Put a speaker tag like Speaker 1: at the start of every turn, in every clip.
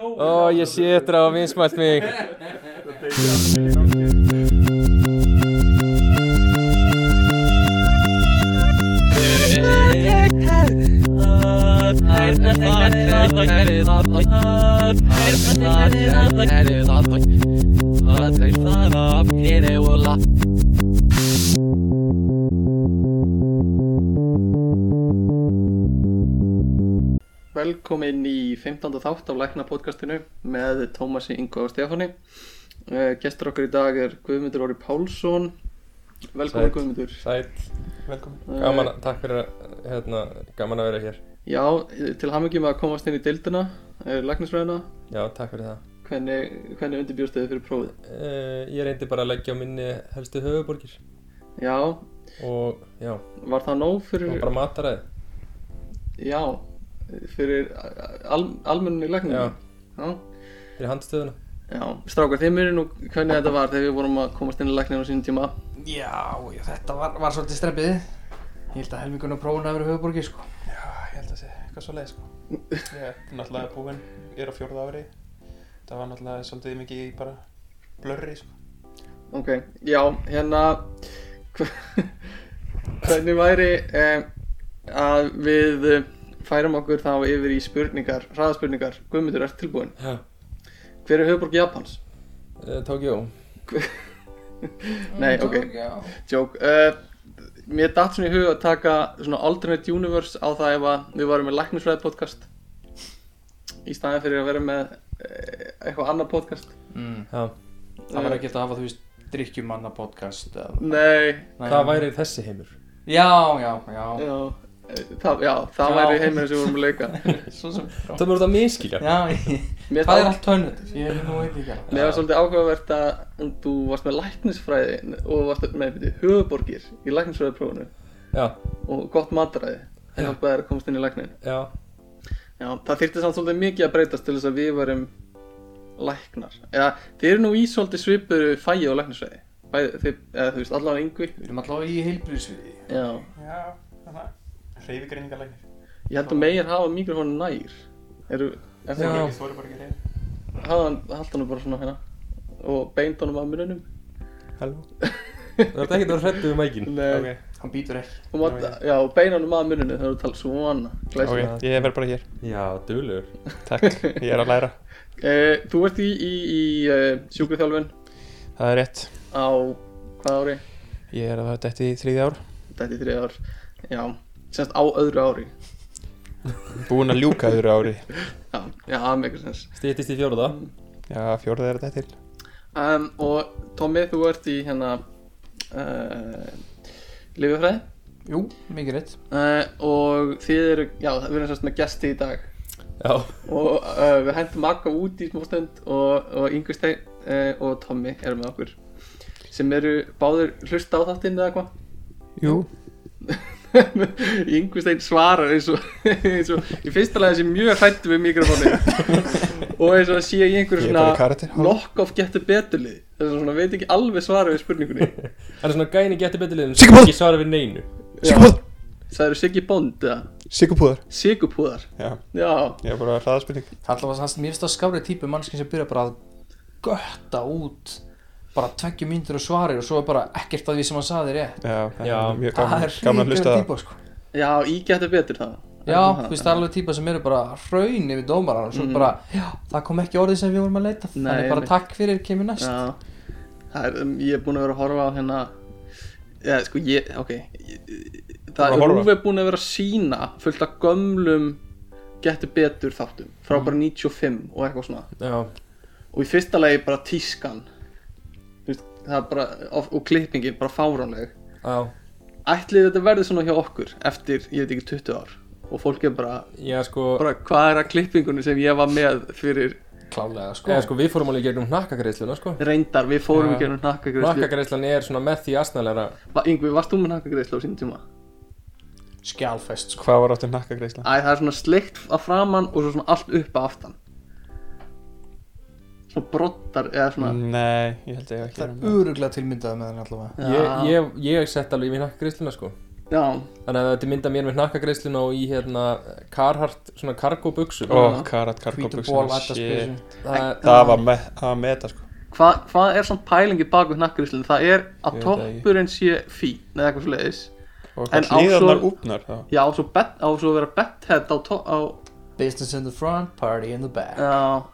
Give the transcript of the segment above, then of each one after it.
Speaker 1: Ó, ég sé þetta á vinsmælt mig.
Speaker 2: Velkomin í 15. þátt af Lækna podcastinu með Tómasi, Ingo og Stefáni. Uh, gestur okkar í dag er Guðmundur Óri Pálsson. Velkomin
Speaker 1: Sæll.
Speaker 2: Guðmundur.
Speaker 1: Sæl,
Speaker 3: Velkomin.
Speaker 1: gaman, að- takk fyrir að, hérna, gaman að vera hér.
Speaker 2: Já, eh, til hamingjum að komast inn í deildina, uh, læknisfræðina.
Speaker 1: Já, takk fyrir það.
Speaker 2: Hvernig, hvernig undirbjóst þið fyrir prófið?
Speaker 1: Uh, ég reyndi bara að leggja á minni helstu höfuborgir
Speaker 2: Já,
Speaker 1: og já,
Speaker 2: var það nóg
Speaker 1: og
Speaker 2: fyrir,
Speaker 1: bara mataræði.
Speaker 2: já, fyrir al, almenninni lækninu?
Speaker 1: Já,
Speaker 2: Já.
Speaker 1: fyrir handstöðuna.
Speaker 2: Já, strákar, þið myndir nú hvernig þetta var þegar við vorum að komast inn í lækninu á sínum tíma.
Speaker 3: Já, já, þetta var, var svolítið streppið. Ég held að helmingun og prófun að vera höfuborgi, sko.
Speaker 4: Já, ég held að sé eitthvað svo leið sko Ég er náttúrulega búinn, ég er á fjórða ári Það var náttúrulega svolítið mikið í bara blurri sko
Speaker 2: Ok, já, hérna, hvernig væri eh, að við eh, færum okkur þá yfir í spurningar, hraðaspurningar. Guðmundur, ert tilbúin?
Speaker 1: Já.
Speaker 2: Hver er höfuborg Japans?
Speaker 1: Uh, Tókjó.
Speaker 2: Nei, ok, joke. Uh, mér datt svona í hug að taka svona alternate universe á það ef að við varum með læknisfræði podcast í staðin fyrir að vera með eh, eitthvað annað podcast. Eh.
Speaker 3: Mm.
Speaker 1: Já,
Speaker 3: Það var ekkert að hafa, þú veist, drikkjumanna podcast. Eða...
Speaker 2: Nei,
Speaker 3: Nei.
Speaker 1: það væri þessi heimur.
Speaker 3: Já, já, já.
Speaker 2: Já, eh, það, já, það
Speaker 3: Já.
Speaker 2: væri heimurinn sem við vorum að leika
Speaker 3: Svo sem...
Speaker 1: Það voru þetta miskilja.
Speaker 3: Já, ég...
Speaker 2: Mér
Speaker 3: það er
Speaker 2: það
Speaker 3: allt tönnut. Ég er nú veit ekki að.
Speaker 2: Mér var svolítið áhugavert að þú varst með læknisfræði og varst með byrju, höfuborgir í læknisfræðiprófunu
Speaker 1: Já,
Speaker 2: og gott matræði
Speaker 1: Já.
Speaker 2: en það bæði að komast inn í læknin
Speaker 1: já,
Speaker 2: Já, það þyrfti samt svolítið mikið að breytast til þess að við varum læknar eða þið eru nú í svolítið svipuru fæi og læknisfræði Bæði, þið, eða, þú veist, allavega yngvi
Speaker 3: Við erum allavega í heilbríðsviði.
Speaker 2: Já,
Speaker 4: Já, þannig að Hreyfigreiningarlæknir
Speaker 2: ég held að megin hafa mikrofónu nær eru, er
Speaker 4: Það
Speaker 2: það
Speaker 4: er
Speaker 1: Já.
Speaker 4: ekki þóri bara ekki hreyf
Speaker 2: ekki hafa hann, halda hann bara svona hérna og beint honum að mununum
Speaker 1: halló. Þú ert ekkert að vera hrættu við mækin.
Speaker 2: Nei,
Speaker 4: Ok,
Speaker 3: Hann býtur ekki.
Speaker 2: og mátt,
Speaker 4: Já,
Speaker 2: já, og beinanum að muninu þegar þú talar svona glæsum.
Speaker 1: Ok.
Speaker 4: ok, ég verð bara hér
Speaker 1: Já, duglegur.
Speaker 4: Takk, ég er að læra
Speaker 2: Eh, þú ert í, í, í uh, sjúkriþjálfun
Speaker 4: Það er rétt
Speaker 2: á hvað ári?
Speaker 4: Ég er að það dætti í þriði ár
Speaker 2: Þetta er þriðar, já, semst á öðru ári.
Speaker 4: Búinn að ljúka öðru ári
Speaker 2: Já, já, það er eitthvað sens.
Speaker 1: Stýttist í fjóruða.
Speaker 4: Já, fjórða er þetta til
Speaker 2: Um, og Tommi, þú ert í hérna uh, lifjafræði
Speaker 3: Jú, mikið rétt.
Speaker 2: uh, og þið eru, já, við erum semst með gesti í dag
Speaker 1: Já,
Speaker 2: og uh, við hendum Akka út í smá stund og, og Ingu Steinn uh, og Tommi eru með okkur sem eru báður hlusta á þáttinn eða hvað?
Speaker 4: Jú
Speaker 2: Yngvistein svarar eins og, eins og í fyrsta lagi sem mjög hrættu við mikrofónin og eins og að sé í einhverju
Speaker 4: Ég er bara í
Speaker 2: svona
Speaker 4: karakter halló.
Speaker 2: knock off getur beturlið þess að svona veit ekki alveg svara við spurningunni
Speaker 1: hann er svona gæni getur betur liðin sem
Speaker 4: Sigurboð!
Speaker 1: ekki svara við neinu.
Speaker 2: Já, það eru Siggi Bond eða
Speaker 4: Sigupúðar
Speaker 2: Sigupúðar
Speaker 4: Já,
Speaker 2: Já,
Speaker 4: ég er bara að hraðaspurning
Speaker 3: Alltaf var það, mér finnst það skárið típu mannskinn sem byrja bara að götta út bara tveggjum myndir og svarir og svo er bara ekkert að því sem hann saði rétt.
Speaker 4: Já, það
Speaker 1: Já.
Speaker 4: er mjög
Speaker 3: Það
Speaker 4: gaman,
Speaker 3: er
Speaker 4: gaman að
Speaker 3: hrikara
Speaker 4: hlusta á það
Speaker 3: típa, sko.
Speaker 2: já, í getur betur það Mm.
Speaker 3: Já, þú veist, það er alveg típa sem eru bara hraun yfir dómaran og svo bara, já, það kom ekki orðið sem við vorum að leita
Speaker 2: Nei,
Speaker 3: þannig bara
Speaker 2: einmitt.
Speaker 3: takk fyrir, kemur næst
Speaker 2: Já, það er, um, ég er búin að vera að horfa á hérna Já, sko, ég, ok ég- Það
Speaker 4: Bara
Speaker 2: er
Speaker 4: horfa.
Speaker 2: Rúfi búin að vera að sína fullt af gömlum getur betur þáttum frá bara 95 og eitthvað svona
Speaker 1: Já,
Speaker 2: og í fyrsta lagi bara tískan Þú veist, það er bara, og, og klippingin bara fáránleg
Speaker 1: já.
Speaker 2: Ætlið þetta verði svona hjá okkur eftir, ég veit ekki, 20 ár og fólk er bara,
Speaker 1: Já, sko,
Speaker 2: bara hvað er að klippingunni sem ég var með fyrir
Speaker 3: klálega, sko
Speaker 1: eða, sko við fórum alveg í gegnum hnakkagreiðsluna, sko.
Speaker 2: reyndar, við
Speaker 1: Já.
Speaker 2: fórum ekki um nakkagreislu
Speaker 1: Hnakkagreiðslan er svona með því asnalega.
Speaker 2: Yngvi, varst þú með nakkagreislu á sínum tíma?
Speaker 3: skjálfest, sko
Speaker 4: Hvað var áttu nakkagreisla?
Speaker 2: Æ, það er svona sleikt að framann og svo svona allt upp að aftan Svona broddar eða svona
Speaker 5: Mm.
Speaker 4: Nei, ég held að ég hef ekki
Speaker 3: það
Speaker 4: verið
Speaker 3: er öruglega tilmyndað með hann allavega
Speaker 1: Ég, ég, ég sett alveg í hnakkagreiðsluna, sko.
Speaker 2: já,
Speaker 1: Þannig að þetta mynda mér með hnakkagreislun og í hérna Carhartt svona cargo buksum
Speaker 5: Ó, karat
Speaker 3: hvítur ból
Speaker 5: karkóbuxum
Speaker 3: attaspísu
Speaker 1: Það
Speaker 5: Það var me að meta sko
Speaker 2: hvað hva er samt pælingi bak við hnakkgríslinn? Það er að
Speaker 5: Ég veit það ekki.
Speaker 2: toppurinn sé fín eða eitthvað svo leiðis
Speaker 5: Og
Speaker 2: En
Speaker 5: hvað hlýðarnar
Speaker 2: á svo-
Speaker 5: úpnar þá
Speaker 2: Já, á svo, bet, á svo að vera betthead á, to- á
Speaker 3: business in the front, party in the back
Speaker 2: Já,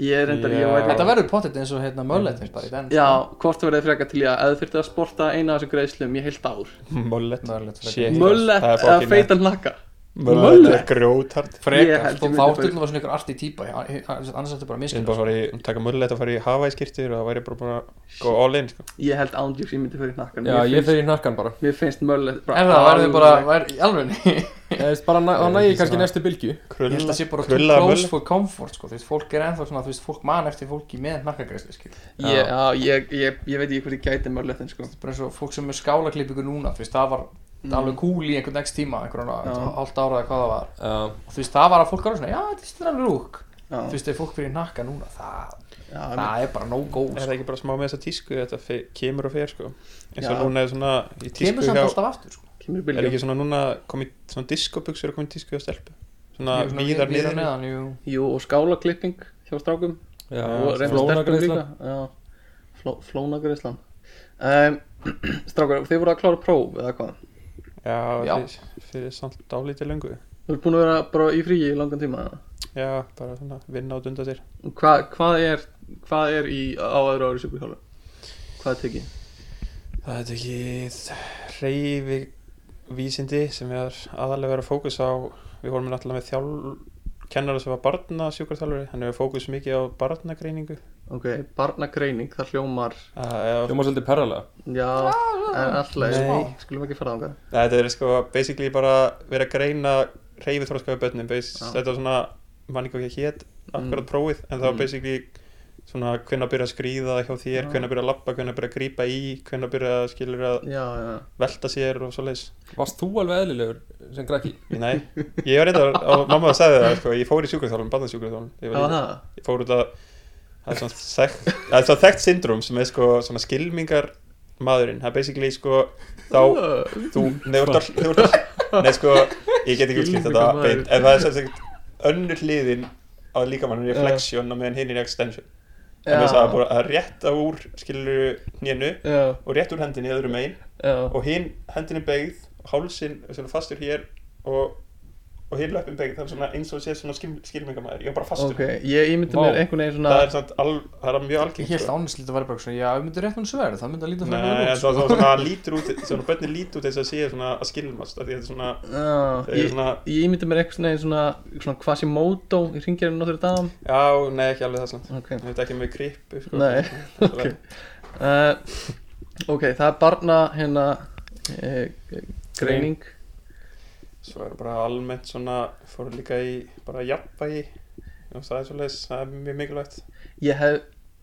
Speaker 2: ég er reyndar, ég
Speaker 5: Já.
Speaker 2: væri
Speaker 3: þetta verður pottet eins og hérna möllet bara í den
Speaker 2: Já, hvort það verið frekar til ég að eða þurfti að sporta eina af þessum greiðslum í heilt ár
Speaker 5: Mullet
Speaker 3: möllet
Speaker 5: Shit.
Speaker 2: Möllet
Speaker 5: Það er
Speaker 2: eða
Speaker 5: fucking
Speaker 2: feitan hnakka
Speaker 5: Mullet er grjótart
Speaker 2: Ég
Speaker 3: frekar
Speaker 2: held
Speaker 3: þá
Speaker 2: ég
Speaker 3: áttur
Speaker 2: myndi bara-
Speaker 3: var um svona ykkur arti típa já, annars ættu bara
Speaker 5: Ég er
Speaker 3: miskinn
Speaker 5: bara að fara í, taka mullet og fara í Hawaii skiptir og það væri bara búin að go all in sko
Speaker 2: Ég held ándjúks ég myndi fyrir hnakkan
Speaker 1: Já, ég fer í hnakkan bara
Speaker 2: Mér finnst möllet
Speaker 3: en það verður bara, verður í alveg
Speaker 1: Það er bara næ- Það nægir kannski
Speaker 3: Svona-
Speaker 1: næstu bylgju
Speaker 3: Ég held að
Speaker 5: Krulla,
Speaker 3: það sé bara too
Speaker 5: krulla
Speaker 3: close
Speaker 5: mullet
Speaker 3: for comfort sko, þú veist, fólk er ennþá svona, þú veist, fólk man eftir fólki með nakkagreisli, skil. Þetta
Speaker 2: Ég, já, ég, ég, ég veit ekki hvort ég gæti mölletin sko
Speaker 3: er bara eins og fólk sem er skálaklippingu núna, þú veist, það var
Speaker 2: Mm.
Speaker 3: alveg cool í einhvern next tíma, einhvern
Speaker 2: Já.
Speaker 3: hálft ára eða hvað það var.
Speaker 1: Já,
Speaker 3: Og þú veist, það var að fólk var svona, já, þetta er stundar alveg rúk.
Speaker 2: Já,
Speaker 3: Þú veist, ef fólk fyrir nakka núna, það,
Speaker 2: já,
Speaker 5: Ah.
Speaker 2: mér-
Speaker 3: það er bara no go,
Speaker 5: Er það
Speaker 3: sko.
Speaker 5: ekki bara smá með þessa tísku þetta fe- kemur og fer sko eins
Speaker 2: Já.
Speaker 5: og núna er svona í
Speaker 3: Kemur
Speaker 5: tísku
Speaker 3: samt
Speaker 5: hjá
Speaker 3: alltaf aftur, sko.
Speaker 2: kemur
Speaker 5: Er
Speaker 2: bylgja
Speaker 5: ekki svona núna komið svona diskobuxur og komið tísku hjá stelpu Svona
Speaker 2: Ah,
Speaker 3: Jú, svona
Speaker 5: víðar niður
Speaker 3: neðan, jú.
Speaker 2: Jú, og skálaklipping hjá strákum
Speaker 1: já
Speaker 2: og reyndar stelpum líka
Speaker 1: Flónagreislan
Speaker 2: Já, fló, flónagreislan um, Strákar, þið voru að klára próf eða hvað?
Speaker 5: Já,
Speaker 3: Já.
Speaker 5: Fyrir, fyrir samt dálítið löngu
Speaker 2: Þú eru búin að vera bara í fríi í langan tíma eða?
Speaker 5: Já, bara svona vinna og dunda sér
Speaker 2: Hva, hvað er hvað er í á öðru ári sjúkuhjálfur? Hvað er tekið?
Speaker 5: Það er ekki reyfi vísindi sem er aðalega verið að fókus á við vorum náttúrulega með þjálf kennara sem var barna sjúkarþjálfari hann hefur fókus mikið á barnagreiningu
Speaker 2: Ok, barnagreining, það hljómar
Speaker 5: uh, eða,
Speaker 1: Hljóma svolítið perralega
Speaker 2: já, en alltaf
Speaker 5: Nei.
Speaker 2: skulum ekki fara þangað
Speaker 5: þetta er sko basically bara verið að greina reyfi þróska við börnum bas,
Speaker 2: Já.
Speaker 5: þetta var svona, mann ekki hvað hétt akkurat prófið, en það var
Speaker 2: Mm.
Speaker 5: basically svona hvernig að byrja að skrýða hjá þér
Speaker 2: Já.
Speaker 5: hvernig að byrja að labba, hvernig að byrja að grípa í hvernig að byrja að skilur að
Speaker 2: Já, já,
Speaker 5: velta sér og svo
Speaker 1: Varst þú alveg eðlilegur sem krakki?
Speaker 5: Nei, ég var reyndar og mamma sagði það, sko, ég fór í sjúkraþjálfum, barnasjúkraþjálfum ég,
Speaker 2: það var
Speaker 5: var í-
Speaker 2: það
Speaker 5: ég fór út að það er svona þekkt, það er svona þekkt syndrom sem er sko svona skilmingar maðurinn, það er basically sko þá,
Speaker 2: Ö,
Speaker 5: þú, nei, þú ert all- þú ert all- nei, sko, ég get ekki útskipt þetta
Speaker 2: Skylmingarmaður.
Speaker 5: beint, en það er sem sagt önnur hliðin á líkamannum reflection og meðan hinn er extension
Speaker 2: Já.
Speaker 5: þannig að það er bara að rétta úr skilur hnénu
Speaker 2: Já,
Speaker 5: og rétt úr hendinni öðrum megin
Speaker 2: já,
Speaker 5: og hinn hendin er beigð hálsin er svona fastur hér og, og hinn löppin beigð það er svona eins og sé svona skil, skilmingamæður ég er bara fastur
Speaker 2: ok Ég ímyndi
Speaker 3: Vá.
Speaker 2: mér einhvern veginn svona
Speaker 5: það er svona al, það er mjög
Speaker 3: Ég
Speaker 5: algengt
Speaker 3: held
Speaker 5: sko.
Speaker 3: ánist lítið að vera bara svona, já, við myndum rétt hún sverð, það myndi að líta
Speaker 5: Nei,
Speaker 3: svona
Speaker 5: en
Speaker 3: vel út,
Speaker 5: það
Speaker 2: sko.
Speaker 5: er svona það lítur út svona börnin lítur út þess að sé svona að skilmast af því að þetta er svona
Speaker 2: Já,
Speaker 5: þeir eru
Speaker 2: ég,
Speaker 5: svona
Speaker 2: ég ímyndi mér einhvern veginn svona svona quasimodo í ringjarinn náttur í dagum
Speaker 5: já nei ekki alveg það slant
Speaker 2: Ok,
Speaker 5: ég veit ekki með grippu sko.
Speaker 2: Nei, ok uh, Ok, það er barna hérna eh, greining
Speaker 5: svo er bara almennt svona fóru líka í bara jafnvægi Þú veist, það er svolítið það er mjög mikilvægt
Speaker 2: Ég hef,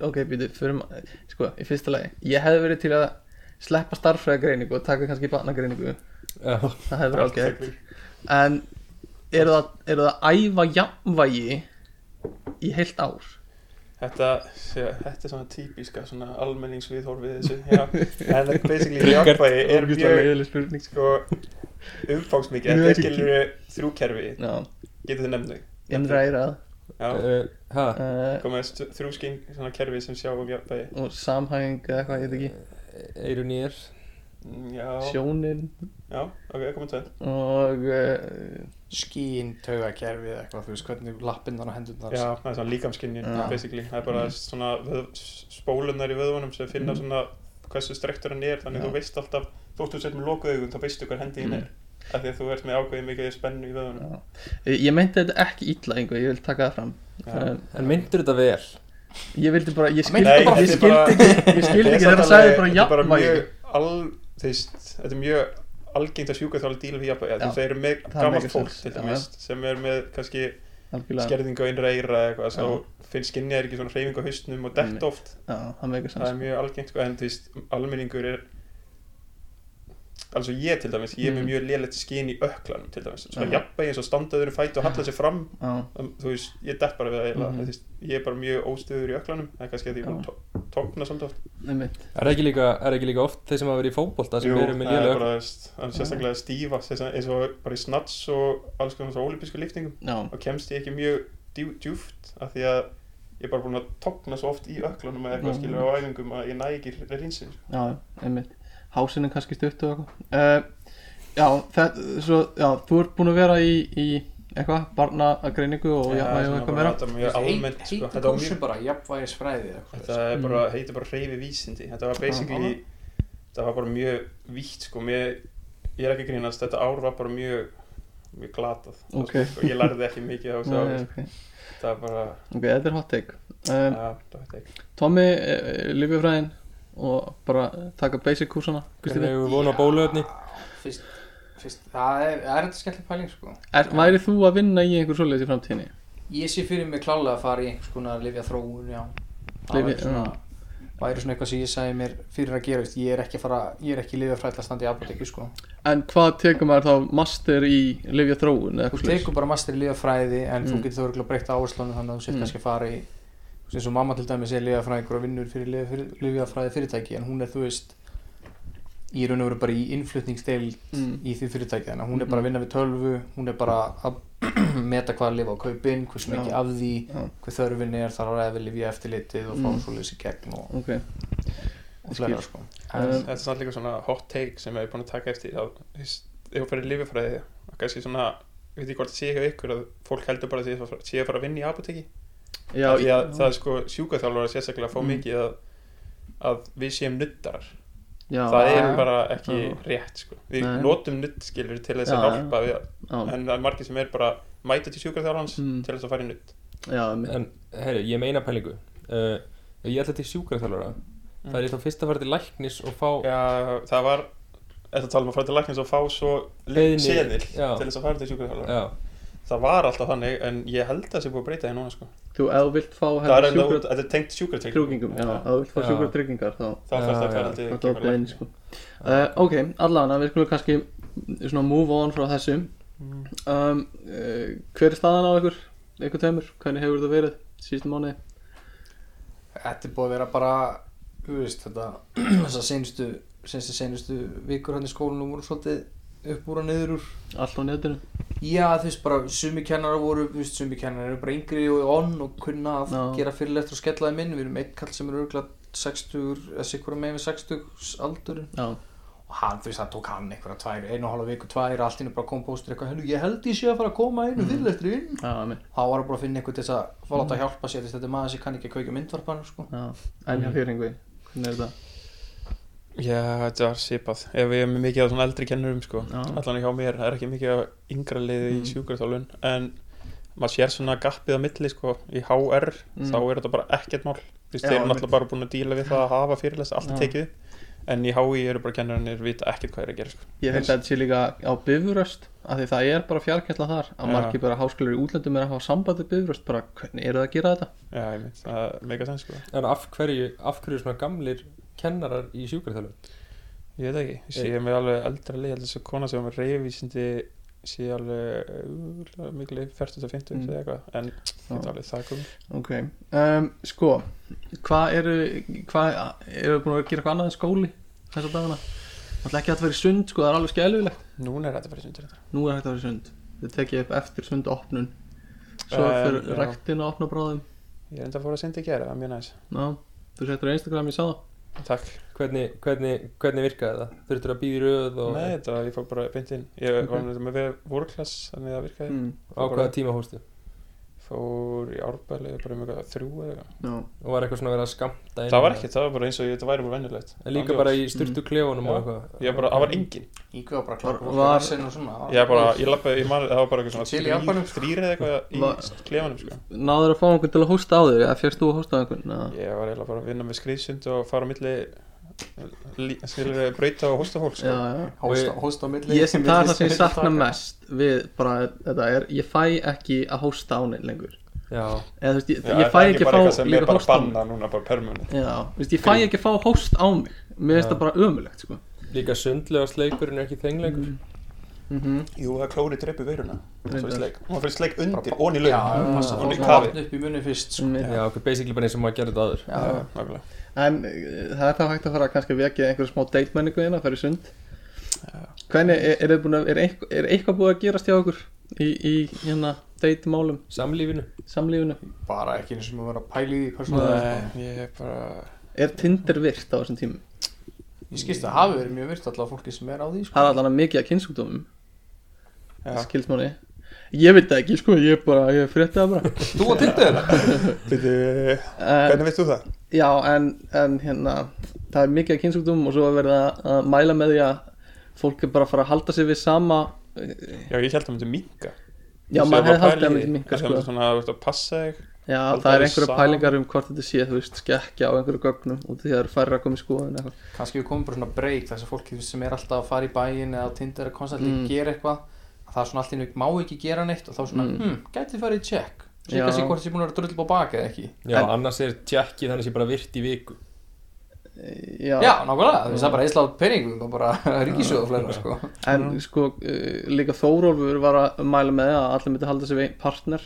Speaker 2: ok, býtu, förum Sko, í fyrsta lagi, ég hef verið til að sleppa starffræðagreiningu og taka kannski barnagreiningu,
Speaker 1: Já
Speaker 2: það hefur
Speaker 5: Allt
Speaker 2: ágætt
Speaker 5: þekkt.
Speaker 2: En eru það, eru það að æfa jafnvægi í heilt ár?
Speaker 5: Þetta, já, þetta er svona típiska svona almenningsviðhorfið þessu já. en þetta basically
Speaker 1: Ríkard,
Speaker 5: jákvæði er mjög
Speaker 2: leiðileg spurning sko.
Speaker 5: sko, umfangsmikið
Speaker 2: Nú
Speaker 5: þetta
Speaker 2: veit
Speaker 5: er
Speaker 2: ég
Speaker 5: skilur þrjú kerfi
Speaker 2: Já,
Speaker 5: getur þið nefndu
Speaker 2: innra eirað
Speaker 5: já,
Speaker 1: Eh, Ha?
Speaker 2: uh,
Speaker 5: komið stu- þrjú skinn svona kerfi sem sjá um jákvæði
Speaker 2: og samhæng eða eitthvað, ég veit ekki
Speaker 1: Eirun Eh, í er
Speaker 5: Mm, já,
Speaker 2: sjónin
Speaker 5: já, ok, komið tveir
Speaker 2: og uh,
Speaker 3: skín, taugakerfið eða eitthvað, þú veist, hvernig lappindan og hendurnar
Speaker 5: já, það er svona líkamskinnin
Speaker 2: Já. Mm.
Speaker 5: basically, það er bara svona vöð- spólunar í vöðunum sem finna svona hversu strektur hann er, þannig
Speaker 2: Já. Mm.
Speaker 5: þú veist alltaf þóttu sett með lokuðaugun, þá veistu hver hendi hinn er af því að þú ert með ákveðið mikið spennu í vöðunum
Speaker 2: Já. Eh, Ég ég meinti þetta ekki illa einhver, ég vil taka það fram
Speaker 5: Já.
Speaker 2: en,
Speaker 1: En myndur þetta vel?
Speaker 2: Ég vildi bara, ég skildi,
Speaker 5: Nei,
Speaker 2: ég
Speaker 5: þetta er
Speaker 2: skildi
Speaker 5: bara-
Speaker 2: ekki Ég skildi ekki þegar það sagði bara jafnvægi
Speaker 5: mjög al, þeist, Þetta er mjög algengt að sjúkaþáli díla við jafnvægi
Speaker 2: Já.
Speaker 5: Það eru með
Speaker 2: Það
Speaker 5: gammalt
Speaker 2: makes
Speaker 5: fólk
Speaker 2: sense.
Speaker 5: til
Speaker 2: Já.
Speaker 5: dæmis sem er með kannski
Speaker 2: Algjörlega,
Speaker 5: skerðingu á innra eira eða eitthvað
Speaker 2: Já.
Speaker 5: þá finnst skinnið er ekki svona hreyfingu á haustnum og
Speaker 2: Einmitt.
Speaker 5: dett oft
Speaker 2: já, það meikar
Speaker 5: það er
Speaker 2: sens
Speaker 5: mjög algengt sko, en þú veist almenningur er alveg svo ég til dæmis, ég er með
Speaker 2: Mm.
Speaker 5: mjög lélegt skinn í öklanum til dæmis, svona
Speaker 2: Já.
Speaker 5: jafnvægi eins og standaður um fæti og halla sér fram
Speaker 2: já,
Speaker 5: um, þú veist, ég dett bara við það eiginlega,
Speaker 2: Mhm.
Speaker 5: þú veist, ég er bara mjög óstöður í öklanum það er kannski að ég er búin að tó- tókna samt oft
Speaker 2: einmitt
Speaker 1: Er það ekki líka, er það ekki líka oft þeir sem hafa verið í fótbolta sem eru með
Speaker 5: það er
Speaker 1: lélega
Speaker 5: bara þú veist, það er sérstaklega stífa þess að- eins og bara í snats og alls konar svo ólípisku liftingum
Speaker 2: já,
Speaker 5: og kemst ég ekki mjög djú, djúft af því að ég er bara búin að tókna svo oft í öklanum eða eitthvað
Speaker 2: Mhm.
Speaker 5: skilur á æfingum að ég næ ekki rinsin
Speaker 2: já, einmitt hásinn er kannski stutt og eitthvað uh, já, það, svo, já, þú ert búin að vera í, í eitthvað, barnagreiningu og já, já, eitthvað meira
Speaker 5: meira almennt
Speaker 3: Heitir
Speaker 5: sko, þetta var mjög
Speaker 3: kúrsum bara jafnvægisfræði eða eitthvað.
Speaker 5: Þetta er bara,
Speaker 2: Mm.
Speaker 5: heitir bara reyfi vísindi Þetta var basically Þetta var bara mjög vítt sko mér, Ég er ekki að grínast, þetta ár var bara mjög Mjög glatað
Speaker 2: Ok.
Speaker 5: sko, Ég lærði ekki mikið á þessu
Speaker 2: Nei,
Speaker 5: ári sko.
Speaker 2: ok,
Speaker 5: Þetta var bara,
Speaker 2: ok, þetta er hot take um,
Speaker 5: ja, það veit ég ekki
Speaker 2: Tommy, uh, lifjafræðin og bara taka basic kursana
Speaker 1: Hvernig
Speaker 2: er,
Speaker 1: hefur vona
Speaker 3: Já,
Speaker 1: bóluöfni?
Speaker 3: Fyrst, fyrst, það er, það er þetta skemmtileg pæling sko
Speaker 2: væri þú að vinna í einhver svoleiðis í framtíðinni?
Speaker 3: Ég sé fyrir mig klálega að fara í einhvers konar lifja þróun, já Það væri
Speaker 2: Lyfja-
Speaker 3: svona, væri svona eitthvað sem ég sagði mér fyrir að gera, veist, ég er ekki að fara, ég er ekki lifja fræðla standi í apotekku sko
Speaker 2: En hvað tekur maður þá master í lifja þróun eða
Speaker 3: Þú
Speaker 2: eitthvað
Speaker 3: tekur bara master í lifjafræði en þú
Speaker 2: Mm.
Speaker 3: getur þó örugglega breytt áherslunum þannig að þú sér
Speaker 2: Mm.
Speaker 3: kannski að fara í þú veist, eins og mamma til dæmis er lifjafræðingur og vinnur fyrir lyfjafyr- lyfjafræði fyrirtæki en hún er þú veist í raun og veru bara í innflutningsdeil
Speaker 2: Mm.
Speaker 3: í því fyrirtæki þannig að hún er bara að vinna við tölvu hún er bara að meta hvað að lifa á kaupin hversu mikið
Speaker 2: Já.
Speaker 3: af því,
Speaker 2: Já.
Speaker 3: hvað þörfin er þar að ræða við lifja eftirlitið og fá
Speaker 2: Mm.
Speaker 3: mm. svoleiðis í gegn og,
Speaker 2: Ok,
Speaker 3: og
Speaker 2: skil.
Speaker 3: flera sko
Speaker 2: En-
Speaker 5: Þetta er samt líka svona hot take sem ég er búin að taka eftir að, þú veist, Ef þú fyrir lififræði og kannski svona Ég veit ekki hvort það sé hjá ykkur að fólk heldur bara að ég sé að fara að vinna í apoteki
Speaker 2: já,
Speaker 5: Já, já,
Speaker 2: já,
Speaker 5: það er sko sjúkaþjálfara sérstaklega að fá
Speaker 2: Mm.
Speaker 5: mikið að, að við séum nuttarar
Speaker 2: já,
Speaker 5: það er
Speaker 3: já.
Speaker 5: bara ekki
Speaker 2: Já.
Speaker 5: rétt sko. við
Speaker 2: Nei.
Speaker 5: notum nutt skilur til þess
Speaker 2: Já,
Speaker 5: að hjálpa við það.
Speaker 2: já,
Speaker 5: en það er margir sem er bara mæta til sjúkraþjálfans
Speaker 2: Mm.
Speaker 5: til þess að fara í nutt
Speaker 2: já, einmitt.
Speaker 1: En, herri, ég meina pælingu uh, Ég ætla til sjúkraþjálfara Það er ég þá fyrst að fara til læknis og fá
Speaker 5: Mm. já, það var þetta tala um að fara til læknins og fá svo
Speaker 1: Beiðni.
Speaker 5: seðil
Speaker 1: Já.
Speaker 5: til þess að fara til sjúkraþjálfara
Speaker 1: Já,
Speaker 5: það var alltaf þannig en ég held að það sé búið að breyta því núna sko.
Speaker 2: þú ef þú vilt fá
Speaker 5: það er
Speaker 2: hérna
Speaker 5: enda
Speaker 2: sjúkra
Speaker 5: út, þetta er tengt sjúkratryggningum
Speaker 2: krúkingum, já, ef þú vilt fá
Speaker 1: Já.
Speaker 2: sjúkra tryggingar þá
Speaker 1: Já,
Speaker 5: það þarf
Speaker 1: já.
Speaker 5: að fara til
Speaker 2: það er
Speaker 5: kemur
Speaker 2: opið inn,
Speaker 5: læknis.
Speaker 2: sko uh, Ok, allavega, við skulum kannski svona move on frá þessu
Speaker 5: Mm.
Speaker 2: um, uh, Hver er staðan á ykkur? Ykkur tveimur, hvernig hefur það verið síðustu mánuði?
Speaker 3: Þetta er búið að vera bara þú veist, þetta, þessar seinustu senstu, senstu vikur hann í skólanum voru svolítið upp úr og niður úr
Speaker 2: Allt á netinu?
Speaker 3: Já, þú veist bara, sumi kennara voru, þú veist, sumi kennara eru bara yngri og onn og kunna að
Speaker 2: Já.
Speaker 3: gera fyrirlegt og skella þeim inn, við erum einn kall sem er örgulega 60, eða sikkur megin við 60 aldurinn
Speaker 2: Já,
Speaker 3: og hann, þú veist, það tók hann einhverja tvær, einu og halva viku, tvær, allt innu bara kom póstur eitthvað, hennu, ég held ég sé að fara að koma einu mm. fyrirlegtur inn
Speaker 2: já, einmitt
Speaker 3: þá var hann bara að finna einhvern til þess að fá láta hjálpa sér, þú veist, þetta er maður sem kann ekki að kveika myndvarpanu, sko
Speaker 2: já. En
Speaker 5: Mm.
Speaker 2: hjá þér einhver, hvernig er það?
Speaker 5: já, þetta var sipað ef ég er með mikið af svona eldri kennurum sko.
Speaker 2: Já. Mm.
Speaker 5: allan hjá mér, það er ekki mikið af yngra liði í sjúkraþjálfun en maður sér svona gappið á milli sko, í HR,
Speaker 2: Mm.
Speaker 5: þá er þetta bara ekkert mál Þú
Speaker 2: Já,
Speaker 5: veist, þeir eru
Speaker 2: einmitt.
Speaker 5: náttúrulega bara búin að díla við það að hafa fyrirlest allt er
Speaker 2: Já.
Speaker 5: tekið upp. en í HÍ eru bara kennarinnir vita ekkert hvað er að gera sko.
Speaker 2: Ég held að þetta sé líka á bifuröst af því það er bara fjarkensla þar að
Speaker 5: Já.
Speaker 2: margir bara háskólar í útlöndum er að hafa sambandi bifuröst bara hvernig eru það að gera þetta
Speaker 5: já, ég mynd, það er mega sens sko.
Speaker 1: en af hverju, af hverju svona gamlir kennarar í sjúkraþjálfun?
Speaker 5: ég veit ekki, ég sé mig alveg eldra lið þess að kona sem er reyfísindi sé alveg uh, miklu 40-50
Speaker 2: Mm.
Speaker 5: eða eitthvað en
Speaker 2: Já.
Speaker 5: þetta alveg það kom
Speaker 2: Ok, um, sko hvað eru hvað eru búin að vera að gera eitthvað annað en skóli þessa dagana? Það er ekki hægt að vera í sund sko, það er alveg skjælufilegt
Speaker 5: núna er þetta bara hérna. sundir þetta
Speaker 2: Nú er hægt að vera í sund Þau tekið upp eftir sund opnun Svo
Speaker 5: Eh,
Speaker 2: fyrir
Speaker 5: já.
Speaker 2: rektin að opna bráðum
Speaker 5: ég er enda að fóra að syndi að gera, það er mjög næs
Speaker 2: Ná, þú settur á Instagram, ég sá það
Speaker 5: takk
Speaker 1: Hvernig, hvernig, hvernig virkaði það? Þurftur að býða í röð og
Speaker 5: Nei, þetta var, ég fór bara beint inn Ég
Speaker 2: Ok.
Speaker 5: var með með vorklass, þannig að það virkaði
Speaker 2: mm,
Speaker 1: á hvaða tíma hóstu?
Speaker 5: Fór í árbæli, bara um eitthvað þrjú eða eitthvað
Speaker 2: Já,
Speaker 1: Og var eitthvað svona verið að skamta inn?
Speaker 5: Það var ekkert, það var bara eins og ég, þetta væri bara venjulegt
Speaker 1: En líka bara í styrtu klefunum og
Speaker 5: Já.
Speaker 1: eitthvað
Speaker 5: Ég var bara, það var engin
Speaker 3: Íkveð var bara að
Speaker 2: Var-
Speaker 3: klappa
Speaker 2: var-
Speaker 3: og rassinn og svona, það var-
Speaker 5: Ég bara, ég lappaði, ég mani, það var bara eitthvað
Speaker 3: Til í sko.
Speaker 5: svona
Speaker 3: Albanum,
Speaker 5: þrýr, þrýr eða
Speaker 2: Va-
Speaker 5: eitthvað í klefanum sko
Speaker 2: náður að fá einhvern til að hósta á þig eða fjörst þú að hósta á einhvern? eða?
Speaker 5: Ég var eiginlega bara að vinna með skriðsund og fara á milli lí- skilur við, brauta og hósta fólk
Speaker 2: Já,
Speaker 5: sko
Speaker 2: já,
Speaker 3: hósta, hósta á milli
Speaker 2: ég, það er það sem ég
Speaker 3: milli
Speaker 2: sakna
Speaker 3: taka.
Speaker 2: mest við bara þetta er ég fæ ekki að hósta á neitt lengur
Speaker 1: Já,
Speaker 2: eða þú veist ég,
Speaker 5: Já,
Speaker 2: ég
Speaker 5: er
Speaker 2: fæ
Speaker 5: það
Speaker 2: ekki að
Speaker 5: bara eitthvað
Speaker 2: fá
Speaker 5: sem er
Speaker 2: líka
Speaker 5: bara
Speaker 2: hósta á
Speaker 5: bannað núna, bara permanent
Speaker 2: mig já, þú veist ég fæ ekki að fá hóst á mig mér finnst
Speaker 1: Já.
Speaker 2: það bara ömulegt sko.
Speaker 1: Líka sundlega sleikurinn er ekki þengleikur
Speaker 2: mm -hmm.
Speaker 5: Jú, það klóri dreipi veiruna Svo
Speaker 2: Reyndar.
Speaker 5: í sleik Og maður fyrir sleik undir, ón í laun
Speaker 3: Já,
Speaker 2: Mm.
Speaker 3: passa
Speaker 5: Hún
Speaker 3: fólk
Speaker 5: í
Speaker 3: með
Speaker 5: kafi.
Speaker 3: vatn upp í munni fyrst sko.
Speaker 2: Mm.
Speaker 1: Já, okkur basically bara eins og maður gerði þetta áður
Speaker 3: Já, já.
Speaker 5: nákvæmlega
Speaker 2: En eh, það er þá hægt að fara kannski að vekja einhverja smá deilmenningu hérna, fyrir sund Hvernig, er, er, þið búin að, er, eitthvað, er eitthvað búið að gerast hjá okkur í, í hérna deitmálum,
Speaker 1: Samlífinu
Speaker 2: samlífinu?
Speaker 3: Bara ekki eins og maður var að pæla í því persónulega sko.
Speaker 5: Nei, Eh, ég er bara
Speaker 2: Er Tinder virkt á þessum tímum?
Speaker 3: sko. Ég skilst að það hafi verið mjög virt alltaf fólki sem er á því sko.
Speaker 2: Það er allan að mikið að kynnsúkdómum,
Speaker 5: Já.
Speaker 2: skilst manni Ég veit það ekki, sko, ég bara, ég frétti það bara
Speaker 1: Þú að tindu þér?
Speaker 5: Býtu,
Speaker 2: uh,
Speaker 5: hvernig veist þú það?
Speaker 2: Já, en, en hérna, það er mikið að kynnsúkdómum og svo er verið að- að mæla með því að fólk er bara að fara að halda sig við sama
Speaker 5: Já, ég held að myndi minka
Speaker 2: Já, maður hefði haldið að myndi minka,
Speaker 5: Það
Speaker 2: sko
Speaker 5: er svona, þú veist, að passa þig
Speaker 2: Já,
Speaker 5: Halda
Speaker 2: það er
Speaker 5: þau
Speaker 2: einhverja
Speaker 5: saman?
Speaker 2: pælingar um hvort þetta sé, þú veist, skekkja á einhverju gögnum út af því að það eru færri að koma í skoðun eða eitthvað.
Speaker 3: Kannski við komum bara svona break þess að fólki sem er alltaf að fara í bæin eða á Tinder að konstantli
Speaker 2: Mm.
Speaker 3: gera eitthvað að það er svona allt í einu má ekki gera neitt og þá svona,
Speaker 2: Mm.
Speaker 3: hmm, gæti farið í check
Speaker 2: Já.
Speaker 3: Sjekka sig hvort þessi búin að vera drull á baka eða ekki
Speaker 1: Já,
Speaker 2: En-
Speaker 1: annars er tjekkið þannig sé bara virt í viku
Speaker 2: Já,
Speaker 3: Já, nákvæmlega, þú veist það er bara einslátt peningum og bara ríkisjóðu fleira sko
Speaker 2: en sko, uh, líka Þórólfur var að mæla með að allir myndi halda sig við partner.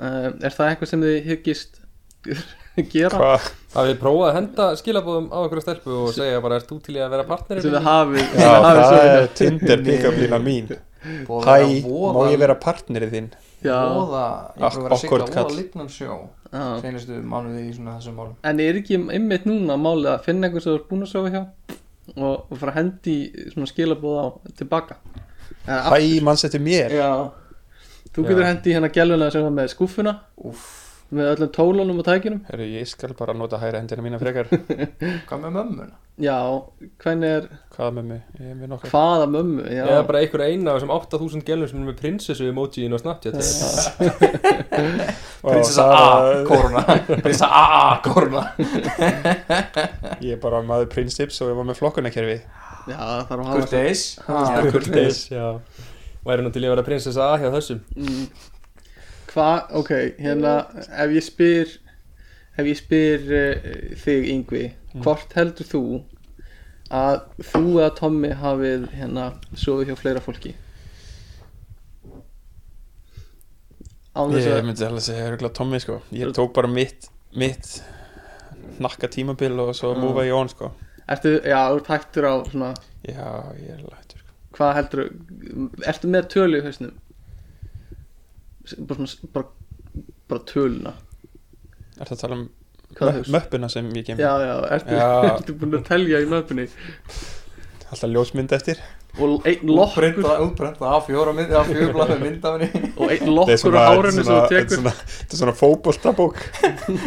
Speaker 2: Uh, er það eitthvað sem þið hyggist gera?
Speaker 5: Hvað?
Speaker 1: Það við prófaði að henda skilabóðum á einhverja stelpu og segja bara, ert þú til í að vera partnerinn?
Speaker 2: Sem þið hafið,
Speaker 5: Já,
Speaker 2: þið hafið
Speaker 5: það
Speaker 2: söguna.
Speaker 5: er Tinder píkablína mín
Speaker 3: Búið
Speaker 5: Hæ,
Speaker 3: að vera voða-
Speaker 5: má ég vera partnerið þinn?
Speaker 2: Já,
Speaker 3: voða, ég er búin að vera að sigla
Speaker 5: Awkward
Speaker 3: voða
Speaker 5: kall.
Speaker 3: lignan sjó
Speaker 2: já.
Speaker 3: seinustu mánuði í svona þessum málum
Speaker 2: En er ekki einmitt núna málið að finna einhvern sem þú ert búin að sofa hjá og, og fara að hendi í svona skilabóð á tilbaka? Eða
Speaker 5: Hæ, manns eftir mér?
Speaker 2: Já Þú getur
Speaker 1: Já.
Speaker 2: hendi í hérna gæluna sem var með skúffuna
Speaker 3: Úff,
Speaker 2: með öllum tólunum og tækjunum
Speaker 5: Herru, ég skal bara nota hæra hendina mína frekar
Speaker 3: hvað með mömmuna?
Speaker 2: Já, hvernig er
Speaker 5: Hvað með mig? Ég er með nokkar
Speaker 2: hvaða mömmu Já,
Speaker 1: Eða bara einhverja eina af þessum 8000 gelum sem er með prinsessu emojiðin á Snapchat
Speaker 2: Já.
Speaker 5: Og
Speaker 3: Prinsessa
Speaker 5: það-
Speaker 3: A, koruna Prinsessa A, koruna
Speaker 5: Ég er bara maður prinsips og ég var með flokkunarkerfi
Speaker 2: Já, það þarf að hafa
Speaker 3: Kurteis
Speaker 2: Já, kurteis.
Speaker 5: já
Speaker 1: Væri nú til í að vera prinsessa A hjá þessum
Speaker 2: Mm. Hvað, ok, hérna ef ég spyr ef ég spyr uh, þig yngvi
Speaker 5: Mm.
Speaker 2: hvort heldur þú að þú eða Tommi hafið hérna sofið hjá fleira fólki Án þess
Speaker 5: Ég
Speaker 2: að
Speaker 5: myndi alveg segja örgulega Tommy sko Ég tók bara mitt, mitt nakka tímabil og svo
Speaker 2: Já.
Speaker 5: múfa ég on sko
Speaker 2: Ertu, já, þú ert hættur á svona
Speaker 5: Já, ég er lættur sko.
Speaker 2: hvað heldur ertu með tölu í hausnum bara, svona- bara, bara töluna
Speaker 5: Er það að tala um
Speaker 2: Hvað
Speaker 5: mö-
Speaker 2: haus?
Speaker 5: möppuna sem ég kem
Speaker 2: já já, ertu,
Speaker 5: Já.
Speaker 2: ertu búin að telja í möpunni
Speaker 5: Alltaf ljósmynd eftir
Speaker 2: og einn lokkur
Speaker 3: Útbrenda, útbrenda A, fjóra mynd, A, fjóra blað með mynd af henni
Speaker 2: og einn lokkur á hárunni sem þú
Speaker 5: þetta er
Speaker 2: tekur
Speaker 5: svona, þetta er svona fótboltabók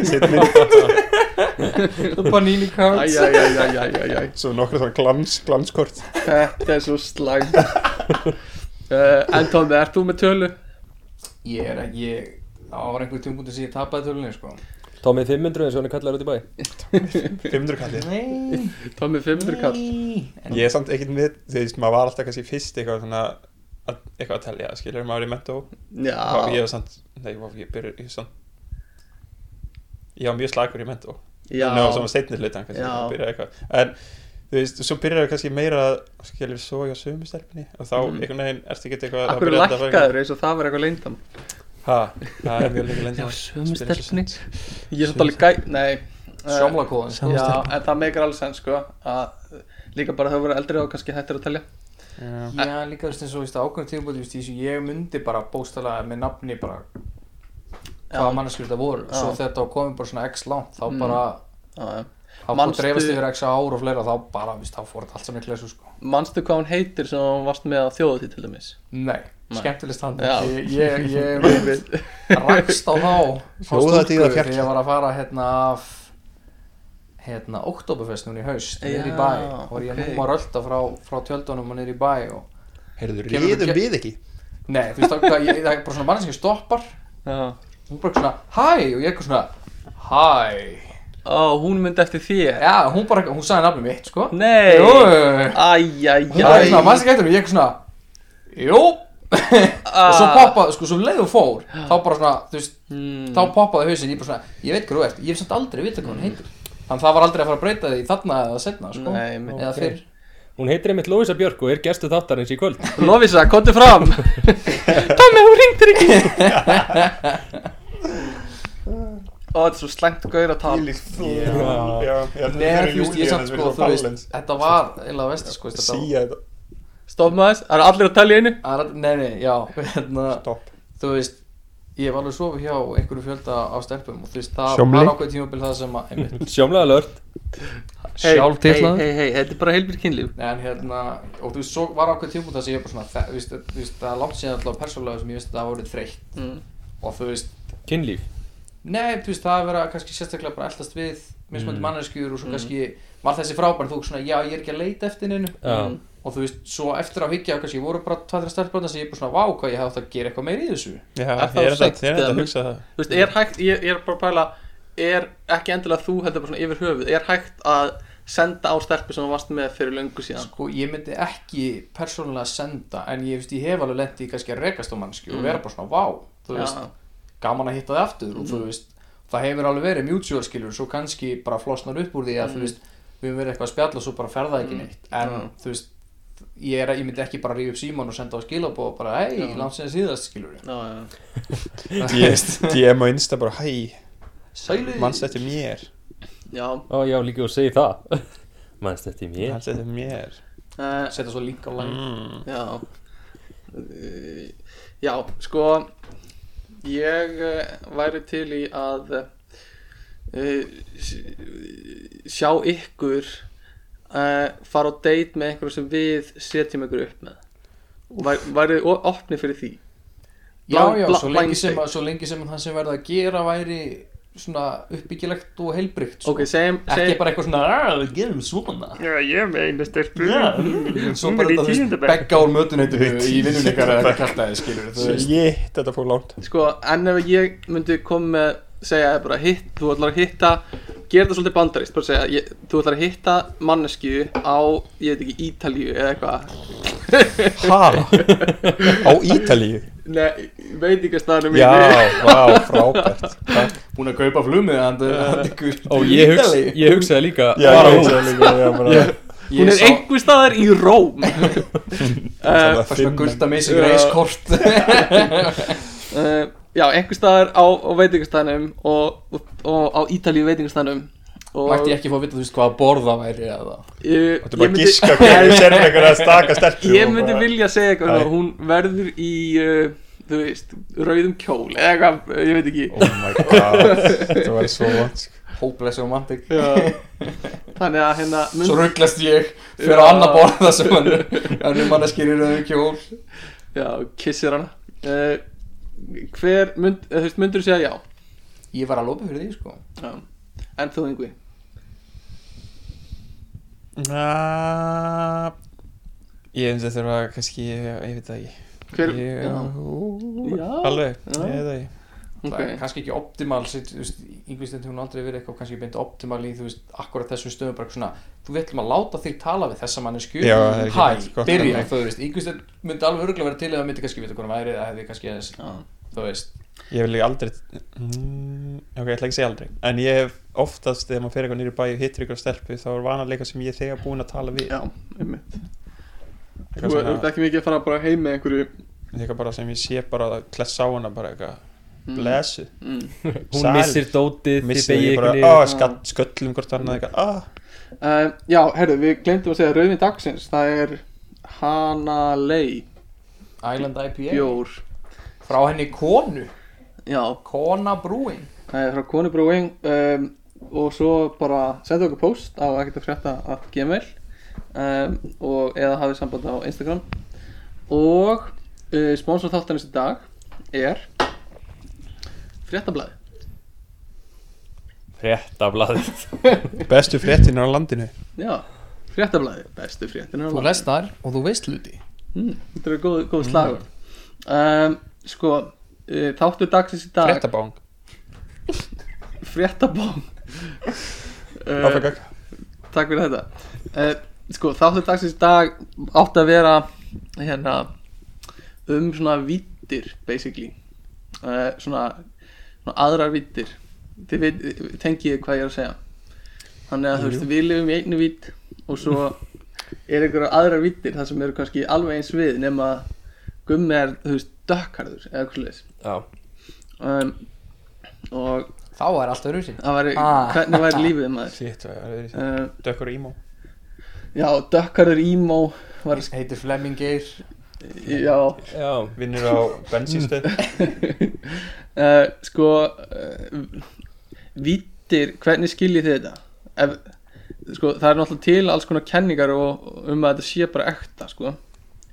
Speaker 5: Sitt minn
Speaker 3: Og Panini cards
Speaker 2: æjæjæjæjæjæjæj
Speaker 5: Svo nokkru svona glans, glanskort
Speaker 2: þetta er svo slæmt uh, en Tómi, ert þú með tölu?
Speaker 3: Ég er ekki, ég Það var einhver tjónbúti sem ég tapaði tölunni sko
Speaker 1: Tommy 500 eins og hann er kallar út í bæ
Speaker 5: 500 kallir
Speaker 3: Nei
Speaker 2: Tómi 500 kall
Speaker 3: En
Speaker 5: Ég er samt ekkert með, þú veist, maður var alltaf kannski fyrst eitthvað svona að, eitthvað að telja, skilur maður í mentó Já, ég
Speaker 2: já,
Speaker 5: var samt, nei, vá, ég byrja, ég var samt Ég var mjög slagur í mentó
Speaker 2: já,
Speaker 5: Ná, svona setni hlutan, kannski,
Speaker 2: Já.
Speaker 5: að byrja eitthvað En, þú veist, svo byrjar það kannski meira að skilur svo hjá sömu stelpunni Og þá,
Speaker 2: Mm.
Speaker 5: einhvern veginn, ertu ekki eitthvað þá
Speaker 2: akkur
Speaker 5: byrjar þetta að fara eitthvað-
Speaker 2: lækkaður eins og það var eitthvað leyndam
Speaker 5: Ha, það er mjög lengi lengi
Speaker 2: sömu
Speaker 5: Spyrir svo
Speaker 2: stelpunni. ég er svolítið alveg gæ, nei eh,
Speaker 3: Sjómlakóðan sko
Speaker 5: Sama
Speaker 2: Já,
Speaker 5: stelpa.
Speaker 2: en það meikir alls enn sko að líka bara þau voru eldri og kannski hættir að telja
Speaker 5: Já,
Speaker 3: Já, líka þú veist eins og þú veist ákveðum tímabóti, þú veist, þessu ég myndi bara bóstalega með nafni bara hvaða mannskjur þetta voru,
Speaker 2: Já.
Speaker 3: svo þegar þetta var komið bara svona x langt, þá
Speaker 2: Mm.
Speaker 3: bara
Speaker 2: Já, já.
Speaker 3: þá bara
Speaker 2: Manstu-
Speaker 3: dreifast yfir x ár og fleira, þá bara, víst, þá fór þetta allt saman í klesu sko.
Speaker 2: Manstu hvað hún heitir sem hún varst með á þjóðutíð til dæmis?
Speaker 3: Nei,
Speaker 2: Nei.
Speaker 3: skemmtileg stand
Speaker 2: Já.
Speaker 3: ég, ég, ég rakst á þá þá
Speaker 5: Þjóðatíð
Speaker 3: stúlku
Speaker 5: að
Speaker 3: þegar
Speaker 5: fjalli.
Speaker 3: ég var að fara hérna af hérna, Oktoberfest núna í haust, niður í
Speaker 2: Já,
Speaker 3: bæ þá var ég
Speaker 2: ok.
Speaker 3: okay. núma rölda frá, frá tjöldunum og niður í bæ og
Speaker 5: heyrðu,
Speaker 3: Kemur-
Speaker 5: réðum
Speaker 3: ke-
Speaker 5: við ekki
Speaker 3: Nei, þú veist, það, það, ég- það er bara svona manneskja stoppar
Speaker 2: Já.
Speaker 3: hún bara eitthvað svona, hæ, og ég eitthvað svona hæ,
Speaker 2: Ó, hún myndi eftir þér
Speaker 3: já, hún bara, hún sagði nafnum mitt, sko
Speaker 2: Nei
Speaker 3: jú,
Speaker 2: Æjæjæj
Speaker 3: hún bara eitthvað,
Speaker 2: Æ,
Speaker 3: mannst ekki eftir mér, ég eitthvað svona jú,
Speaker 2: Ah.
Speaker 3: og svo poppaði, sko, svo leiðu fór þá bara svona, þú veist,
Speaker 2: mm,
Speaker 3: þá poppaði hausin, ég bara svona, ég veit hvað þú ert, ég
Speaker 2: Hmm.
Speaker 3: hef samt aldrei vita hvað hún heitir þannig að það var aldrei að fara að breyta því þarna eða setna, sko,
Speaker 2: Nei, mitt.
Speaker 3: eða
Speaker 5: Ok.
Speaker 3: fyrr
Speaker 1: Hún heitir einmitt Lóisa Björk og er gestu þáttarins í kvöld
Speaker 2: Lovisa, komdu fram
Speaker 1: Tommi, hún ringtir ekki
Speaker 2: Ó, þetta er svo slæmt gaur að tala
Speaker 6: Þvílíkt þú
Speaker 3: Já.
Speaker 6: Já, ég held að
Speaker 3: Nei,
Speaker 6: þetta
Speaker 3: þú veist, ég samt sko, þú veist, þetta var eiginlega vest, sko, þetta var
Speaker 6: Sýja þetta
Speaker 2: Stopp maður þess, það eru allir að tala í einu
Speaker 3: Að rædd- Nei, nei, já, hérna,
Speaker 6: Stopp
Speaker 3: þú veist, ég var alveg sofið hjá einhverju fjölda á stelpum og þú veist, það
Speaker 4: Sjómli.
Speaker 3: var ákveð tímabil það sem að, einmitt,
Speaker 1: Sjómlega lört
Speaker 2: Hey,
Speaker 3: sjálftitlað.
Speaker 2: Hei, hei, hei, þetta er bara heilbýr kynlíf
Speaker 3: Nei, en hérna, og þú veist, svo var ákveð tímabil það sem ég bara svona, þe- þú veist, þú veist, það er langt síðan alltaf persónulega sem ég veist að það voru þreytt
Speaker 2: mm.
Speaker 3: og þú veist,
Speaker 1: Kinnlíf
Speaker 3: Nei, þú veist, það er verið að kannski sérstaklega bara eldast við
Speaker 1: Mm.
Speaker 3: mismöndi mm. manneskjur og svo kannski var þessi frábær, þú veist svona, já, ég er ekki að leita eftir neinu
Speaker 1: Já,
Speaker 2: Mm.
Speaker 3: og þú veist, svo eftir að higgja kannski voru bara tvæðra stelpbrönda sem ég er bara svona, vá, hvað ég hef átt að gera eitthvað meira í þessu
Speaker 4: Já,
Speaker 2: Er
Speaker 4: ég
Speaker 2: það
Speaker 4: er
Speaker 2: seint
Speaker 4: þetta ég er þetta
Speaker 2: eða
Speaker 4: að hugsa það
Speaker 2: Þú veist, er hægt, ég, ég er bara að pæla Er ekki endilega þú, heldur bara svona yfir höfuð Er hægt að senda á stelpu sem þú varst með fyrir löngu síðan
Speaker 3: Sko, ég myndi ekki persónulega senda en ég, þú veist, ég hef alveg lent í kannski að rekast á manneskju
Speaker 2: Mm.
Speaker 3: og vera bara svona, vá, þú veist,
Speaker 2: Já, Mm.
Speaker 3: gaman að hitta þið aftur og þú veist, það hefur alveg verið mutual skilur svo kannski bara flosnar upp úr því að þú veist, við höfum verið eitthvað að spjalla og svo bara ferða ekki
Speaker 2: Mm.
Speaker 3: neitt en
Speaker 2: Já.
Speaker 3: þú veist, ég, er, ég myndi ekki bara ríða upp síman og senda á skilabóð og bara, hei,
Speaker 2: Já.
Speaker 3: langt sinni síðast skilur
Speaker 2: já, já
Speaker 4: Ég- DM á Insta bara, hæ,
Speaker 3: Sælu
Speaker 4: mannst eftir mér
Speaker 2: Já,
Speaker 1: Ó, já, líka og segi það Manst þetta í mér
Speaker 4: Mannst eftir mér
Speaker 2: uh,
Speaker 3: Setta svo link á lang
Speaker 4: mm.
Speaker 2: já Eh, Já, sko Ég eh, væri til í að uh, Sjá ykkur uh, Fara á date með einhverjum sem við setjum ykkur upp með Væ- Værið þið opni fyrir því
Speaker 3: Já, já,
Speaker 2: Bla-
Speaker 3: svo
Speaker 2: bla-
Speaker 3: lengi,
Speaker 2: blind
Speaker 3: sem,
Speaker 2: date.
Speaker 3: að- svo lengi sem það sem verða að gera væri svona uppbyggilegt og heilbrygt
Speaker 2: Ok, segjum
Speaker 3: Sko, Ekki
Speaker 2: segjum-
Speaker 3: bara eitthvað svona, "Ah, við gerum svona
Speaker 6: Já, ég er með einu stelpu
Speaker 3: Já, mm, svo bara þetta, þú veist, begga úr mötuneytinu í vinnun ykkar eða kalltaði, skilur þú veist
Speaker 4: Shit, þetta fór langt
Speaker 2: Sko, en ef ég myndi koma með segja bara hitt, þú ætlar að hitta gera þetta svolítið bandarist, bara segja ég, þú ætlar að hitta mannesku á ég veit ekki, Ítalíu eða eitthvað
Speaker 4: Hæ? Á Ítalíu?
Speaker 2: Nei, veit ekki að staðanum
Speaker 4: Já, vá, frábært
Speaker 2: Eh,
Speaker 4: Takk.
Speaker 3: búin að kaupa flumið hann
Speaker 1: Ó, ég, hugsa, ég hugsaði líka
Speaker 4: Já,
Speaker 1: bara
Speaker 4: ég
Speaker 1: hún.
Speaker 4: hugsaði líka, já, bara
Speaker 2: Hún er einhver staðar í Róm uh,
Speaker 4: Það
Speaker 3: fyrst með gulda misi
Speaker 2: Já.
Speaker 3: greiskort
Speaker 2: uh, Já, einhver staðar á, á veitingastæðanum og, og, og á Ítalíu veitingastæðanum og
Speaker 3: mætti ég ekki fá að vita þú veist hvaða borð það væri eða
Speaker 2: ég,
Speaker 4: Þú
Speaker 2: ég
Speaker 4: bara
Speaker 2: myndi-
Speaker 4: gíska hverju sér með einhverja staka stelpu
Speaker 2: Ég
Speaker 4: og
Speaker 2: myndi
Speaker 4: bara-
Speaker 2: vilja segja eitthvað
Speaker 4: Æ.
Speaker 2: svona, hún verður í, uh, þú veist, rauðum kjól eða eitthvað, ég veit ekki
Speaker 4: Oh my god, þetta var svo sko. vant
Speaker 3: hópless og mantik
Speaker 2: Já. Þannig að hérna mynd,
Speaker 3: svo rugglast ég fyrir
Speaker 2: Já.
Speaker 3: að annar borð það sem hann hann er manneskir í rauðum kjól
Speaker 2: Já, kissir hana uh, Hver, mynd, eh, þú veist, myndur segja já.
Speaker 3: ég var að lópa fyrir því sko
Speaker 2: já En þú yngvi
Speaker 4: Ah, Ég finnst þetta var kannski, ég veit það ekki
Speaker 2: Hver,
Speaker 4: Ég-
Speaker 2: já,
Speaker 4: ú,
Speaker 2: Já.
Speaker 4: Alveg,
Speaker 2: Já.
Speaker 4: ég veit það ekki
Speaker 3: það er
Speaker 2: ok
Speaker 3: kannski ekki optimal yngvistend hún aldrei verið eitthvað kannski beint optimal í þú veist, akkurat þessum stöðum bara svona, þú veitlum að láta þig tala við þessa mannesku
Speaker 4: Já, það er ekki sko.
Speaker 3: hæ,
Speaker 4: neitt gott
Speaker 3: byrja,
Speaker 4: þannig.
Speaker 3: þú veist yngvistend myndi alveg örgulega vera til eða myndi kannski vita hvernig væri, það hefði kannski aðeins
Speaker 2: Já,
Speaker 3: þú veist,
Speaker 4: Ég vil ekki aldrei mm, Ok, ég ætla ekki að segja aldrei En ég hef oftast, þegar maður fer eitthvað nýri bæ og hittir ykkur stelpu, þá er vanalega sem ég er þegar búinn að tala við
Speaker 2: já einmitt
Speaker 4: Eitthvað
Speaker 2: Þú
Speaker 4: svona-
Speaker 2: ert ekki mikið að fara bara heim með einhverju
Speaker 4: Eitthvað bara sem ég sé bara að klessa á hana bara eitthvað
Speaker 2: Mm.
Speaker 4: Blesu
Speaker 2: mm.
Speaker 1: Hún
Speaker 4: Sæl.
Speaker 1: missir dótið, þið
Speaker 4: Missið
Speaker 1: begið
Speaker 4: ég
Speaker 1: ykkur
Speaker 4: bara,
Speaker 1: niður
Speaker 4: á, skatt, sköllum hvort annað eitthvað ah,
Speaker 2: uh, Já, herru, við glemtum að segja rauðin dagsins Það er Hanalei
Speaker 3: Island IPA
Speaker 2: bjór
Speaker 3: frá henni konu,
Speaker 2: Já,
Speaker 3: kona brúin
Speaker 2: það er frá konubrúing um, og svo bara senda okkur post á ekkert að frétta að gmail um, og eða hafið samband á Instagram og uh, sponsor þáttanins í dag er fréttablaði
Speaker 1: Fréttablaðið
Speaker 4: Bestu fréttin á landinu
Speaker 2: já, fréttablaði, bestu fréttin
Speaker 3: þú lest þar og þú veist hluti
Speaker 2: mm, þetta er góð, góð slagur um, sko, uh, þáttu dagsins í dag
Speaker 4: Fréttabang
Speaker 2: fréttabón
Speaker 1: Eh.
Speaker 2: uh,
Speaker 4: Áfram gang.
Speaker 2: Takk fyrir þetta uh, Sko, þáttu dagsins í dag átti að vera hérna um svona vittir basically uh, svona, svona aðrar vittir Þið veit, tengi ég hvað ég er að segja Þannig að þú veist, við lifum í einu vitt og svo er einhverjar aðrar vittir þar sem eru kannski alveg eins við nema að gummi er, þú veist, dökkarður eða eitthvað sliðis
Speaker 1: Já,
Speaker 2: um, og
Speaker 3: Þá er alltaf rúsi
Speaker 2: það væri,
Speaker 3: Ah.
Speaker 2: hvernig væri lífið maður
Speaker 4: Sitt, það er verið
Speaker 2: um,
Speaker 4: Dökkur ímó
Speaker 2: já, dökkarður ímó var,
Speaker 3: Heitir Flemming Geir
Speaker 2: já
Speaker 1: já,
Speaker 4: Vinnur á bensínstöð
Speaker 2: uh, sko uh, vittir, hvernig skiljið þið þetta Ef, sko, það er náttúrulega til alls konar kenningar og, og um að þetta sé bara ekta sko.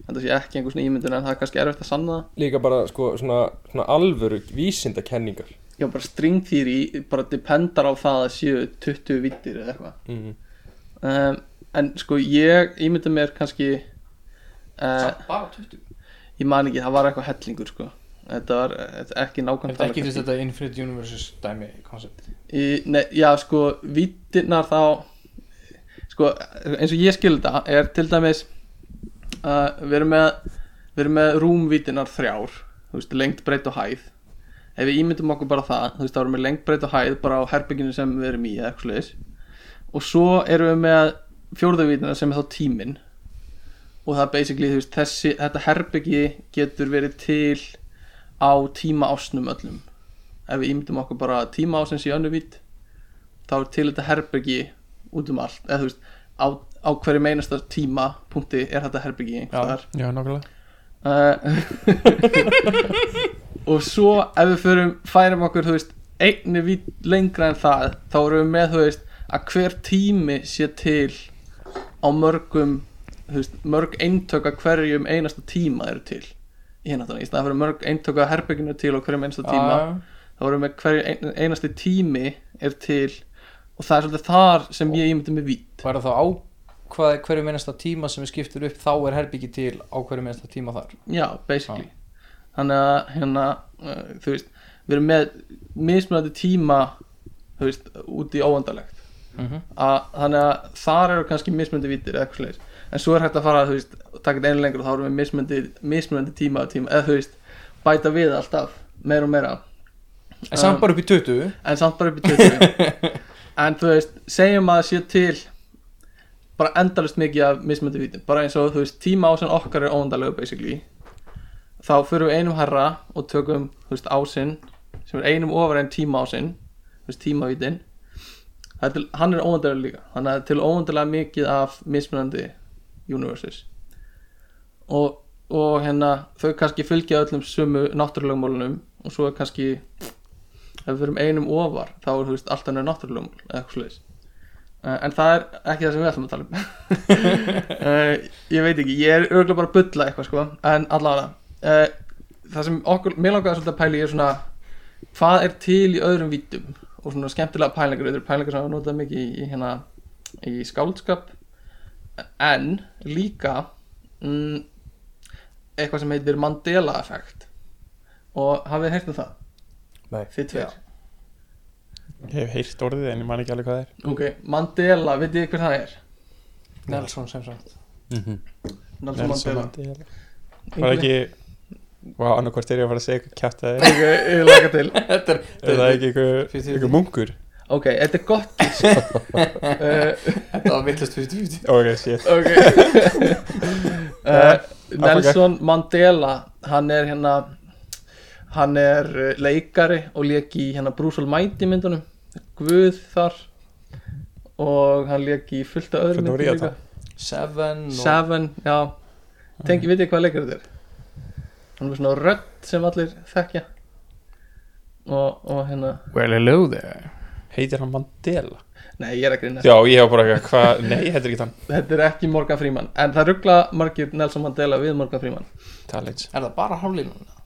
Speaker 2: þetta sé ekki einhver svona ímyndun en það er kannski erfitt að sanna það
Speaker 1: líka bara sko svona, svona alvöru vísindakenningar
Speaker 2: Já, bara string theory bara dependar á það að séu 20 vittir eða eitthvað
Speaker 1: mm -hmm.
Speaker 2: um, En sko ég ímynda mér kannski uh,
Speaker 3: Bara 20
Speaker 2: Ég man ekki, það var eitthvað hellingur sko Þetta var eh, ekki nákvæmt
Speaker 3: Þetta ekki þú veist þetta Infinite Universes dæmi koncept
Speaker 2: Í- Nei, já, sko, vittirnar þá Sko, eins og ég skil þetta er til dæmis uh, Við erum með, við erum með rúmvittirnar þrjár Þú veist, lengt, breytt og hæð Ef við ímyndum okkur bara það Þú veist, þá erum við lengt, breytt og hæð Bara á herbygginu sem við erum í, eða eitthvað sliðis Og svo erum við með fjórðavittirnar sem er þá tíminn Og það er basically, þú veist, þessi, þetta herbyggi getur verið til á tíma ásnum öllum ef við ímyndum okkur bara tíma ásins í önnu vít þá er til þetta herbergi út um allt eða þú veist á, á hverju meinasta tíma punkti er þetta herbergi einhverstaðar
Speaker 4: Já, nokkulega
Speaker 2: uh, og svo ef við förum, færum okkur þú veist, einni vít lengra en það þá erum við með þú veist, að hver tími sé til á mörgum þú veist, mörg eintöka hverjum einasta tíma eru til í hérna þannig, í staðan fyrir mörg eintöka herbygginu til og hverjum einasta tíma
Speaker 3: Eh,
Speaker 2: þá erum við hverju ein, einasti tími er til og það er svolítið þar sem ég ímyndi með vít
Speaker 3: Hvað er þá á hvað, hverju minnasta tíma sem við skiptir upp þá er herbyggi til á hverju minnasta tíma þar
Speaker 2: já, basically þannig að hérna, uh, þú veist við erum með mismunandi tíma þú veist, út í óandalegt
Speaker 3: mm -hmm.
Speaker 2: að, þannig að þar eru kannski mismunandi vítir eða eitthvað slags, en svo er hægt að fara þú veist, og taka þetta einu lengur og þá erum við mismunandi, mismunandi tíma á tíma, eða þú veist bæta við alltaf, meira og meira
Speaker 3: En samt bara upp í 20
Speaker 2: en samt bara upp í 20 en þú veist, segjum að það sé til bara endalust mikið af mismöndu vítum, bara eins og þú veist tíma ásinn okkar er óendalegu basically þá förum við einum herra og tökum þú veist ásinn sem er einum ofar en tíma ásinn þú veist tímavítin Það er til, hann er óendalegu líka þannig að það er til óendalega mikið af mismunandi universes og, og hérna þau kannski fylgja öllum sumu náttúrulegumólunum og svo er kannski ef við verum einum ofar þá er þú veist allt annað náttúrulegum eða eitthvað slags en það er ekki það sem við ætlum að tala um uh, ég veit ekki, ég er örgulega bara að bulla eitthvað sko, en allavega uh, það sem okkur, mér langaði svolítið að pæla í er svona hvað er til í öðrum vítum og svona skemmtilega pælingar, öðru pælingar sem hafa notað mikið í, í hérna í skáldskap en líka mm, eitthvað sem heitir Mandela effekt og hafið þið heyrt um það?
Speaker 1: Nei.
Speaker 2: Þið tveir?
Speaker 3: Já.
Speaker 4: Ég hef heyrt orðið en ég man ekki alveg hvað það er
Speaker 2: Ok, Mandela, veit ég hver það er?
Speaker 3: Nelson sem sagt
Speaker 1: Mhm.
Speaker 2: Nelson Mandela
Speaker 4: Mandela. Var ekki Vá, annarkvort er ég að fara að segja eitthvað kjátt það er
Speaker 2: Ok, ég laka til
Speaker 3: Þetta er
Speaker 4: Er það ekki einhver-
Speaker 3: 50-50.
Speaker 4: einhver munkur?
Speaker 2: Ok, þetta er gott gísk. uh,
Speaker 3: Þetta var vittlust 50-50
Speaker 4: Ok, shit
Speaker 2: Ok
Speaker 4: Eh,
Speaker 2: uh, Nelson Mandela Hann er hérna Hann er uh, leikari og leik í hérna Bruce Almighty myndunum Guð þar Og hann leik í fullt af öðrum
Speaker 4: Hvernig voru ég að
Speaker 2: myndum líka.
Speaker 3: Seven og Mm.
Speaker 2: Seven, já Tengi, veit ég hvað leikar þetta er? Hann er með svona rödd sem allir þekkja Og, og hérna
Speaker 6: Well, hello there.
Speaker 4: Heitir hann Mandela?
Speaker 2: Nei, ég er ekki reyna
Speaker 4: Já, ég hef bara eitthvað Hvað? Nei, þetta er ekki hann
Speaker 2: Þetta er ekki Morgan Freeman En það ruggla margir Nelson Mandela við Morgan Freeman
Speaker 4: Talents
Speaker 3: Er það bara hálflínuna?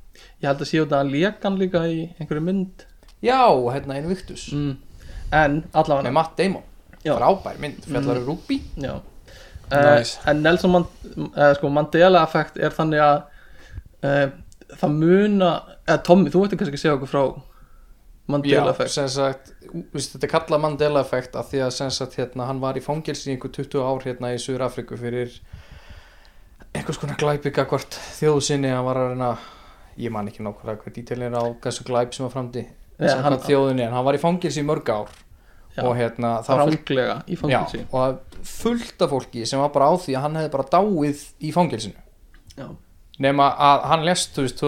Speaker 2: Ég held að séu þetta að léka hann líka í einhverju mynd
Speaker 3: Já, hérna Invictus
Speaker 2: mm. En
Speaker 3: Með
Speaker 2: allavega
Speaker 3: Matt Damon
Speaker 2: Já.
Speaker 3: Frábær mynd Fjallar mm. Ruby
Speaker 2: Já uh,
Speaker 4: Nice.
Speaker 2: En Nelson Man, uh, sko, Mandela effekt er þannig að uh, Það muna Eða Tommy, þú veitir kannski að segja okkur frá Mandela effekt
Speaker 3: sem sagt ú- veist, Þetta er kallað Mandela effekt af því að sem sagt hérna hann var í fangelsi í einhver 20 ár hérna í Suður Afriku fyrir einhvers konar glæpika hvort þjóðu sinni hann var að reyna ég man ekki nákvæmlega hvað dítilin er á þessu glæp sem var framdi
Speaker 2: Já,
Speaker 3: sem
Speaker 2: hann-
Speaker 3: hann þjóðunni en hann var í fangelsi í mörg ár
Speaker 2: Já.
Speaker 3: og hérna það var fullt-
Speaker 2: ránglega í
Speaker 3: Já,
Speaker 2: fangelsi
Speaker 3: og það er fullt af fólki sem var bara á því að hann hefði bara dáið í fangilsinu
Speaker 2: Já.
Speaker 3: nema að hann lest þú veist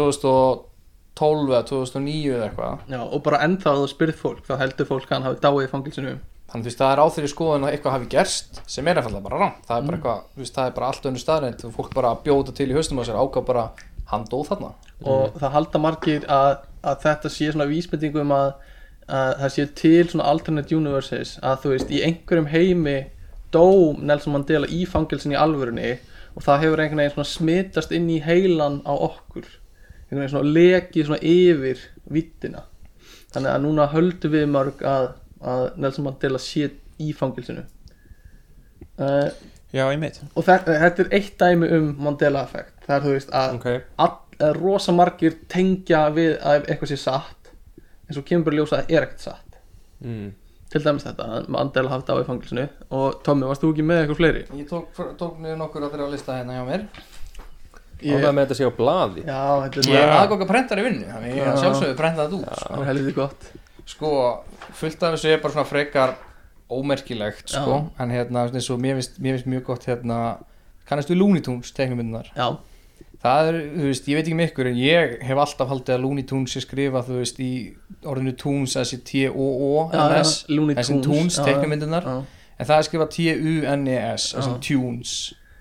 Speaker 3: 2012 eða 2009 eða eitthvað
Speaker 2: Já, og bara ennþá að þú spyrð fólk þá heldur fólk að hann hafi dáið í fangilsinu
Speaker 3: þannig þú veist það er á þeirri skoðun að eitthvað hafi gerst sem er einfallega bara rangt það er bara eitthvað, þú veist það er bara allt önnur staðreind og fólk bara bjóta til í haustum á sér ákvað bara hann dóð þarna
Speaker 2: og það halda margir að, að þetta sé svona vísbending um að, að það sé til svona alternate universes að þú veist, í einhverjum heimi dó Nelson Mandela í fangelsin í alvörunni og það hefur einhvern veginn svona smitast inn í heilan á okkur einhvern veginn svona lekið svona yfir vittina þannig að núna höldum við mörg að, að Nelson Mandela sé í fangelsinu uh,
Speaker 4: Já, einmitt
Speaker 2: og þe- eh, þetta er eitt dæmi um Mandela effekt það er þú veist að
Speaker 1: ok,
Speaker 2: all, eh, rosa margir tengja við að eitthvað sé satt en svo kemur bara ljósa að það er ekkert satt
Speaker 1: mm.
Speaker 2: til dæmis þetta, að Mandela hafði dáið í fangilsinu og Tommi, varst þú ekki með eitthvað fleiri?
Speaker 3: ég tók, tók niður nokkur að þeirra að lista hérna hjá mér
Speaker 1: ánægð með þetta sé á blaði
Speaker 2: Já, þetta er
Speaker 3: ég er aðgóka prentar í vinnu þannig ég er
Speaker 2: Já.
Speaker 3: sjálfsögðu prentað út sko.
Speaker 2: það er helviti gott
Speaker 3: sko, fullt af þessu er bara svona frekar ómerkilegt sko, en hérna, eins og mér finnst, mér finnst mjög gott hérna, kannast við Looney Tunes teiknumindunar,
Speaker 2: Já,
Speaker 3: það er, þú veist, ég veit ekki með ykkur en ég hef alltaf haldið að Looney Tunes sé skrifað, þú veist, í orðinu Tunes, þessi T-O-O-N-S
Speaker 2: Looney
Speaker 3: þessi Tunes
Speaker 2: já,
Speaker 3: teiknumindunar,
Speaker 2: já.
Speaker 3: en það er skrifað T-U-N-E-S, þessi Tunes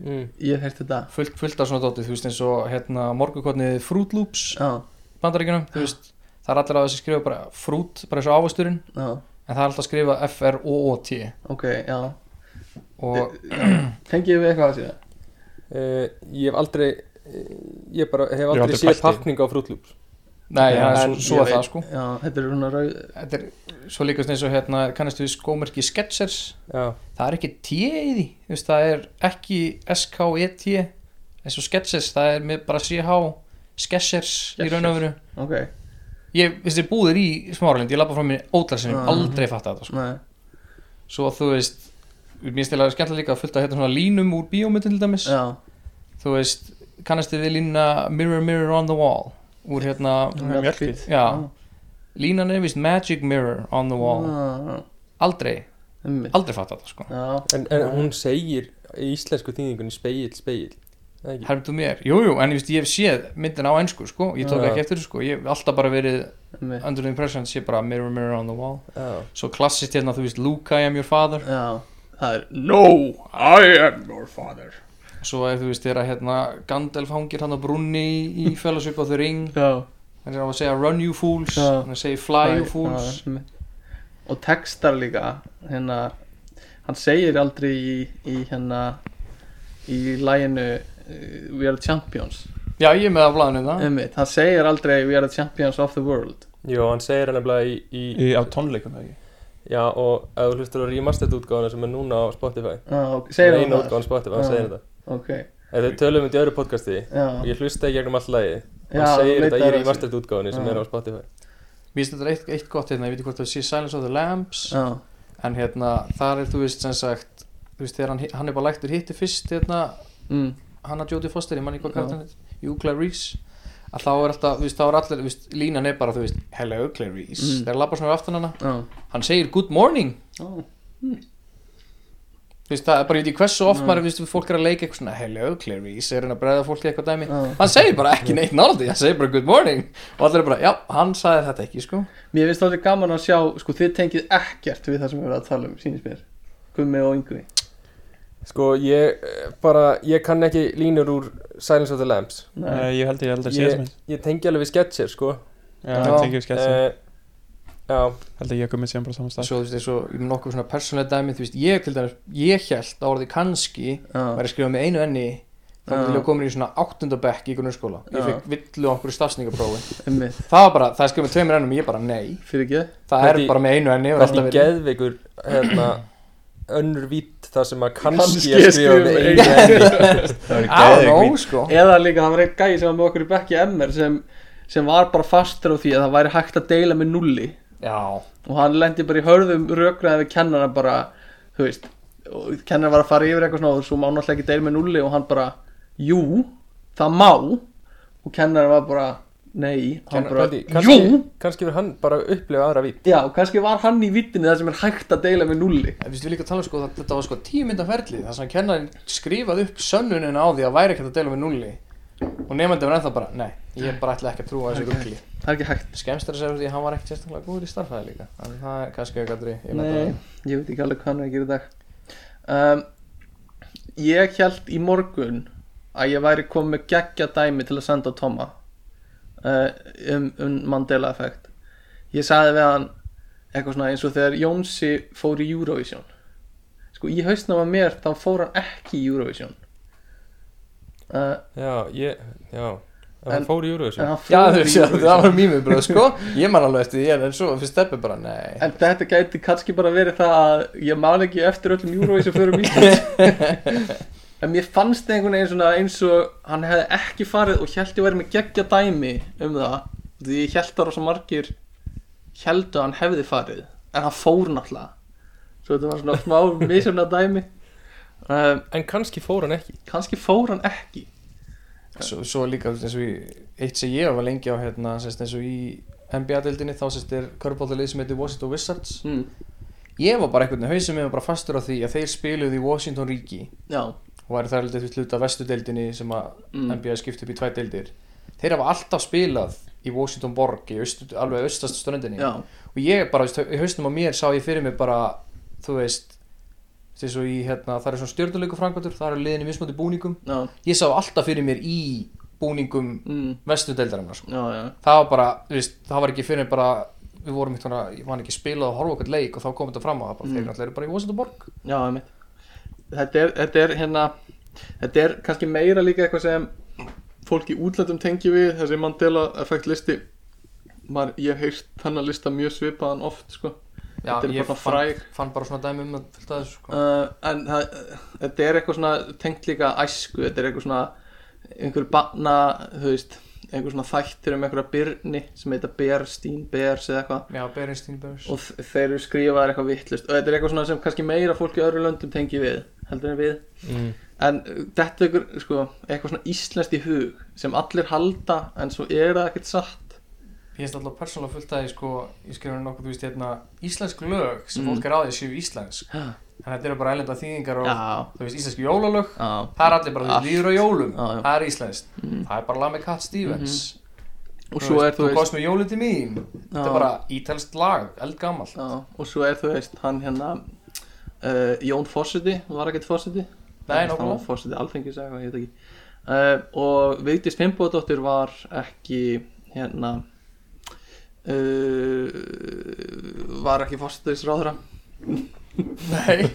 Speaker 1: mm.
Speaker 2: Ég heyrti þetta
Speaker 3: fullt, fullt af svona dótið, þú veist, eins og hérna, morgukotnið Fruit Loops,
Speaker 2: Já,
Speaker 3: bandaríkjunum, þú veist það er allir að þessi skrifa bara frút, bara eins og ávasturinn
Speaker 2: já,
Speaker 3: en það er alltaf að skrifa F-R-O-O-T
Speaker 2: ok, já
Speaker 3: og
Speaker 2: Tengið við eitthvað að síðan?
Speaker 1: uh, ég hef aldrei eh, ég bara hef aldrei,
Speaker 4: aldrei pælt
Speaker 1: séð
Speaker 4: í.
Speaker 1: pakninga á frútlúps
Speaker 3: nei, ja,
Speaker 1: en
Speaker 3: svo, svo
Speaker 2: ég
Speaker 3: er það
Speaker 2: veit-
Speaker 3: sko
Speaker 2: Já, þetta er svona rauð
Speaker 3: þetta er svo líka eins og hérna kannastu við skómerki Skechers
Speaker 1: já,
Speaker 3: það er ekki T í því þú veist, það er ekki S-K-E-T eins og Skechers, það er með bara C-H Skechers í raun og veru
Speaker 2: Ok,
Speaker 3: ég, þú veist, ég búðir í smáralind, ég lappa frá mér ódlarsinum,
Speaker 2: Ah.
Speaker 3: aldrei fatta þetta sko.
Speaker 2: nei,
Speaker 3: svo þú veist, mér stila skemmtilega líka að fullta hérna svona línum úr bíómyndin til dæmis
Speaker 2: já
Speaker 3: þú veist, kannastu við línuna Mirror Mirror on the Wall úr hérna,
Speaker 4: Mjölkvíð
Speaker 3: já línan er vist Magic Mirror on the Wall
Speaker 2: Wow
Speaker 3: aldrei, aldrei fatta þetta sko
Speaker 2: Já,
Speaker 1: en, en hún segir í íslensku þýðingunni speil, speil Það ekki?
Speaker 3: hermdu mér, jújú, jú, en ég, veist, ég hef séð myndin á ennsku sko, ég tók
Speaker 1: Já.
Speaker 3: ekki eftir þessu, sko ég hef alltaf bara verið
Speaker 2: einmitt.
Speaker 3: under the impression sé bara Mirror Mirror on the Wall
Speaker 1: Já.
Speaker 3: svo klassist hérna, þú veist, Luke I am your father
Speaker 2: Já, það er
Speaker 6: No, I am your father.
Speaker 3: svo er þú veist þeirra hérna Gandalf hangir hann á brunni í, í Fellowship of the Ring
Speaker 2: Já,
Speaker 3: hann er á að segja Run you fools,
Speaker 2: Já.
Speaker 3: hann segir Fly you fools
Speaker 2: já, einmitt. og textar líka hérna hann segir aldrei í, í hérna í læginu eh, We are the champions
Speaker 3: já, ég er með af blæðinu það hérna.
Speaker 2: einmitt, hann segir aldrei We are the champions of the world
Speaker 1: Jó, hann segir hann nefnilega í, í,
Speaker 4: Á tónleikum það ekki
Speaker 1: já og ef þú hlustur á remastered útgáðuna sem er núna á Spotify
Speaker 2: ah, ok, segir hann
Speaker 1: einu
Speaker 2: það
Speaker 1: útgáðan Spotify, hann
Speaker 2: Já.
Speaker 1: segir þetta
Speaker 2: ok,
Speaker 1: en þau tölum þetta í öðru podcasti
Speaker 2: já,
Speaker 1: og ég hlusta í gegnum all lagi
Speaker 2: Já,
Speaker 1: hann segir þetta
Speaker 2: leitar
Speaker 1: í
Speaker 2: að
Speaker 1: remastered útgáðunni sem
Speaker 2: Já.
Speaker 1: er á Spotify
Speaker 3: Mér finnst þetta eitt, eitt gott hérna, ég veit ekki hvort það sé Silence of the Lambs
Speaker 2: já,
Speaker 3: en hérna, þar er þú veist sem sagt þú veist þegar hann, hann er bara læktur hitti fyrst hérna,
Speaker 2: mm,
Speaker 3: hann að Jodie Foster, ég mann ekki hvað
Speaker 2: Já.
Speaker 3: kæftan hérna Jú Clarice, að þá er alltaf, þú veist, þá er allir þú veist, línan er bara, þú veist, hello Clarice
Speaker 2: Mm.
Speaker 3: þegar labbar svona við aftan hana,
Speaker 2: já,
Speaker 3: hann segir good morning
Speaker 2: já
Speaker 3: þú veist, það er bara, ég veit ekki hversu oft
Speaker 2: Mm.
Speaker 3: maður, þú veist, fólk er að leika eitthvað svona, hello Clarice, er hann að bregða fólki eitthvað dæmi
Speaker 2: já.
Speaker 3: hann segir bara ekki neitt nálaði, hann segir bara good morning og allir er bara, já, hann sagði þetta ekki, sko
Speaker 2: mér finnst aldrei gaman að sjá sko þið tengið ekkert við það sem við erum að tala um sínist mér, Gummi og Yngvi
Speaker 1: sko ég eh, bara ég kann ekki línur úr Silence of the Lambs
Speaker 2: Nei.
Speaker 4: Nei, Ég held ég held að sé
Speaker 1: ég,
Speaker 4: þessum
Speaker 1: ég tengi alveg við sketcher sko
Speaker 4: Já, ég tengi við sketsin
Speaker 1: Eh, já,
Speaker 4: Held að ég komið sér bara saman stað
Speaker 3: svo þú veist eins og um nokkuð svona persónlega dæmi þú veist ég til dæmis, ég held að orðið kannski
Speaker 2: já,
Speaker 3: væri skrifað með einu enni þá
Speaker 2: Já.
Speaker 3: vil ég komin í svona áttundabekk í grunnskóla ég
Speaker 2: Já.
Speaker 3: fekk villu á okkur stafsningaprófi
Speaker 2: einmitt,
Speaker 3: það var bara, það er skrifað með tveimur ennum, ég bara nei
Speaker 2: fyrir ekki
Speaker 3: það
Speaker 1: Hvernig-
Speaker 3: er bara með einu enni og alltaf
Speaker 1: hvernig
Speaker 3: verið
Speaker 1: geðveikur hérna önnur vitt þar sem að kannski
Speaker 2: Kannski
Speaker 1: ég skrifa um með einu
Speaker 2: er skrifað með
Speaker 1: enni
Speaker 6: Það
Speaker 3: I don't know, sko
Speaker 2: eða líka það var einn gæi sem var með okkur í bekki MR sem, sem var bara fastur á því að það væri hægt að deila með nulli
Speaker 3: já,
Speaker 2: og hann lendi bara í hörðum rökraði við kennara bara, þú veist og kennara var að fara yfir eitthvað svona og svo má náttúrulega ekki deila með nulli og hann bara, jú það má og kennara var bara, Nei, hann bara
Speaker 1: Pældi, kannski,
Speaker 2: Jú!
Speaker 1: kannski verður hann bara að upplifa aðra vít
Speaker 2: Já, kannski var hann í vittinni það sem er hægt að deila með nulli
Speaker 3: Ég finnst við líka að tala um sko að þetta var sko tíu mynda ferli þar sem kennarinn skrifaði upp sönnunina á því að væri ekkert að deila við nulli og nefndi var ennþá bara, nei, ég bara ætla ekki að trúa þessu ruggli
Speaker 2: Það er ekki hægt
Speaker 3: Skemst er að segja því að hann var ekkert sérstaklega góður í starfæði líka en það er kannski eitthvað drý ég leta
Speaker 2: Nei,
Speaker 3: það.
Speaker 2: ég veit ekki alveg hvað hann er að gera í dag um, Ég held í morgun að ég væri komið með geggja dæmi til að senda á Toma uh, um, um Mandela effekt Ég sagði við hann eitthvað svona eins og þegar Jónsi fór í Eurovision Sko, í hausnum að mér þá fór hann ekki í Eurovision uh,
Speaker 1: Já, ég, já En
Speaker 2: En-
Speaker 1: hann fór í
Speaker 2: En
Speaker 1: Eurovision
Speaker 2: hann
Speaker 3: Já,
Speaker 2: fór
Speaker 3: þú
Speaker 2: í
Speaker 3: veist,
Speaker 2: Eurovision.
Speaker 3: það var mýmið bröð, sko Ég man alveg eftir því, en- en svo fyrst steppi bara, nei
Speaker 2: En þetta gæti kannski bara verið það að ég man ekki eftir öllum júrói sem fyrir Íslands En mér fannst einhvern veginn svona eins og hann hefði ekki farið og held ég verið með geggja dæmi um það Því ég held það rosa margir held að hann hefði farið En hann fór náttúrulega Svo þetta var svona smá misjöfna dæmi um,
Speaker 1: En kannski fór hann ekki
Speaker 2: Kannski fór hann ekki
Speaker 3: svo, svo líka þú veist, eins og í, eitt sem ég var lengi á hérna, sérst, eins og í NBA-deildinni þá sérst er körbóltalið sem heitir Washington Wizards
Speaker 2: mm.
Speaker 3: ég var bara einhvern veginn hausum ég var bara fastur á því að þeir spiluðu í Washington ríki
Speaker 2: Já,
Speaker 3: og væri þar haldið hluta af vestudeildinni sem að
Speaker 2: Mm.
Speaker 3: NBA skipt upp í tvæ deildir þeir hafa alltaf spilað í Washington borg í austu, alveg austast ströndinni
Speaker 2: já,
Speaker 3: og ég bara, þú veist, í haustum á mér sá ég fyrir mig bara, þú veist þess og í hérna, það er svona stjórnuleiku frangvættur það eru liðin í mismöndi búningum
Speaker 2: já,
Speaker 3: ég sá alltaf fyrir mér í búningum
Speaker 2: mm.
Speaker 3: vestudeildarinnar sko.
Speaker 2: já, já
Speaker 3: það var bara, þú veist, það var ekki fyrir bara við vorum eitthvað, ég man ekki spilað og horfa okkur leik og þá kom þetta fram að það bara,
Speaker 2: Mm.
Speaker 3: þeir náttúrulega eru bara í Vosetaborg
Speaker 2: Já, einmitt þetta er, þetta er hérna Þetta er kannski meira líka eitthvað sem fólk í útlandum tengi við þessi Mandela effekt listi Maður, ég hef heyrt þennan lista mjög svipaðan oft sko.
Speaker 3: Já,
Speaker 2: Þetta er
Speaker 3: ég
Speaker 2: bara
Speaker 3: fann,
Speaker 2: fræg.
Speaker 3: fann bara svona dæmi um að fylgta þessu sko.
Speaker 2: uh, en það, þetta er eitthvað svona tengt líka æsku, þetta er eitthvað svona einhver banna, þú veist einhver svona þættir um einhverja byrni sem heita Berstein, Bers eða eitthvað
Speaker 3: Já, Berenstein Bears
Speaker 2: og þ- þeir eru skrifaðar eitthvað vittlust og þetta er eitthvað svona sem kannski meira fólk í öðru löndum tengi við, heldur en við
Speaker 1: mm.
Speaker 2: en uh, þetta er ykkur, sko, eitthvað svona íslenskt í hug sem allir halda en svo er það ekkert satt
Speaker 3: Ég finnst alltaf persónulega fullt að ég sko ég skrifa nokkuð, þú veist, hérna íslensk lög sem
Speaker 2: Mm.
Speaker 3: fólk er á því séu íslensk
Speaker 2: Já.
Speaker 3: en þetta eru bara ælenda þýðingar og
Speaker 2: já,
Speaker 3: þú veist, íslensk jólalög
Speaker 2: já,
Speaker 3: það er allir bara, þú
Speaker 2: Allt.
Speaker 3: veist, líður á jólum
Speaker 2: Já, já.
Speaker 3: það er íslenskt,
Speaker 2: Mm.
Speaker 3: það er bara lag með Cat Stevens
Speaker 2: og svo er þú veist
Speaker 3: komst með jólið til mín þetta
Speaker 2: Já.
Speaker 3: er bara ítalskt lag, eldgamalt
Speaker 2: já, og svo er þú veist hann hérna uh, Jón Fossiti, var ekkert Fossiti
Speaker 3: Nei,
Speaker 2: hann
Speaker 3: nákvæmlega.
Speaker 2: var Fossiti alþengis eða eitthvað, ég veit ekki uh, og Vigdís Fimbodóttir var ekki hérna uh, var ekki Fossitisráðra
Speaker 3: Nei,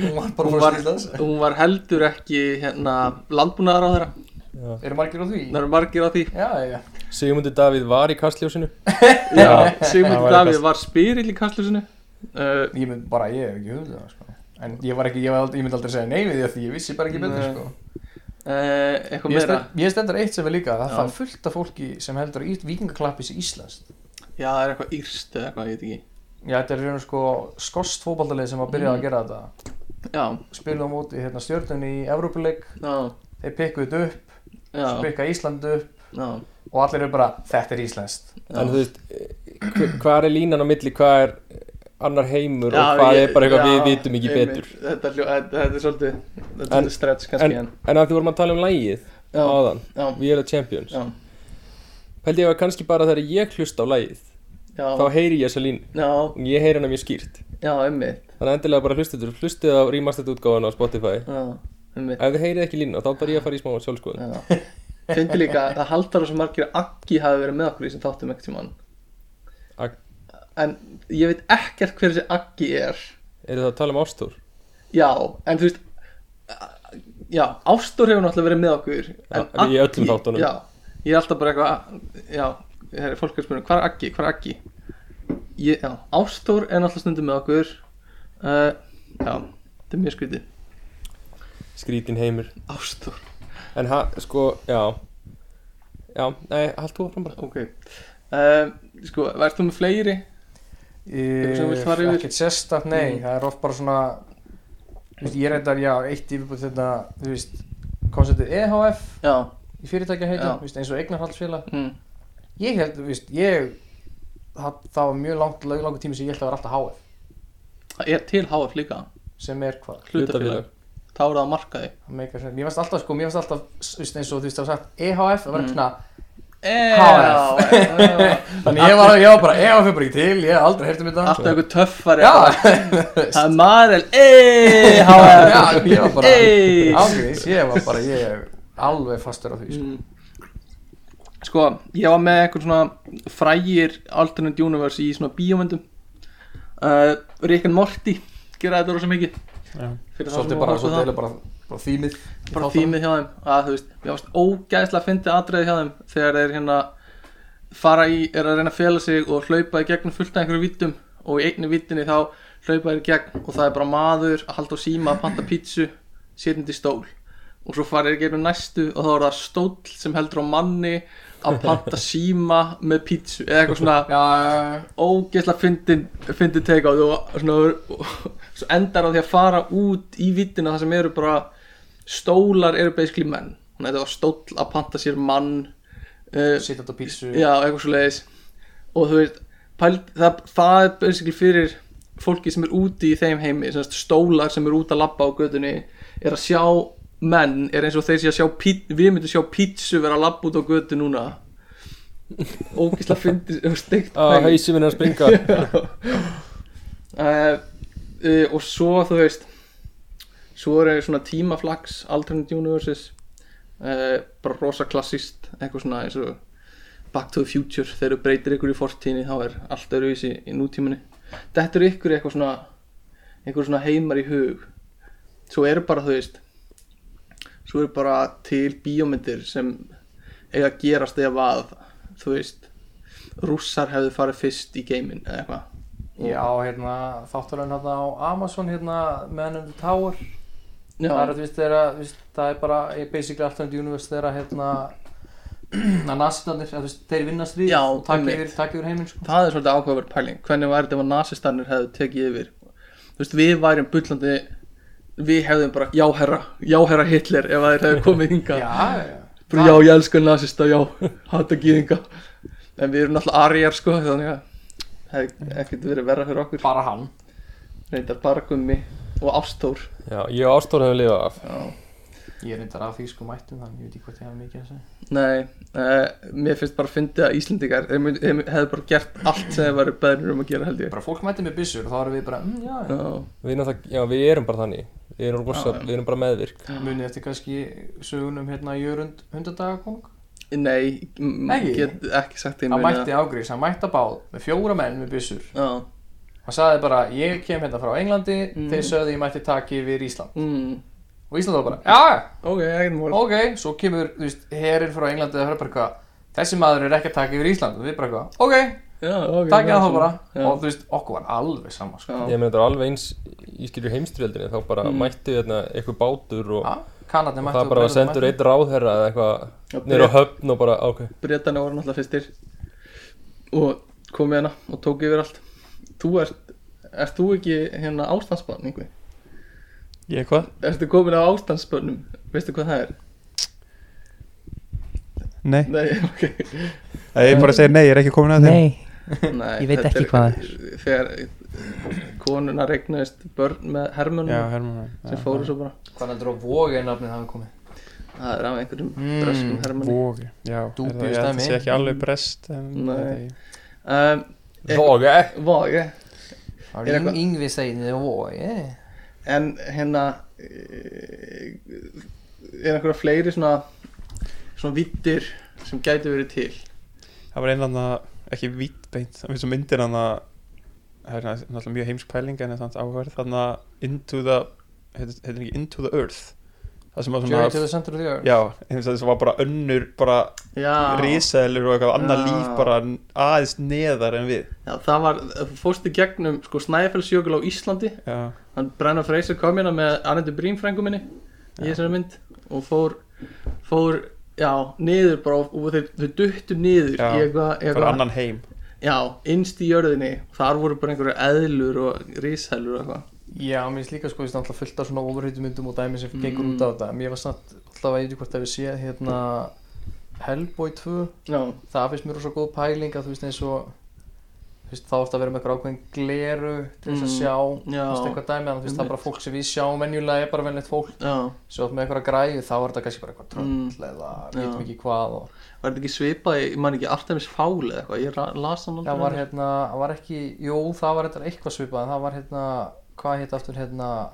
Speaker 3: hún var bara
Speaker 2: hún
Speaker 3: fórst
Speaker 2: var,
Speaker 3: í Íslands
Speaker 2: hún var heldur ekki hérna landbúnaðaráðra
Speaker 3: Eru margir á því?
Speaker 2: það eru margir á því
Speaker 3: Já, já
Speaker 1: Sigmundur Davíð var í kastljósinu
Speaker 2: Já,
Speaker 1: Það
Speaker 2: Eh, Sigmundur
Speaker 1: var
Speaker 2: Davíð
Speaker 1: eitthvað-
Speaker 2: var spyrill í kastlusinu uh,
Speaker 3: Ég mynd bara, ég hef ekki hugðið það, sko En ég var ekki, ég, var aldrei, ég mynd aldrei segja nei við því að því ég vissi bara ekki betur,
Speaker 2: Nei.
Speaker 3: sko
Speaker 2: uh, Eitthvað
Speaker 3: Ég,
Speaker 2: meira
Speaker 3: stend, ég stendur eitt sem er líka Það
Speaker 2: Já.
Speaker 3: fann fullt af fólki sem heldur að vikingaklappis í Íslands
Speaker 2: Já, það er eitthvað írst eða eitthvað, ég veit ekki
Speaker 3: Já, þetta er raun og sko skost fótballtalið sem að
Speaker 2: Mhm.
Speaker 3: byrjaði að gera þetta
Speaker 2: Já,
Speaker 3: Spilum á móti hérna stjörnunni í Evrópuleik
Speaker 2: já,
Speaker 3: Þeir pikkuðu þetta upp,
Speaker 2: já,
Speaker 3: svo pikka Ísland upp
Speaker 2: já,
Speaker 3: Og allir eru bara, þetta er Íslands
Speaker 1: En þú veist, hver, hvað er línan á milli Hvað er annar heimur
Speaker 2: já
Speaker 1: Og hvað
Speaker 2: ég-
Speaker 1: er bara eitthvað
Speaker 2: já,
Speaker 1: við vitum ekki
Speaker 2: einmitt.
Speaker 1: betur
Speaker 2: Þetta, hljó, þetta, þetta er svolítið, þetta er
Speaker 1: En-
Speaker 2: svolítið stretch kannski
Speaker 1: En,
Speaker 2: en,
Speaker 1: en að því vorum að tala um lægið
Speaker 2: Já.
Speaker 1: Áðan,
Speaker 2: Já,
Speaker 1: We are the champions
Speaker 2: já,
Speaker 1: Pældi ég að kannski bara þegar ég hlusta á lægið
Speaker 2: já,
Speaker 1: Þá heyri ég þessa línu
Speaker 2: já,
Speaker 1: Ég heyri hana mjög skýrt
Speaker 2: já, einmitt,
Speaker 1: Þannig að endilega bara hlustið Hlustið á remastered útgáfana á Spotify
Speaker 2: já, einmitt
Speaker 1: Ef þið heyrið ekki línu þá þarf ég að fara í smá sjálfskoðun
Speaker 2: Já, fyndi líka að það haldar svo margir að Aggi hafi verið með okkur í þessum þáttum ekkert tímann
Speaker 1: Ag-
Speaker 2: En ég veit ekkert hver þessi Aggi er
Speaker 1: Eru það að tala um ástúr?
Speaker 2: Já, en þú veist a- Já, Ástór hefur náttúrulega verið með okkur en
Speaker 1: en í öllum
Speaker 2: Aggi-
Speaker 1: þáttunum.
Speaker 2: Já, ég er alltaf bara eitthvað Já, það er fólk að spyrja Hvað er Aggi, hvað er Aggi ég, Já, Ástór er náttúrulega stundum með okkur uh, Já, þetta er mjög skrítið
Speaker 1: Skrítin heimur
Speaker 2: Ástór,
Speaker 1: En ha, sko, já Já, nei, haldt þú áfram bara
Speaker 2: ok uh, Sko, vært þú með fleiri?
Speaker 3: Ég,
Speaker 2: sem þú vilt fara yfir? Mm.
Speaker 3: ekkert sérstakt, nei, það er oft bara svona þú veist, ég reyndar, já, eitt yfirbúið þetta, þú veist konceptið EHF
Speaker 2: Já,
Speaker 3: í fyrirtækja
Speaker 2: Já.
Speaker 3: þú veist, eins og eignarhaldsfélag
Speaker 2: mm,
Speaker 3: ég held, víst, ég það, það var mjög langt, lang- langur tími sem ég held að vera alltaf HF
Speaker 2: Það er til HF líka
Speaker 3: sem er hvað,
Speaker 1: hlutafélag
Speaker 2: Þá er það að markaði
Speaker 3: það meikar sem mér varst alltaf, sko, mér varst alltaf, víst, eins og þú veist, það var sagt EHF, það var
Speaker 2: Mm.
Speaker 3: ekki svona
Speaker 2: HF
Speaker 3: þannig ég var, ég var bara, EHF er bara ekki til ég hef aldrei heyrt um þetta
Speaker 2: Alltaf einhver töffari
Speaker 3: já,
Speaker 2: Það er Marel EHF
Speaker 3: já, ég var bara
Speaker 2: Ey.
Speaker 3: ágríns, ég var bara, ég er alveg fastur á því, sko.
Speaker 2: Mm. Sko, ég var með einhvern svona frægir alternate universe í svona bíómyndum uh, Rick and Morty gera þetta rosa mikið
Speaker 4: Já.
Speaker 2: Fyrir þá sem
Speaker 3: svolítið
Speaker 2: hafa
Speaker 3: bara,
Speaker 2: horft
Speaker 3: svolítið
Speaker 2: á það.
Speaker 3: eiginlega bara, bara þýmið
Speaker 2: bara þýmið hjá þeim að þú veist, ég varst ógæðslega að fyndi atriði hjá þeim þegar þeir hérna fara í, er að reyna að fela sig og hlaupa í gegnum fullt af einhverju vittum og í einni vittinni þá hlaupa þeir í gegn og það er bara maður að halda á síma að panta pítsu, setjandi stól og svo fara þeir í gegnum næstu og þá er það stól sem heldur á manni að panta síma með pítsu eða eitthvað svona
Speaker 3: já, já,
Speaker 2: ógeðslega fyndin fyndin teika á því og svona, og svo endar á því að fara út í vittina það sem eru bara stólar eru basically menn þannig að þetta var stóll að panta sér mann uh,
Speaker 3: já, sitja þetta á pítsu
Speaker 2: já, eitthvað svo leiðis og þú veist, pælt, það, það er basically fyrir fólki sem er úti í þeim heimi sem sagt, stólar sem eru út að labba á gödunni er að sjá menn er eins og þeir sé að sjá pít, við myndum sjá pítsu vera að labba út á gödu núna ógeðslega fyndið og steikt
Speaker 1: að
Speaker 2: pæling.
Speaker 1: hausi Ah, minn er að springa
Speaker 2: uh, uh, og svo þú veist svo eru svona tímaflags alternate universes uh, bara rosa klassist eitthvað svona eins og Back to the Future þegar þú breytir ykkur í fortíðinni þá er allt öruvísi í nútíminni þetta eru ykkur eitthvað svona einhver svona heimar í hug svo eru bara þú veist svo eru bara til bíómyndir sem eiga að gerast ef að þú veist rússar hefðu farið fyrst í geiminn eða eitthvað
Speaker 3: Já, hérna, þátturinn hérna á Amazon hérna, Man in the Tower
Speaker 2: Já.
Speaker 3: það er, að, víst, þeirra, víst, það er bara eh, basically alternate universe þeirra hérna að nazistanir, að, víst, þeir vinna stríð
Speaker 2: Já,
Speaker 3: og takk
Speaker 2: einmitt.
Speaker 3: yfir, takk yfir heiminn sko.
Speaker 2: það er svolítið áhugaverð pæling hvernig væri þetta ef að nasistannir hefðu tekið yfir þú veist, við værum bullandi við hefðum bara, já herra já herra Hitler, ef að þeir hefðu komið hinga
Speaker 3: Já,
Speaker 2: já,
Speaker 3: já,
Speaker 2: bara, já ég elska nasista, já hata gýðinga en við erum náttúrulega arjar, sko þannig að hefði ekkert verið verra fyrir okkur
Speaker 3: bara hann
Speaker 2: reyndar bara gummi og ástór
Speaker 1: já, ég og Ástór hefur lifað af
Speaker 2: já.
Speaker 3: Ég er reyndar af því sko mættum þannig, ég veit ekki hvað ég hafa mikið að segja
Speaker 2: nei, uh, mér finnst bara að fyndi að Íslendingar þeir mynd- þeir hefðu bara gert allt sem þeir væri beðnir um að gera held ég
Speaker 3: Bara fólk mætti með byssur og þá erum við bara, mm, já, já.
Speaker 2: já,
Speaker 1: við, náttúrulega- já, við erum bara þannig við erum, rosa,
Speaker 2: Já, já.
Speaker 1: við erum bara meðvirk
Speaker 3: Munið eftir kannski sögunum hérna Jörund hundadagakong
Speaker 2: nei, m-
Speaker 3: Ekki?
Speaker 2: get ekki sagt því
Speaker 3: Hann mætti ágrís, hann mætti að báð með fjóra menn með byssur
Speaker 2: já
Speaker 3: Hann sagði bara, ég kem hérna frá Englandi
Speaker 2: Mm.
Speaker 3: þeir sögðu ég mætti taka yfir Ísland
Speaker 2: Mm,
Speaker 3: og Ísland var bara, já, já
Speaker 2: ok, ekkert mál
Speaker 3: ok, svo kemur, þú veist, herinn frá Englandi og það er bara eitthvað, þessi maður er ekki að taka yfir Ísland og við bara eitthvað, ok,
Speaker 2: Já,
Speaker 3: takk
Speaker 2: ok,
Speaker 3: ég
Speaker 2: það
Speaker 3: að
Speaker 2: er
Speaker 3: þá bara
Speaker 2: svona.
Speaker 3: og þú veist, okkur var alveg sama sko.
Speaker 2: Já.
Speaker 1: ég meina þetta er alveg eins í skilju heimstrildinni þá bara
Speaker 2: Mm.
Speaker 1: mættu hérna, eitthvað bátur og,
Speaker 3: ja, kanarnir
Speaker 1: og
Speaker 3: mættu
Speaker 1: það bara var sendur einn ráðherra eða
Speaker 2: Já,
Speaker 1: eitthvað nýra á höfn og bara ok
Speaker 2: Bretana voru náttúrulega fyrstir og komið hérna og tók yfir allt Þú ert, ert þú ekki hérna ástandsbann einhver?
Speaker 4: Ég hvað?
Speaker 2: Ertu komin á ástandsbannum? Veistu hvað það er?
Speaker 4: Nei.
Speaker 2: Nei, ok
Speaker 4: Ég bara segir nei, ég er ekki komin að þeim.
Speaker 5: Nei,
Speaker 2: Nei,
Speaker 5: Ég veit
Speaker 2: þetta
Speaker 5: ekki
Speaker 2: er-
Speaker 5: hvað
Speaker 2: Þegar konuna regnaðist börn með
Speaker 4: Já,
Speaker 2: hermönum
Speaker 4: Hermann.
Speaker 2: sem fóru svo bara
Speaker 3: hvað heldur á vógið nafnið það er komið
Speaker 2: Það er af einhverjum
Speaker 4: Hmm.
Speaker 3: Mm,
Speaker 2: bröskum hermönum
Speaker 4: Vógi, já.
Speaker 3: Dúbíu
Speaker 4: er það- ég held að
Speaker 3: stemmi.
Speaker 4: sé ekki alveg brest. En,
Speaker 2: Nei.
Speaker 4: ég veit ekki.
Speaker 2: um,
Speaker 1: Vóge
Speaker 2: Vá, ok
Speaker 3: það
Speaker 2: Er
Speaker 3: er
Speaker 2: eitthvað-
Speaker 3: yng- yngvi segið þið vógið
Speaker 2: en hérna eh, er einhverja fleiri svona svona vittir sem gæti verið til
Speaker 4: Það var einhvern veginn, ekki vítbeint, það finnst svo myndir hann að, það er náttúrulega mjög heimsk pæling en er samt áhverð, þannig að Into the, heitir heitir ekki Into the Earth, það sem var svona,
Speaker 3: Journey to the Center of the Earth
Speaker 4: já, eins og þess að var bara önnur, bara
Speaker 2: já,
Speaker 4: risaðilur og eitthvað annað
Speaker 2: Já.
Speaker 4: líf bara aðeins neðar en við,
Speaker 2: já það var fórst í gegnum sko Snæfellsjökul á Íslandi
Speaker 4: já,
Speaker 2: hann Brenna Freyser kom hérna með Arnendur Brím frængu minni í þessari mynd og fór, fór já, niður bara og- og þau, þau duttu niður
Speaker 4: Já,
Speaker 2: í eitthvað,
Speaker 4: bara
Speaker 2: eitthvað
Speaker 4: annan heim.
Speaker 2: já, innst í jörðinni þar voru bara einhverju eðlur og rísælur og eitthvað
Speaker 3: já, mér finnst líka sko, það er alltaf fullt af svona ofurhýttumyndum og dæmi sem
Speaker 2: Mm.
Speaker 3: gengur út á þetta mér var samt alltaf að eitthvað hvort að við séð hérna Hellboy 2
Speaker 2: Já,
Speaker 3: það finnst mér rosa góð pæling að þú veist eins og þú veist, þá ofta að vera með eitthvað ákveðin gleru til þess að
Speaker 2: Mm,
Speaker 3: sjá þú
Speaker 2: já.
Speaker 3: veist, eitthvað dæmi þannig að þú veist, það er bara fólk sem við sjáum venjulega er bara venjulegt fólk
Speaker 2: já
Speaker 3: svo með eitthvað græði þá er þetta kannski bara eitthvað tröll
Speaker 2: Mm.
Speaker 3: eða við
Speaker 2: Já.
Speaker 3: veitum ekki hvað og
Speaker 2: Var þetta ekki svipað, í- ég man ekki, Artemis Fowl eða eitthvað, ég ra- las hann
Speaker 3: það var hérna, það var ekki, jú það var eitthvað eitthvað svipað en það var hérna, hvað hétt aftur hérna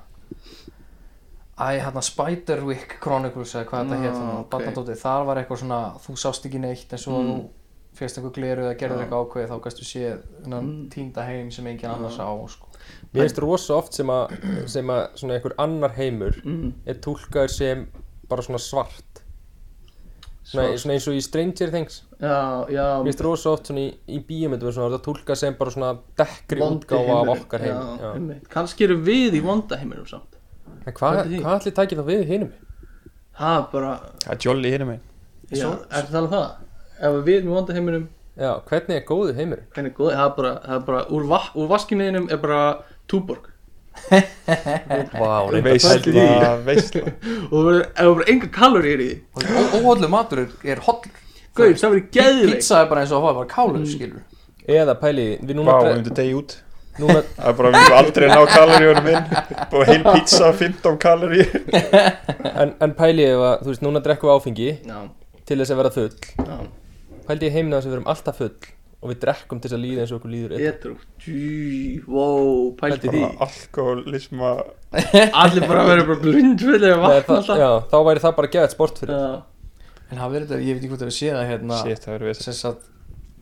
Speaker 3: Æ, hérna Spiderwick Chronicles eða hvað þetta
Speaker 2: Já,
Speaker 3: hétt hérna,
Speaker 2: Ah, ok.
Speaker 3: barnadótið, þar var eitthvað svona þú sást ekki neitt en svo
Speaker 2: Mm.
Speaker 3: þú fyrst einhver gleru eða gerðir
Speaker 2: Já.
Speaker 3: eitthvað ákveð þá gæstu séð hennan
Speaker 2: Mm.
Speaker 3: týnda heim sem enginn annars á sko.
Speaker 1: Mér finnst rosa oft sem að, sem að svona einhver annar heimur
Speaker 2: Mm.
Speaker 1: er tólkaður sem bara svona svart svona,
Speaker 2: Svart.
Speaker 1: svona eins og í Stranger Things
Speaker 2: Já, já,
Speaker 1: Mér finnst rosa oft svona í, í bíómyndum svona, það tólkað sem bara svona dekkri
Speaker 2: vondi
Speaker 1: útgáfa af
Speaker 2: heimurinn.
Speaker 1: okkar heim
Speaker 2: Já, einmitt. Kannski eru við í vonda heiminum samt
Speaker 1: En hvað
Speaker 2: Vondi heim.
Speaker 1: hva allir tækir þá við hinum?
Speaker 2: Það er bara,
Speaker 4: Það er jolly hinum einn
Speaker 2: já, er það alveg það? Ef við erum í vonda heiminum,
Speaker 1: Já, hvernig er góðu heimur?
Speaker 2: hvernig er góð, það er bara, það er bara úr, va úr vaskinniðinum er bara túborg
Speaker 1: Vá, reyndar
Speaker 4: Veistla, veistla
Speaker 2: Og það verður- ef það verður enga kaloríur í því
Speaker 3: og óhóllu matur er, er hollur
Speaker 2: Gauð, það Mm. verður geðveik
Speaker 3: pizza er bara eins og að hafa bara kálur skilur
Speaker 1: Eða pæli, við núna,
Speaker 4: Vá, við
Speaker 1: dre-
Speaker 4: myndum degi út
Speaker 1: núna
Speaker 4: Það er bara, við myndum aldrei ná kaloríunum inn Búið heil pizza, 15 kalorí
Speaker 1: en, en pæli ef að, þú veist, núna drekkum við áfengi
Speaker 2: Já,
Speaker 1: til þess að vera full
Speaker 2: já,
Speaker 1: Pæli í heimina þess að við erum alltaf full og við drekkum til þess að líða eins og okkur líður illa.
Speaker 2: edru, djú, wow, pælti því
Speaker 4: Alkoholisma
Speaker 2: Allir bara verður bara blundfullir að
Speaker 1: Nei,
Speaker 2: vakna
Speaker 1: það,
Speaker 2: alltaf
Speaker 1: já, þá væri það bara geðað sport fyrir
Speaker 2: Já,
Speaker 3: en það verður þetta, ég veit ekki hvort það við séð það hérna
Speaker 4: Shit, það verður veist
Speaker 3: sem sagt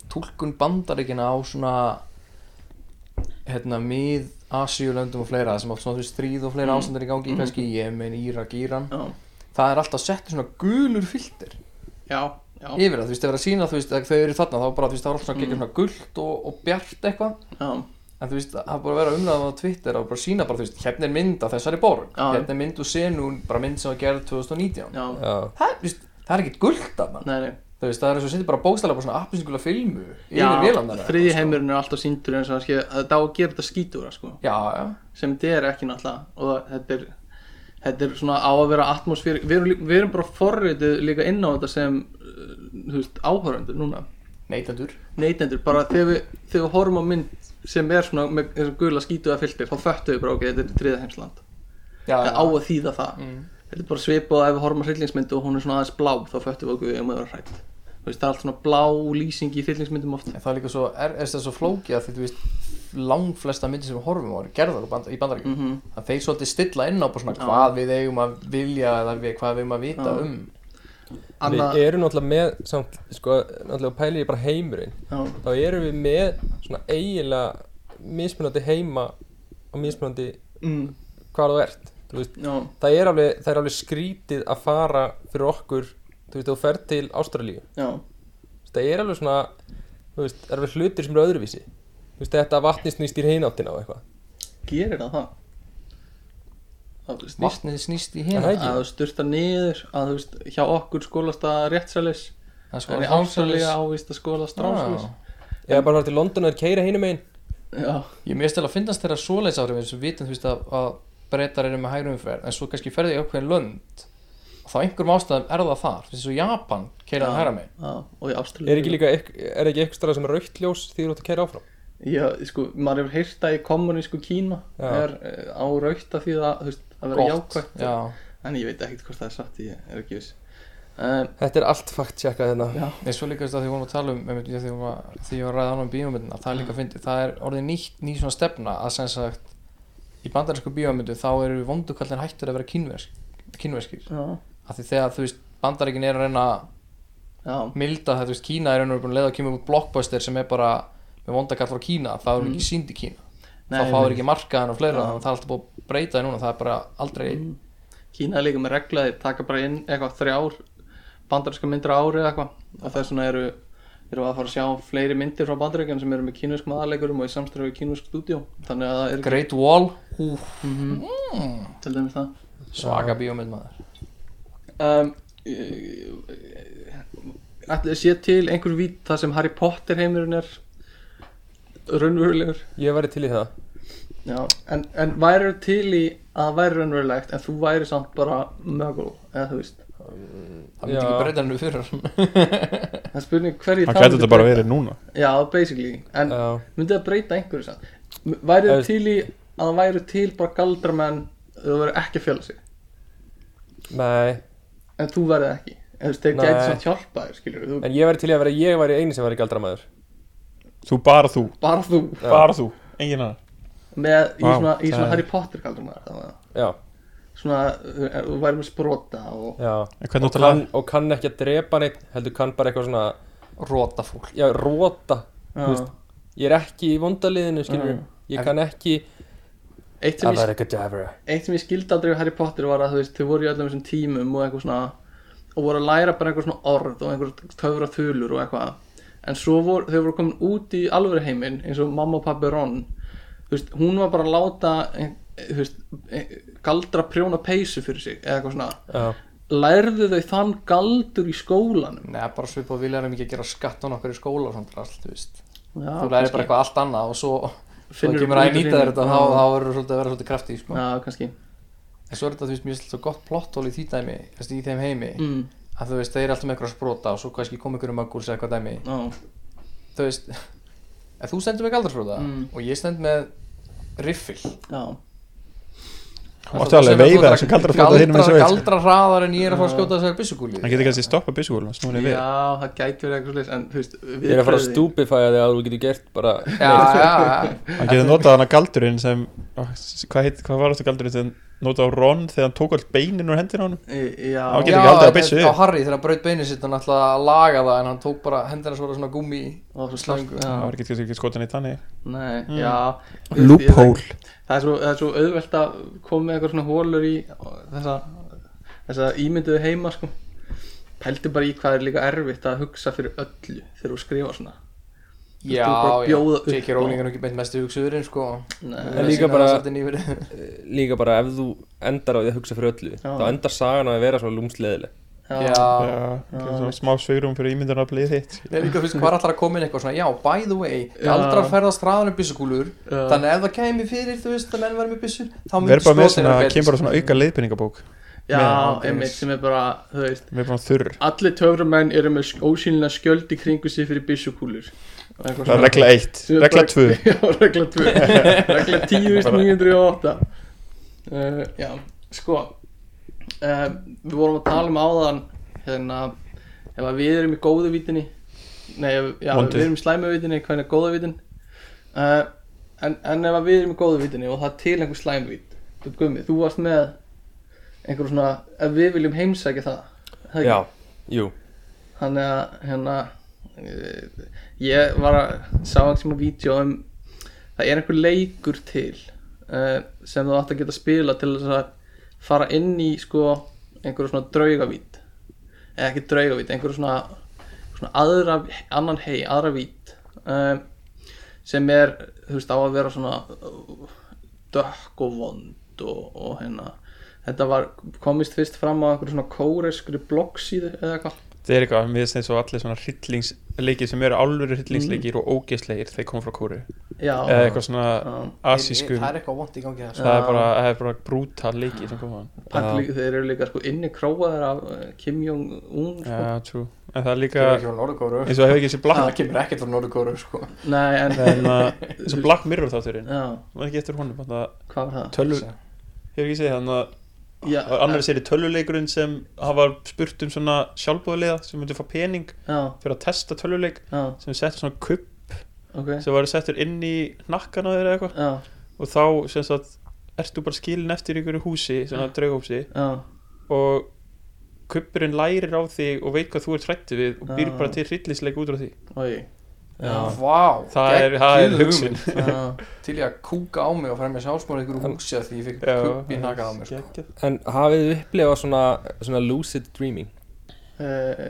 Speaker 3: tólkun bandaríkina á svona hérna mið Asíulöndum og fleira sem átt svona þú veist, stríð og fleira
Speaker 2: Mm.
Speaker 3: mm. ástandar í gangi kannski í Jemen, Írak, Íran
Speaker 2: já,
Speaker 3: það er alltaf sett svona gulur filter
Speaker 2: já, já,
Speaker 3: yfir það, þú veist, ef það er að sína þú veist, að þau eru þarna þá bara þú veist, það er
Speaker 2: Mm.
Speaker 3: alltaf svona gegn svona gult og, og bjart eitthvað
Speaker 2: já,
Speaker 3: en þú veist, það er bara að vera umræðan á Twitter og bara sína bara, þú veist, hérna er mynd af þessari borg
Speaker 2: Já.
Speaker 3: hérna er mynd úr senun, bara mynd sem var gerð 2019
Speaker 2: já,
Speaker 1: Já,
Speaker 3: það, er, þú veist, það er ekkert gult af mann
Speaker 2: nei, nei
Speaker 3: þú veist, það er svo sýndi bara bókstælega bara svona appisingula filmu yfir vélarnar
Speaker 2: Já,
Speaker 3: eða
Speaker 2: þriði
Speaker 3: eitthvað, sko.
Speaker 2: heimurinn er alltaf síndur eins og það sé- það á að gera þetta skítúra sko
Speaker 3: Já, já,
Speaker 2: sem þetta er ekki náttúrulega og þetta er, þetta er svona á að vera atmosfér við erum, lí- við erum bara forriðið líka inn á þetta sem uh, þú veist, áhörundur núna
Speaker 3: neytendur
Speaker 2: neytendur, bara þegar við, þegar við horfum á mynd sem er svona með þessu gula skítuða filter þá föttu við bara ok, þetta er þriða heimsland
Speaker 3: Já, Mm.
Speaker 2: það á
Speaker 3: já,
Speaker 2: að þýða það þetta er bara svipað og ef við horfum á hryllingsmynd og hún er svona aðeins blá þá föttu við okkur ef maður er hrætt þú veist, það er allt svona blá lýsing í hryllingsmyndum oft
Speaker 3: en það er líka svo, er, er það svo flókið að því þú veist langflesta myndir sem við horfum á eru gerðar úr band, í bandaríkjum
Speaker 2: Mhm.
Speaker 3: að þeir svolítið stilla inn á bara svona
Speaker 2: Já.
Speaker 3: hvað við eigum að vilja eða við, hvað við eigum að vita
Speaker 2: Já.
Speaker 3: um
Speaker 2: Anna,
Speaker 1: við erum náttúrulega með, samt, sko, náttúrulega pæli ég bara heimurinn
Speaker 2: já,
Speaker 1: þá erum við með svona eiginlega mismunandi heima og mismunandi
Speaker 2: mm,
Speaker 1: hvað þú ert þú veist,
Speaker 2: já,
Speaker 1: það, er alveg, það er alveg skrítið að fara fyrir okkur þú veist, þú ferð til Ástralíu
Speaker 2: já,
Speaker 1: það er alveg svona þú veist, það er alveg hlutir sem eru öðruvísi þú veist, þetta vatni snýst í hináttina og eitthvað
Speaker 2: gerir það það það snýst
Speaker 3: vatnið snýst í
Speaker 1: Er það
Speaker 3: hérna
Speaker 1: ekki?
Speaker 2: að þú styrta niður að þú veist, hjá okkur skólast að réttsælis
Speaker 3: það er sko-
Speaker 2: en í
Speaker 3: ásalis-
Speaker 2: ásalega ávist að skólast rásalis
Speaker 3: Já.
Speaker 1: eða bara fara til London og er keira hinum einn
Speaker 2: já,
Speaker 3: ég mér stil að finnast þeirra svoleiðs áhrif eins og við vitum þú veist að, að breytar eru með hægri umferð en svo kannski ferði ég ákveðin lönd og þá einhverjum ástæðum er það þar þess að Japan keiraði hægra með
Speaker 2: já, og í ásalega
Speaker 1: er ekki líka, ekk- er ekki eitthvað sem er raukt ljós því þú ert að keira áfram
Speaker 2: já, sko, maður hefur heyrt að í kommunísku Kína
Speaker 1: Já.
Speaker 2: er eh, á rauta því að þú veist, að vera
Speaker 3: gott
Speaker 2: jákvæmt
Speaker 3: já,
Speaker 2: en ég veit ekkert hvort það er satt ég er ekki viss um,
Speaker 1: þetta er allt fakt sjekkað hérna
Speaker 2: já,
Speaker 3: Ég svo líka þú veist, að því vorum að tala um einmitt, ég, því, vorum að, því ég var að ræða ánum bíómyndina það er líka fyndið, það er orðið nýtt ný svona stefna að sem sagt í bandarinsku bíómyndu þá eru vondukallin hættur að vera kínversk, kínverskir
Speaker 2: já,
Speaker 3: af því þegar þú veist bandarikin er að reyna að
Speaker 2: já,
Speaker 3: milda það, þú veist Kína er einhverjum búin að leiða að kemur út blockbuster sem er bara með vondakall frá Kína, það eru ekki sínd í Kína
Speaker 2: Mm. Nei,
Speaker 3: þá fáður
Speaker 2: nei.
Speaker 3: ekki markaðan og fleira
Speaker 2: Já.
Speaker 3: þannig að það er alltaf búið að breyta því núna, það er bara aldrei
Speaker 2: Mm. Kína er líka með regla þeir taka bara inn eitthvað þrjár bandarinska myndir á ári eða eitthvað og þess vegna eru, eru að fara að sjá fleiri myndir frá bandaríkjum sem eru með kínuskum aðalegurum og í samstæðu við kínusk stúdíó þannig að það er
Speaker 3: Great Wall, hú,
Speaker 5: Mhm.
Speaker 2: ekki til dæmis það
Speaker 3: svaga bíómynd maður
Speaker 2: um, Ætli sé til einhver vít það sem Harry Potter heimurinn er raunverulegur
Speaker 1: ég væri til í það
Speaker 2: Já, en, en væri til í að það væri raunverulegt en þú væri samt bara mögul eða þú veist,
Speaker 3: Það myndi
Speaker 1: Já.
Speaker 3: ekki breyta hennu fyrir hann
Speaker 2: það er spurning hverju
Speaker 5: hann gæti
Speaker 2: myndi
Speaker 5: þetta bara
Speaker 2: breyta.
Speaker 5: verið núna
Speaker 2: Já, basically, en
Speaker 1: Já,
Speaker 2: myndi það breyta einhverju samt M- væri
Speaker 1: Þú
Speaker 2: það
Speaker 1: veist-
Speaker 2: til í að það væri til bara galdramenn ef þú verður ekki að fjöla sig
Speaker 1: nei
Speaker 2: en þú verður ekki en þú veist, þeir
Speaker 1: Nei.
Speaker 2: gæti samt hjálpa þér, skilur þú,
Speaker 1: En ég væri til í að vera, ég væri eini sem væri galdramæður
Speaker 5: þú bara þú,
Speaker 2: bara þú
Speaker 1: Já.
Speaker 5: bara þú, engin annar
Speaker 2: með í
Speaker 5: Vá,
Speaker 2: svona, í
Speaker 5: það
Speaker 2: svona
Speaker 5: er-
Speaker 2: Harry Potter galdramenn það var
Speaker 1: Já,
Speaker 2: svona, þú- þú væri með sprota og
Speaker 1: já
Speaker 5: en hvernig
Speaker 1: og
Speaker 5: áttu að
Speaker 1: kann, og kann ekki að drepa neitt heldur kann bara eitthvað svona
Speaker 3: Róta fólk
Speaker 1: já, róta,
Speaker 2: já.
Speaker 1: ég er ekki í vondaliðinu skilur
Speaker 2: Já.
Speaker 1: ég kann ekki
Speaker 2: eitt sem ég
Speaker 1: Kadabra
Speaker 2: eitt sem ég skildi aldrei við Harry Potter var að þú veist, þau voru í öllum þessum tímum og eitthvað svona og voru að læra bara eitthvað svona orð og einhver töfra þulur og eitthvað en svo voru, þau voru komin út í alvöru heiminn eins og mamma og pappi Ron þú veist, hún var bara að láta eh, þú veist, eh, galdra prjóna peysu fyrir sig eða eitthvað svona
Speaker 1: Já,
Speaker 2: lærðu þau þann galdur í skólanum
Speaker 3: Nei, bara svipað viljarum ekki að gera skatt á nokkur í skóla og svona drasl, þú veist
Speaker 2: Já,
Speaker 3: Þú lærir bara
Speaker 2: kannski.
Speaker 3: eitthvað allt annað og svo Svo
Speaker 2: Finnurðu
Speaker 3: kemur að
Speaker 2: út úr
Speaker 3: nýta þér
Speaker 2: hinu.
Speaker 3: þetta þá þá verður svolítið að vera svolítið kraftig, sko
Speaker 2: Já, kannski
Speaker 3: En svo er þetta, þú veist, mjög svolítið svo gott plottól í því dæmi þú veist, Í þeim heimi
Speaker 2: mm,
Speaker 3: að þú veist, þeir eru alltaf með eitthvað að sprota og svo kannski kom einhverjum að gúlsa eitthvað dæmi
Speaker 2: já,
Speaker 3: þú veist, ef þú stendur með galdrasprota
Speaker 2: Mm.
Speaker 3: og ég stend með riffil
Speaker 2: já,
Speaker 5: Þú mátti alveg veifa þessum galdraflota hinum eins og við
Speaker 3: galdra hraðar en ég er að fara að
Speaker 2: Já.
Speaker 3: skjóta þessar byssugúli
Speaker 5: hann getur kannski stoppa byssugóluna, snúið við
Speaker 2: já, það gæti verið eitthvað slags en þú veist,
Speaker 1: ég er að fara að stúpifæja þig að þú getur gert bara
Speaker 3: já, já, já,
Speaker 5: hann getur notað hann að galdurinn sem ah, hvað, heit, hvað var þetta galdurinn sem notað á Ron þegar hann tók all beinin úr hendir á hann
Speaker 2: já,
Speaker 5: Hann
Speaker 3: já
Speaker 5: getur ekki aldrei að
Speaker 3: en
Speaker 5: byssu
Speaker 3: á Harry þegar hann braut beinið sitt hann ætlaði að laga það en hann tók bara hendina svona svona gummi í.
Speaker 2: og svo slangu
Speaker 5: það var ekki, kannski ekki skotin í tanni
Speaker 2: Nei,
Speaker 5: Mm.
Speaker 2: já
Speaker 5: loophole
Speaker 2: Það er svo, það er svo auðvelt að koma með eitthvað svona hólur í þessa, þessa ímynduðu heima sko Pældu bara í hvað er líka erfitt að hugsa fyrir öllu þegar þú skrifa svona
Speaker 3: já,
Speaker 2: þú bara
Speaker 3: já,
Speaker 2: bjóða upp
Speaker 3: J.K. Rowling er nú ekki beint mestu hugsuðurinn sko
Speaker 2: Nei,
Speaker 1: En líka bara-
Speaker 3: já,
Speaker 1: eh, líka bara ef þú endar á því að hugsa fyrir öllu þá endar sagan á að vera svo lúmsleðileg
Speaker 3: já.
Speaker 5: smá svegrum fyrir ímyndan að blið þitt
Speaker 3: Nei, líka, þú veist, hvað er allar að koma inn eitthvað svona, já, by the way,
Speaker 2: Já.
Speaker 3: galdrar ferðast hraðan um byssukúlur,
Speaker 2: Já.
Speaker 3: þannig að ef það kæmi fyrir, þú veist, að menn verður með byssur, þá myndir
Speaker 5: verður bara með svona,
Speaker 3: betri.
Speaker 5: kemur bara svona auka leiðbyrningabók
Speaker 2: já
Speaker 5: Nei,
Speaker 2: einmitt sem er bara, þú veist
Speaker 5: við erum bara þurr
Speaker 2: Allir töframenn eru með ósýnilega skjöld í kringu sig fyrir byssukúlur Og eitthvað
Speaker 5: það er
Speaker 2: svona.
Speaker 5: regla 1,
Speaker 2: Sem er
Speaker 5: regla
Speaker 2: bara-
Speaker 5: 2
Speaker 2: Já, regla 2 Regla 10.908 uh, Já, sko uh, Við vorum að tala um áðan Hérna Ef að við erum í góðu vítinni Nei, ef- já, ef
Speaker 5: Vondu.
Speaker 2: við erum í slæmu vítinni Hvernig er góða vítin uh, en, en ef að við erum í góðu vítinni Og það er til einhver slæmu vít Þú, gummi, þú varst með einhver svona Ef við viljum heimsækja það, það ekki?
Speaker 1: já, jú
Speaker 2: Þannig að hérna eh, ég var að sá ekki sem að vídeo um það er einhver leikur til uh, sem þú átt að geta spila til þess að fara inn í sko einhverju svona draugavít eða ekki draugavít, einhverju svona, svona aðra, annan hei, aðra vít uh, sem er, þú veist, á að vera svona eh, dökk og vond og, og hérna þetta var, komist fyrst fram á einhverju svona kóreskri bloggsíðu eða eitthvað
Speaker 5: það er eitthvað, mér finnst eins og allir svona hryllingsleikir sem eru alvöru hryllingsleikir og ógeðsleikir þeir koma frá kóru
Speaker 2: Já,
Speaker 5: eða eitthvað svona
Speaker 2: já.
Speaker 5: asískum
Speaker 3: Það er eitthvað vant í gangi það, sko.
Speaker 5: það er bara, það er bara brútal leikir sem koma á hann
Speaker 2: Allir, þeir eru líka sko inni króaðar af eh, Kim Jong-un sko.
Speaker 5: Já, true. En það er líka,
Speaker 3: Kemur ekki Ah. frá Norðurkóru.
Speaker 5: eins og það hefur ekki sér
Speaker 3: Það
Speaker 5: Black,
Speaker 3: kemur ekkert frá Norðurkóru, sko.
Speaker 2: Nei, en
Speaker 5: en að, eins og Black Mirror þátturinn,
Speaker 2: Já,
Speaker 5: það er ekki eftir honum, þannig að
Speaker 2: hvað var það?
Speaker 5: tölvu, hefur ekki séð þannig að
Speaker 2: Já,
Speaker 5: það er annar séri tölvuleikurinn sem hafa spurt um svona sjálfbúðarlega sem myndi að fá pening
Speaker 2: já,
Speaker 5: fyrir að testa tölvuleik
Speaker 2: já,
Speaker 5: sem settur svona kupp
Speaker 2: ok
Speaker 5: sem var settur inn í nakkan á þér eða eitthvað
Speaker 2: Já,
Speaker 5: og þá sem sagt ert þú bara skilin eftir í einhverju húsi, svona draugahúsi
Speaker 2: já,
Speaker 5: og kuppurinn lærir á þig og veit hvað þú ert hrættu við og býr
Speaker 2: Já.
Speaker 5: bara til hryllisleik út á því
Speaker 2: oi
Speaker 1: Já.
Speaker 3: Vá,
Speaker 5: það er, það er hugsun
Speaker 2: Já,
Speaker 3: Til ég að kúka á mig og fremja sjálfsmónu ykkur úr húsi að því ég fikk
Speaker 5: Já,
Speaker 3: kubbi nakað á mig, sko.
Speaker 5: geggjað.
Speaker 1: en hafið þið upplifað svona, svona lucid dreaming
Speaker 2: eh,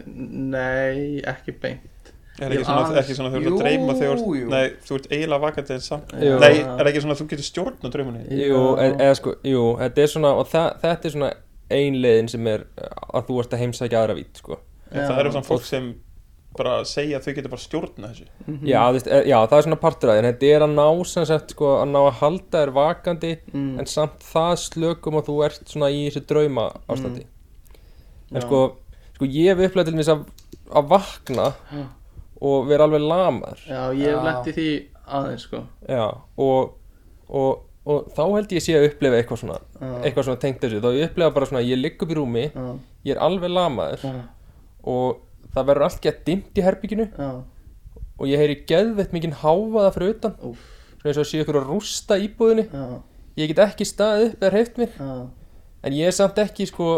Speaker 2: Nei, ekki beint
Speaker 5: Er ekki
Speaker 2: Jú,
Speaker 5: svona,
Speaker 2: aðeins.
Speaker 5: ekki svona þú ert
Speaker 3: Jú,
Speaker 5: að dreyma þegar þú
Speaker 3: jú.
Speaker 5: ert- Nei, þú ert eiginlega vakandi en samt
Speaker 1: Jú.
Speaker 5: Nei, er ekki svona að þú getur stjórn á draumunni
Speaker 1: jú, e eða sko, jú, þetta er svona og það, þetta er svona ein leiðin sem er eh, að þú ert að heimsækja aðra vít sko.
Speaker 5: En það eru svona fólk sem bara að segja að þau getur bara stjórna þessu
Speaker 2: Mhm.
Speaker 1: já, þú veist, eh, já, það er svona partur að þér þetta er að ná sem sagt sko, að ná að halda þér vakandi
Speaker 2: Mm.
Speaker 1: en samt það slökum að þú ert svona í þessu drauma ástandi en
Speaker 2: Mhm. Já.
Speaker 1: sko, sko ég hef upplegað til mér að, að vakna
Speaker 2: Já.
Speaker 1: og vera alveg lamar
Speaker 2: Já, ég hef
Speaker 3: Já.
Speaker 2: lent í því aðeins sko
Speaker 1: já, og, og, og þá held ég sé að upplefa eitthvað svona
Speaker 2: Já,
Speaker 1: eitthvað svona tengt þessu, þá ég upplefa bara svona að ég ligg upp í rúmi,
Speaker 2: já,
Speaker 1: ég er alveg lamaður
Speaker 2: já,
Speaker 1: og það verður allt gett dimmt í herbygginu
Speaker 2: já,
Speaker 1: og ég heyri geðveitt mikinn háfaða fyrir utan
Speaker 2: úf,
Speaker 1: svona eins og sé ykkur að rústa íbúðinni
Speaker 2: já,
Speaker 1: ég get ekki staðið upp eða hreift mér
Speaker 2: já,
Speaker 1: en ég er samt ekki sko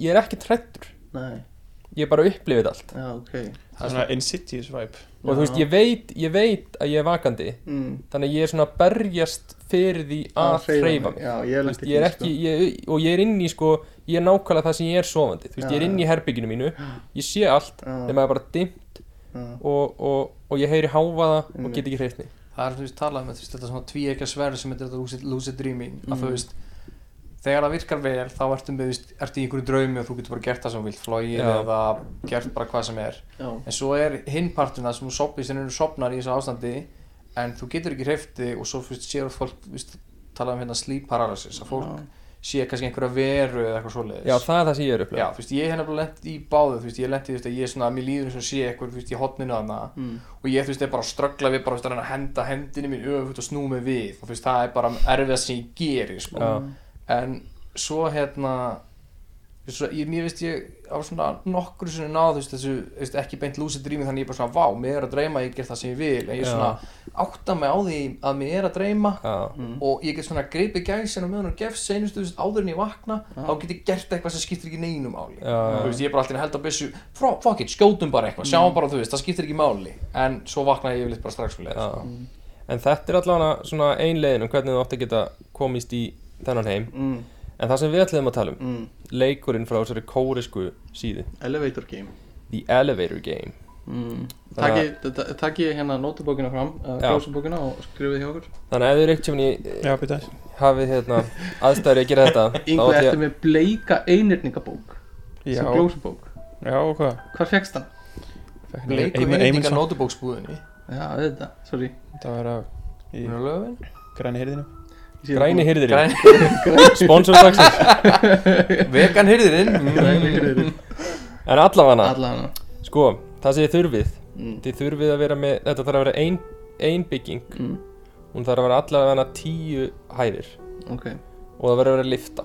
Speaker 1: ég er ekki trættur,
Speaker 2: nei,
Speaker 1: ég er bara upplifið allt
Speaker 2: já, ok
Speaker 5: svona Insidious vibe
Speaker 1: og þú veist, ég veit, ég veit að ég er vakandi
Speaker 2: mm,
Speaker 1: þannig að ég er svona að berjast fyrir því að hreyfa mig
Speaker 2: Já, ég hef
Speaker 1: Þú
Speaker 2: lent
Speaker 1: veist,
Speaker 2: í
Speaker 1: ég er
Speaker 2: því sko.
Speaker 1: ekki, ég, og ég er inn í sko ég er nákvæmlega það sem ég er sofandi þú veist,
Speaker 2: Já,
Speaker 1: ég er inn í herbygginu mínu, ég sé allt
Speaker 2: Já.
Speaker 1: nema það er bara dimmt
Speaker 2: Já.
Speaker 1: og, og, og ég heyri háfaða og
Speaker 2: Einmitt.
Speaker 1: get ekki hreifni
Speaker 3: það er þú veist talað um þetta, þú veist, þetta svona tvíekja sverð sem þetta er lucid, lucid dreaming að þú veist þegar það virkar vel þá ertu, með, þú veist, ertu í einhverju draumi og þú getur bara gert það sem þú vilt flogið
Speaker 1: Já.
Speaker 3: eða gert bara hvað sem er
Speaker 2: Já,
Speaker 3: en svo er hinn parturinn það sem þú sopnir sem eru sopnar í þessu ástandi en þú getur ekki hreyfti og svo þú veist, séu fólk þú veist, talað um hérna sleep paralysis að fólk sé kannski einhverja veru eða eitthvað svoleiðis
Speaker 1: já það er það sem ég er
Speaker 3: Já,
Speaker 1: upplega
Speaker 3: þú veist, ég hef nefnilega lent í báðu, þú veist, ég hef lent í, þú veist, að ég er svona, mér líður eins og sé eitthvað, þú veist, í hotninu þarna
Speaker 2: mm,
Speaker 3: og ég, þú veist, er bara að ströggla við, bara, þú veist, að reyna að henda hendinu mín öfugt og snú mig við og þú veist, það er bara erfiða sem ég geri, sko.
Speaker 1: Já.
Speaker 2: Mm.
Speaker 3: En svo, hérna, þú veist, svo, ég, mér veist, ég á svona nokkru sinni náð, þú veist, þessu, þú veist, ekki beint lúsið drými, þannig ég er bara svona, vá, mér er að dreyma, ég ger það sem ég vil, en ég
Speaker 1: Já.
Speaker 3: svona átta mig á því að mér er að dreyma
Speaker 1: já,
Speaker 3: og ég get svona greipið gæsin og meðan og gef seinustu þess áður en ég vakna þá get ég gert eitthvað sem skiptir ekki neinu máli
Speaker 1: Já, já.
Speaker 3: þú veist, ég er bara alltaf held á byssu "Fro- fuck it, skjótum bara eitthvað, sjáum bara þú veist það skiptir ekki máli, en svo vakna ég yfirleitt bara strax fyrir sko.
Speaker 1: já. en þetta er allavega svona ein leiðin um hvernig þú átt að geta komist í þennan heim
Speaker 2: mm,
Speaker 1: en það sem við ætlum að tala um
Speaker 2: mm,
Speaker 1: leikurinn frá þessari kóresku síðu
Speaker 2: Elevator game
Speaker 1: The Elevator Game
Speaker 2: mm.
Speaker 1: Þannig að-
Speaker 2: Takk ég- Takk ég hérna nótubókina fram uh,
Speaker 1: Já.
Speaker 2: Glósubókina og skrifið hjá okkur
Speaker 1: þannig að ef þið eru eitthvað
Speaker 5: já, byrja þess
Speaker 1: hafið hérna aðstæður í að gera þetta þá
Speaker 2: Yngve
Speaker 1: ætla ég-
Speaker 2: ertu með bleika einirningabók
Speaker 5: já,
Speaker 2: sem glósubók
Speaker 5: já, og hvað
Speaker 2: Hvar fegst hann?
Speaker 3: leikum
Speaker 5: Eimund-
Speaker 3: einninga
Speaker 5: Eymundsson.
Speaker 3: nótubóksbúðinni
Speaker 2: Já, auðvitað, sorry
Speaker 5: það var á í græni hirðinu
Speaker 2: Ég sé að
Speaker 1: græni
Speaker 2: þú-
Speaker 1: hirðirinn sponsor dagsins
Speaker 3: vegan Mm. hyrðirinn
Speaker 2: Græni hirðirinn
Speaker 1: en allavega
Speaker 2: Alla hana
Speaker 1: sko það sem þið þurfið
Speaker 2: Mm.
Speaker 1: þið þurfið að vera með þetta þarf að vera ein, ein bygging
Speaker 2: Mm.
Speaker 1: hún þarf að vera allavega tíu hæðir
Speaker 2: Ok
Speaker 1: og það verður að vera lifta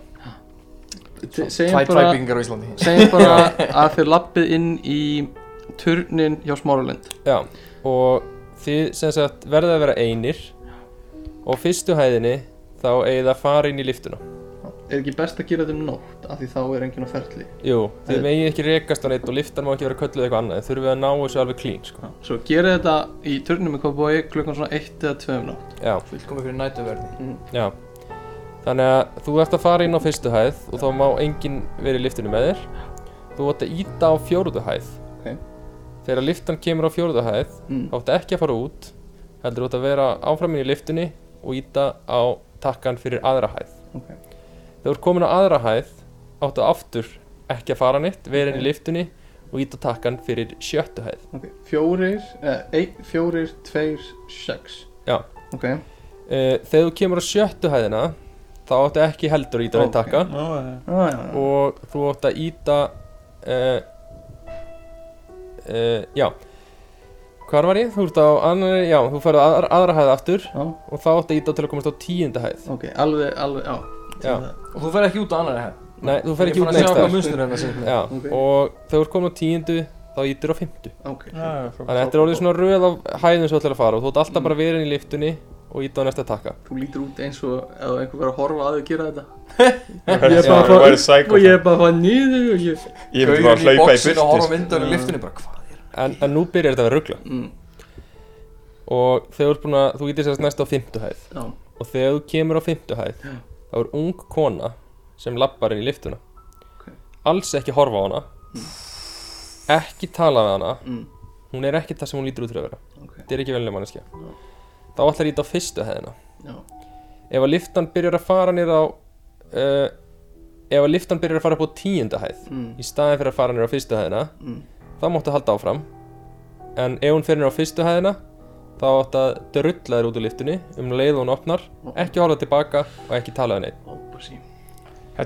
Speaker 2: T-
Speaker 3: tvæ
Speaker 2: Segjum bara
Speaker 3: tvæpingar á Íslandi
Speaker 2: Segjum bara að þið lappið inn í turnin hjá Smáralind
Speaker 1: já og þið sem sagt verða að vera einir og fyrstu hæðinni þá eigið það fara inn í liftuna
Speaker 2: Er ekki best að gera þetta um nótt af því þá er enginn á ferli
Speaker 1: jú þið
Speaker 2: Auðvitað.
Speaker 1: megið ekki rekast á neitt og liftan má ekki vera kölluð eitthvað annað þið þurfið að ná þessu alveg clean sko
Speaker 2: Svo gera þetta í turninum í Kópavogi klukkan svona 1 eða 2 um nótt
Speaker 1: já
Speaker 3: fullkomi fyrir nætuverði
Speaker 1: Já Þannig að þú ert að fara inn á fyrstu hæð og þá má enginn vera í liftinu með þér Þú átt að íta á fjóruðu hæð
Speaker 2: Ok.
Speaker 1: Þegar liftan kemur á fjóruðu hæð
Speaker 2: Mm.
Speaker 1: þá átt ekki að fara út heldur þú átt að vera áframin í liftinu og íta á takkan fyrir aðra hæð
Speaker 2: Ok.
Speaker 1: Þegar þú ert komin á aðra hæð áttu aftur ekki að fara neitt vera inn í liftinu og íta á takkan fyrir sjöttu hæð
Speaker 2: Ok, Fjórir, eh, ein, fjórir, tveir, sex
Speaker 1: Já.
Speaker 2: Ok,
Speaker 1: uh, Þegar þú kemur á sjöttu hæðina þá áttu ekki heldur að íta á okay.
Speaker 2: Ok.
Speaker 1: takka
Speaker 5: Ó, já.
Speaker 2: ah, já, já.
Speaker 1: og þú átt að íta uh, uh, já hvar var ég? þú ert á annari, já, þú færðu aðra, aðra hæð aftur
Speaker 2: já
Speaker 1: og þá átt að íta til að komast á tíunda hæð
Speaker 2: Ok, alveg, alveg, já
Speaker 1: Já.
Speaker 3: og þú fer ekki út á annari hæð
Speaker 1: nei, þú fer
Speaker 3: Ég
Speaker 1: ekki
Speaker 3: er
Speaker 1: út
Speaker 3: farin að
Speaker 1: neist
Speaker 3: sjá hvað
Speaker 1: þar
Speaker 3: munstur hérna sem
Speaker 1: já,
Speaker 2: Ok.
Speaker 1: og þegar þú ert komin á tíundu þá ítir á fymtu
Speaker 2: Ok,
Speaker 5: Já, já, frá-
Speaker 1: þannig að þetta er orðið svona röð af hæðum sem þú ætlar að fara og þú átt alltaf
Speaker 3: Mm.
Speaker 1: bara verið inn í liftunni og íta á næsta takka
Speaker 2: þú lítur út eins og eða einhver verið að horfa að þau gera þetta
Speaker 5: Ég
Speaker 2: er bara að fá-
Speaker 5: væri psycho. sko.
Speaker 2: Og ég er bara að fara niður og ég
Speaker 5: Ég
Speaker 3: gauðin í
Speaker 5: myndi bara hlaupa í
Speaker 3: bóksin og horfa á
Speaker 5: burtu sko.
Speaker 3: myndunum í liftinu bara hvað er
Speaker 1: en, en nú byrjar þetta að ruggla
Speaker 2: mm,
Speaker 1: og þegar þú ert búin að þú ítir sérst næsta á fymtu hæð
Speaker 2: Já,
Speaker 1: og þegar þú kemur á fimmtu hæð
Speaker 2: Já.
Speaker 1: þá er ung kona sem lappar inn í liftuna
Speaker 2: Ok. Hmm.
Speaker 1: alls ekki horfa á hana ekki tala við hana
Speaker 2: mm,
Speaker 1: hún er ekki það sem hún lítur út fyrir að vera
Speaker 2: ok,
Speaker 1: þetta er ekki venlega manneskja
Speaker 2: Já.
Speaker 1: þá ætlar ít á fyrstu hæðina
Speaker 2: já
Speaker 1: ef að liftan byrjar að fara niður á uh, ef að liftan byrjar að fara upp á tíunda hæð
Speaker 2: mm,
Speaker 1: í staðin fyrir að fara niður á fyrstu hæðina
Speaker 2: mm,
Speaker 1: þá máttu halda áfram en ef hún fyrir á fyrstu hæðina þá átt að drulla þér út úr liftunni um leið og hún opnar ekki horfa tilbaka og ekki tala við neitt
Speaker 2: Óbúsi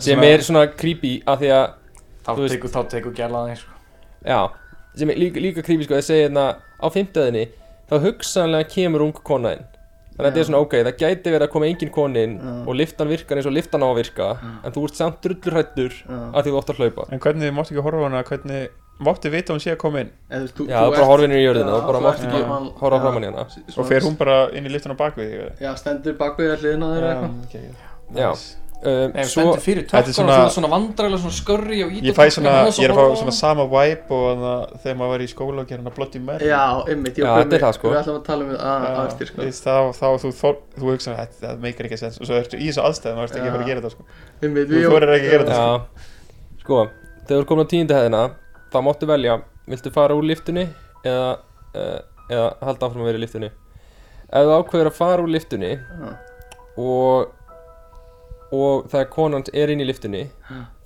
Speaker 1: sem er svona creepy að því að
Speaker 3: Þá
Speaker 1: Þú veist-
Speaker 3: tekur, þá tekur sko. gælaðan eins
Speaker 1: Já, sem er líka, líka creepy sko að segja hérna á fimmtöðinni þá hugsanlega kemur ung kona inn þannig að þetta er svona ok, það gæti verið að koma engin kona inn og liftan virkar eins og liftan á að virka en þú ert samt drullurhættur
Speaker 2: Já.
Speaker 1: að því þú ótt að hlaupa
Speaker 5: En hvernig máttu ekki horfa á hana, hvernig máttu vita að hún sé að koma inn
Speaker 2: Eða, þú,
Speaker 1: Já, það er bara horfinir í jörðina,
Speaker 2: Já,
Speaker 1: það bara
Speaker 2: þú
Speaker 1: mátt
Speaker 2: ert
Speaker 1: ekki
Speaker 2: ekki mal-
Speaker 1: horfa
Speaker 2: já.
Speaker 1: framan í hana
Speaker 2: S-
Speaker 5: og fer hún bara inn í liftuna á bak við þig eða?
Speaker 2: Já, stendur bak við allir innan þeirra eitthvað
Speaker 5: okay.
Speaker 1: Já,
Speaker 5: Nice.
Speaker 1: um,
Speaker 3: Nei, svo,
Speaker 1: svo
Speaker 3: stendur fyrir
Speaker 5: Þetta er
Speaker 3: tökkar
Speaker 5: svona-
Speaker 3: og svona, svona vandræðilega svona skörri og ítökkar
Speaker 5: Ég fæ svona, ég er að fá svona sama vibe og þannig að þegar maður var í skóla og gera hana Bloody Mary
Speaker 2: Já, ymmit,
Speaker 1: Já, þetta er það, sko.
Speaker 2: Við ætlum að tala um það á eftir sko
Speaker 5: Þú veist, þá, þá þú, þú, þú hugsa að þetta meikar ekki sens og svo ertu í þessu aðstæðum og ertu ekki
Speaker 2: Já.
Speaker 5: bara að gera þetta sko.
Speaker 2: Ymmit,
Speaker 5: Þú þorir ekki að gera þetta.
Speaker 1: Já, sko, þegar þú ert komin á tíundu hæðina þá máttu velja, viltu fara úr liftunni eða, eh, eða halda áfram að vera í liftunni Ef þú ákveður að fara úr liftunni
Speaker 2: Já.
Speaker 1: og, og þegar konan er inn í liftunni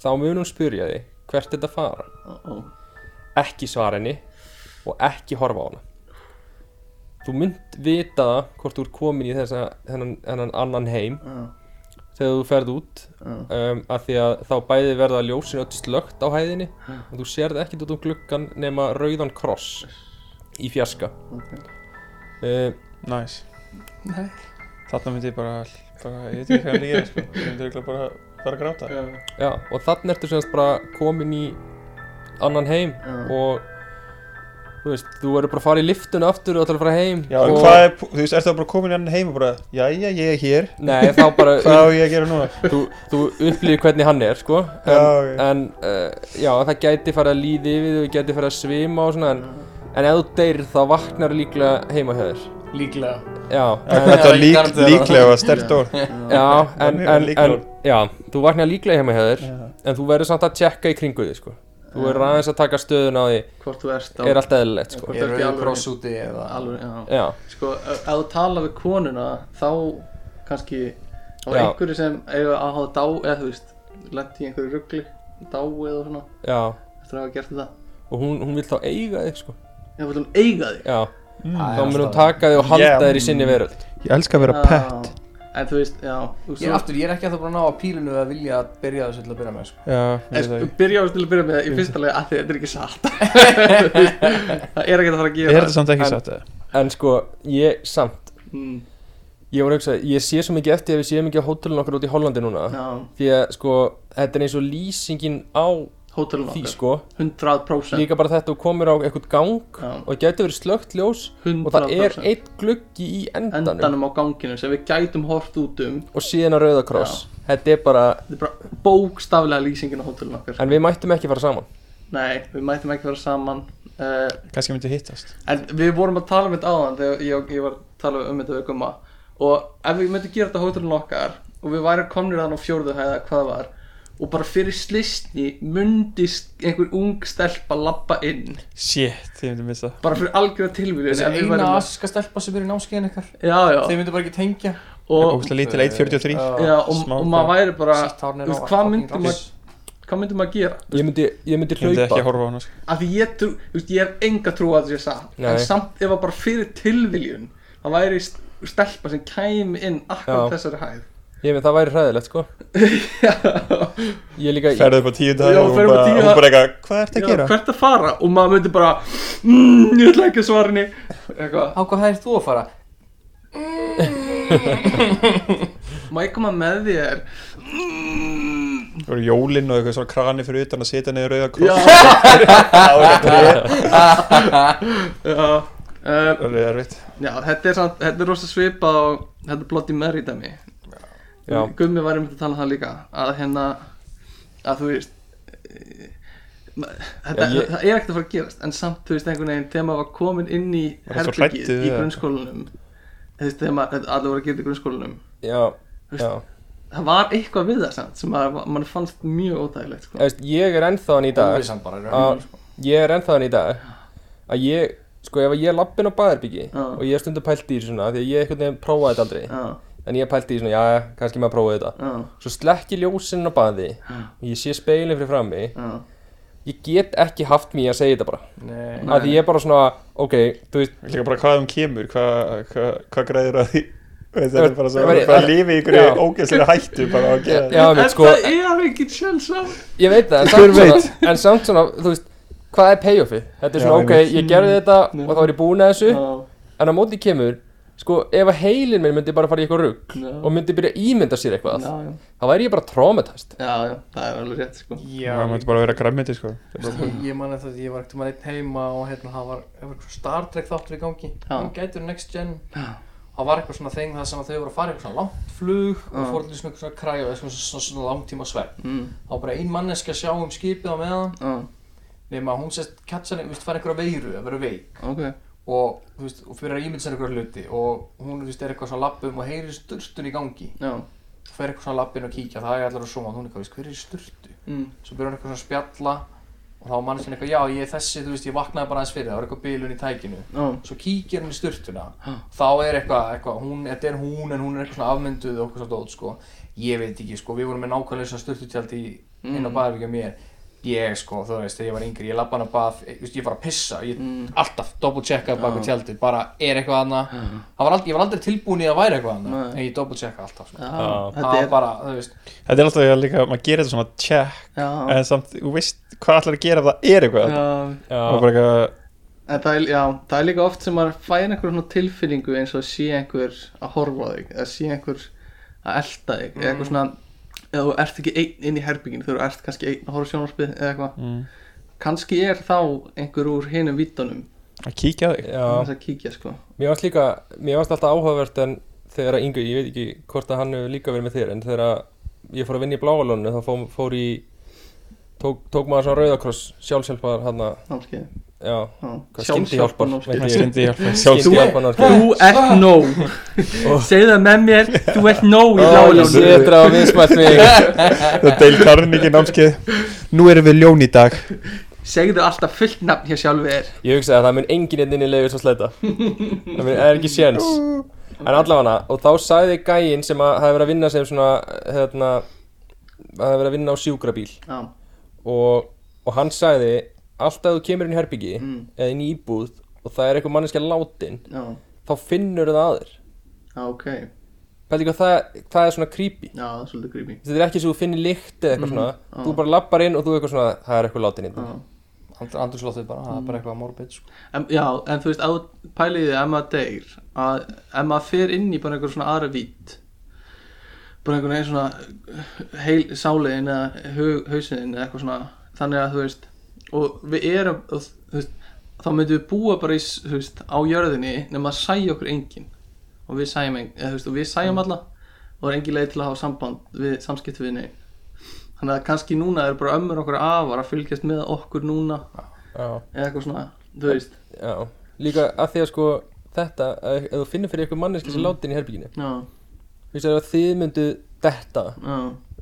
Speaker 1: þá mun hún spyrja þig hvert þetta fara
Speaker 2: Já
Speaker 1: ekki svara henni og ekki horfa á hana Þú mynd vita það hvort þú ert komin í þessa, þennan, þennan annan heim þegar þú ferð út um, að því að þá bæði verða ljósin öll slögt á hæðinni og þú sérð ekkert út um gluggan nema rauðan kross í fjarska Um, okay.
Speaker 5: Nice.
Speaker 3: Nei.
Speaker 5: Þarna myndi ég bara, bara ég veit ekki hvað hann líka sko. Ég myndi örugglega bara fara að gráta
Speaker 1: já, og þannig ertu semst bara komin í annan heim og þú veist, þú verður bara að fara í liftuna aftur og ætlar að fara heim
Speaker 5: Já, en
Speaker 1: og,
Speaker 5: hvað er, þú veist, ertu þá bara komin enn heim og bara Jæja, ég er hér,
Speaker 1: Nei, þá bara
Speaker 5: hvað á ég að gera núna?
Speaker 1: þú, þú upplýðir hvernig hann er sko en,
Speaker 5: Já, ok.
Speaker 1: en uh, já, það gæti farið að líði yfir þig og gæti farið að svima og svona en, en ef þú deyrir þá vaknar líklega heima hjá þér
Speaker 3: Líklega
Speaker 1: já, en,
Speaker 5: Þetta
Speaker 3: Já,
Speaker 5: var
Speaker 3: ég
Speaker 5: lík,
Speaker 3: garantera það.
Speaker 5: líklega var stert orð
Speaker 1: já, en,
Speaker 5: Var mjög
Speaker 1: en, en
Speaker 5: líklegur.
Speaker 1: já, þú vaknar líklega heima hjá þér en þú verður samt að tjekka í kringu þig sko þú verður aðeins að taka stöðun á því
Speaker 2: Hvort þú ert á
Speaker 1: er allt eðlilegt sko
Speaker 2: Hvort
Speaker 3: Er
Speaker 2: þú ert í
Speaker 3: rauði
Speaker 2: alvöru-
Speaker 3: kross úti eða
Speaker 2: Alvöru, já
Speaker 1: já,
Speaker 2: Sko, ef ef þú tala við konuna þá kannski þá er
Speaker 1: Já.
Speaker 2: einhverju sem eiga að hafa dá eða þú veist, lent í einhverju ruggli dáið og svona,
Speaker 1: já
Speaker 2: eftir að hafa gert þetta
Speaker 1: og hún, hún vil þá eiga þig sko
Speaker 2: Ég vil hún eiga þig
Speaker 1: já,
Speaker 5: Mm.
Speaker 3: Það
Speaker 1: þá
Speaker 3: er
Speaker 1: mun hún
Speaker 3: alltaf-
Speaker 1: taka þig og halda
Speaker 5: Yeah.
Speaker 1: þér í sinni veröld
Speaker 5: Ég elska að vera pet
Speaker 2: Já, En þú veist, já þú veist,
Speaker 3: Ég, aftur, ég er ekki að það bara að ná að pílinu að vilja að byrja þessu til að byrja með sko.
Speaker 5: Já,
Speaker 2: En
Speaker 5: ég veit
Speaker 2: sko,
Speaker 5: það ekki.
Speaker 2: byrja á til að byrja með í fyrsta lega að því þetta er ekki satt Það er ekki að fara að
Speaker 5: Er
Speaker 2: gera
Speaker 5: þetta samt ekki
Speaker 1: En-
Speaker 5: satt eða?
Speaker 1: en sko, ég samt
Speaker 2: Mm,
Speaker 1: ég voru að hugsa, ég sé svo mikið eftir ef við séum ekki á hótelun okkar út í Hollandi núna
Speaker 2: Já,
Speaker 1: því að sko, þetta er eins og lýsingin á
Speaker 2: hótelum
Speaker 1: því
Speaker 2: okkar
Speaker 1: sko
Speaker 2: 100%
Speaker 1: líka bara þetta og komir á eitthvað gang
Speaker 2: Já.
Speaker 1: og það getur verið slögt ljós og það er
Speaker 2: 100%
Speaker 1: eitt gluggi í endanum,
Speaker 2: endanum á ganginu sem við gætum hort út um
Speaker 1: og síðan að rauða kross þetta er bara,
Speaker 2: Þetta er bara bókstaflega lýsingin á hótelum okkar
Speaker 1: en við mættum ekki fara saman
Speaker 2: Nei, við mætum ekki vera saman uh,
Speaker 5: Kannski myndi hittast
Speaker 2: En við vorum að tala um þetta áðan þegar ég, ég var að tala um þetta við gumma og ef við myndum gera þetta á hótelun okkar og við væri komnir þannig á fjórðu hæða eða hvað það var og bara fyrir slistni myndi st- einhver ung stelpa labba inn
Speaker 5: Shit, ég myndi missa
Speaker 2: bara fyrir algjörða tilvíðun
Speaker 3: Þessi eina aska stelpa sem er í námskeiðin ykkar
Speaker 2: já, já,
Speaker 3: Þeir myndu bara ekki tengja
Speaker 2: og,
Speaker 5: Ógustlega lítil 1.43
Speaker 2: Eh, já, og,
Speaker 5: smá
Speaker 2: og maður væri bara
Speaker 3: Sitt hárn er
Speaker 2: þú
Speaker 3: á-
Speaker 2: veist, hvað
Speaker 3: á
Speaker 2: myndi
Speaker 3: fingri.
Speaker 2: maður- hvað myndum maður gera
Speaker 1: ég myndi, ég myndi
Speaker 5: Ég myndi ekki að
Speaker 1: hlaupa
Speaker 5: horfa á hana sko.
Speaker 2: af því ég, trú, þú veist, ég er enga trú að þessi satt
Speaker 1: Nei.
Speaker 2: en samt ef að bara fyrir tilvíðun það væri st- stelpa sem kæmi inn akkur
Speaker 1: Já.
Speaker 2: þessari hæð
Speaker 1: ég myndi, það væri hræðilegt sko ég líka,
Speaker 5: Ferðu upp á tíu dag
Speaker 2: Já,
Speaker 5: og hún
Speaker 2: ferðu upp á
Speaker 5: bara,
Speaker 2: tíu
Speaker 5: hún
Speaker 2: dag.
Speaker 5: bara eitthvað Hvað ertu að
Speaker 2: Já,
Speaker 5: gera?
Speaker 2: hvert að fara og maður myndi bara mmm, ég ætla ekki að svara henni eitthvað,
Speaker 3: Á hvað það er þú að fara?
Speaker 2: má ég koma með þér mmm,
Speaker 5: Það voru jólinn og eitthvað svona krani fyrir utan að sitja niður rauða
Speaker 2: já,
Speaker 5: kross
Speaker 2: já uh,
Speaker 5: Það er erfitt
Speaker 2: já, þetta er samt, þetta er rosa svipað og þetta er Bloody Mary dæmi
Speaker 1: Já.
Speaker 2: Gummi var einmitt að tala um það líka að hérna, að þú veist eh, ma- Þetta,
Speaker 1: Já, ég-
Speaker 2: það er ekkert að fara að gerast en samt þú veist einhvern veginn þegar maður var komin inn í
Speaker 5: Var það svo
Speaker 2: herbyggið
Speaker 5: hræddur
Speaker 2: í
Speaker 5: við það?
Speaker 2: grunnskólanum þú veist þegar maður, þetta allir voru að gera þetta í grunnskólanum
Speaker 1: já, já
Speaker 2: það var eitthvað við það samt sem að mann fannst mjög ódægilegt
Speaker 1: Ég
Speaker 2: sko.
Speaker 1: veist, ég er ennþáðan í dag
Speaker 3: Óvissan bara í
Speaker 1: að-
Speaker 3: rauninni, sko.
Speaker 1: ég er ennþáðan í dag að ég, sko ef ég er lappin á baðherbyggi
Speaker 2: Já.
Speaker 1: og ég er stundum pælt í þessu svona af því að ég einhvern veginn prófaði þetta aldrei
Speaker 2: já,
Speaker 1: en ég pælti í svona, já, kannski maður prófaði þetta
Speaker 2: já,
Speaker 1: svo slekk ég ljósinn á baði og ég sé speilin fyrir frammi
Speaker 2: já,
Speaker 1: ég get ekki haft mér að segja þetta bara
Speaker 3: Nei.
Speaker 1: að því ég er bara svona, ok, þú veist
Speaker 5: Líka bara hvaðan kemur, hvað hva, hva græður að því Þetta er bara svo,
Speaker 1: Væri-
Speaker 5: hvað lífi ykkur
Speaker 1: Já.
Speaker 5: er ógeðslega hættu bara að gera
Speaker 1: já, veit, sko,
Speaker 2: Þetta er alveg ekki sjans á
Speaker 1: ég veit það, en samt, svona, en samt svona, þú veist hvað er payoffið? Þetta er
Speaker 5: Já,
Speaker 1: svona, ok,
Speaker 5: einmitt.
Speaker 1: ég gerði þetta
Speaker 2: Mm.
Speaker 1: og þá er ég búin að þessu
Speaker 2: Já,
Speaker 1: en á móti kemur, sko, ef að heilin minn myndi bara fara í eitthvað rugg og myndi byrja að ímynda sér eitthvað,
Speaker 2: já, já.
Speaker 1: þá væri ég bara traumatist
Speaker 2: já, já, það er alveg rétt sko
Speaker 3: Já,
Speaker 5: Það
Speaker 3: ég,
Speaker 5: mætti bara vera græmmiti sko
Speaker 3: ég, ég man eftir því, ég var ekkert um að einn heima og hérna, það var, það var eitthvað Star Trek þáttur í gangi
Speaker 2: Já.
Speaker 3: hann gætur next gen
Speaker 2: Já.
Speaker 3: það var eitthvað svona þeng það sem að þau voru að fara í eitthvað svona langt flug
Speaker 2: Já.
Speaker 3: og fór til svona eitthvað svona kræja og eitthvað svona, svona, svona langtíma svepp
Speaker 2: mm,
Speaker 3: þá var bara ein manneski að sjá um skipið á meðan
Speaker 2: já,
Speaker 3: nema að hún sest katsan, þú veist, fær einhverja veiru að vera veik
Speaker 2: ok
Speaker 3: og, þú veist, og fyrir að ímynda sér einhverja hluti og hún, þú veist, er eitthvað svona lappum og heyrir sturtun í gangi
Speaker 2: Já,
Speaker 3: og fer eitthvað svona lappin og kíkja það er allar að sjóma hún er eitthvað, veist, hver er í sturtu
Speaker 2: mm,
Speaker 3: svo byrjar hann eitthvað svona að spjalla og þá mann sinni eitthvað, já ég er þessi, þú veist, ég vaknaði bara aðeins fyrir það var eitthvað bilun í tækinu
Speaker 2: já,
Speaker 3: svo kíkir hún í sturtuna
Speaker 2: Ha.
Speaker 3: þá er eitthvað, eitthvað hún, þetta er hún en hún er eitthvað svona afmynduð og eitthvað svona dót, sko ég veit ekki, sko, við vorum með nákvæmlega svona sturtutjald í, inn á
Speaker 2: Mm.
Speaker 3: baðarbyggjum mér ég, sko, þú veist, þegar ég var yngri, ég labba hann að bað ég, ég var að pissa, ég
Speaker 2: Mm.
Speaker 3: alltaf double checkaði bak við
Speaker 2: Já.
Speaker 3: tjaldið, bara er eitthvað hana
Speaker 2: Já.
Speaker 3: var aldrei, ég var aldrei tilbúin í að væri eitthvað hana
Speaker 2: Nei.
Speaker 3: en ég double checkaði alltaf, sko
Speaker 2: já,
Speaker 1: Já.
Speaker 3: það
Speaker 2: þetta
Speaker 3: var
Speaker 2: er
Speaker 3: bara, þú veist,
Speaker 5: Þetta er alltaf líka, maður gerir þetta svona check
Speaker 2: Já,
Speaker 5: En samt, þú veist hvað ætlar að gera ef það er eitthvað þarna.
Speaker 2: já
Speaker 5: Það er bara eitthvað
Speaker 2: En það er, já, það er líka oft sem maður fær einhver svona tilfinningu eins og sé einhver að horfa á þig eða sé einhver að elta þig eða eitthvað svona, eða þú ert ekki einn inn í herbygginu þegar þú ert kannski einn að horfa á sjónvarpið eða eitthvað,
Speaker 5: mm,
Speaker 2: kannski er þá einhver úr hinum vittunum
Speaker 5: Að kíkja á þig
Speaker 1: já,
Speaker 2: þess að kíkja sko
Speaker 1: Mér varst líka, mér varst alltaf áhugavert en þegar að Ingu, ég veit ekki hvort að hann hefur líka verið með þér en þegar að ég fór að vinna í bláalónu þá fór, fór í tók, tók maður svona rauðakross sjálfsjálfar hann að,
Speaker 2: námskeið,
Speaker 1: já,
Speaker 2: já,
Speaker 1: hvað skyndihjálpar
Speaker 2: námskeið.
Speaker 5: Ég skyndi hjálpa
Speaker 1: skyndihjálpar
Speaker 2: Þú ert nóg Segð það með mér, þú ert nóg í láguljónu
Speaker 1: ég sé eftir að viðsmætt mig
Speaker 5: Það deil Carnegie námskeið Nú erum við ljón í dag
Speaker 2: Segðu alltaf fullt nafn hér sjálfi þér
Speaker 1: Ég hugsaði að það mun enginn einn inn í leiður svo sletta Það mun er ekki séns En allavega og þá sagði gæinn sem að hafi verið að vinna sem svona hérna, hafi verið að vinna á sjúkrabíl
Speaker 2: Já,
Speaker 1: og, og hann sagði alltaf þú kemur inn í herbyggi
Speaker 2: Mm.
Speaker 1: eða inn í íbúð og það er eitthvað manneskja látin
Speaker 2: já,
Speaker 1: þá finnur það aður
Speaker 2: já, ok Já,
Speaker 1: Pældi hvað það, það er svona creepy
Speaker 2: það er svolítið grími
Speaker 1: þetta er ekki svo þú finnir lykt eða eitthvað svona
Speaker 2: Mm-hmm. já.
Speaker 1: þú bara lappar inn og þú eitthvað svona það er eitthvað látin hérna." inn
Speaker 2: Já
Speaker 3: andurslóttið bara, það er bara eitthvað morbid, sko
Speaker 2: En, já, en þú veist, að pælið þið ef maður deyr, að ef maður fer inn í bara einhver svona aðra vít bara einhvern veginn svona heil sáliðin eða hug, hausiðin eða eitthvað svona, þannig að þú veist og við erum, og, þú veist þá myndum við búa bara í, s- þú veist, á jörðinni nema að sæja okkur enginn og við sæjum, en, eða, þú veist, og við sæjum alla og það er engin leið til að hafa samband við samskipt við neinn þannig að kannski núna er bara ömmur okkur afar að fylgjast með okkur núna
Speaker 1: já,
Speaker 2: eða eitthvað svona, þú veist
Speaker 1: já. líka að því að sko þetta, ef ef þú finnur fyrir eitthvað manneskja sem er látin í herbygginu
Speaker 2: Já,
Speaker 1: þú veist ef þið myndu detta
Speaker 2: já,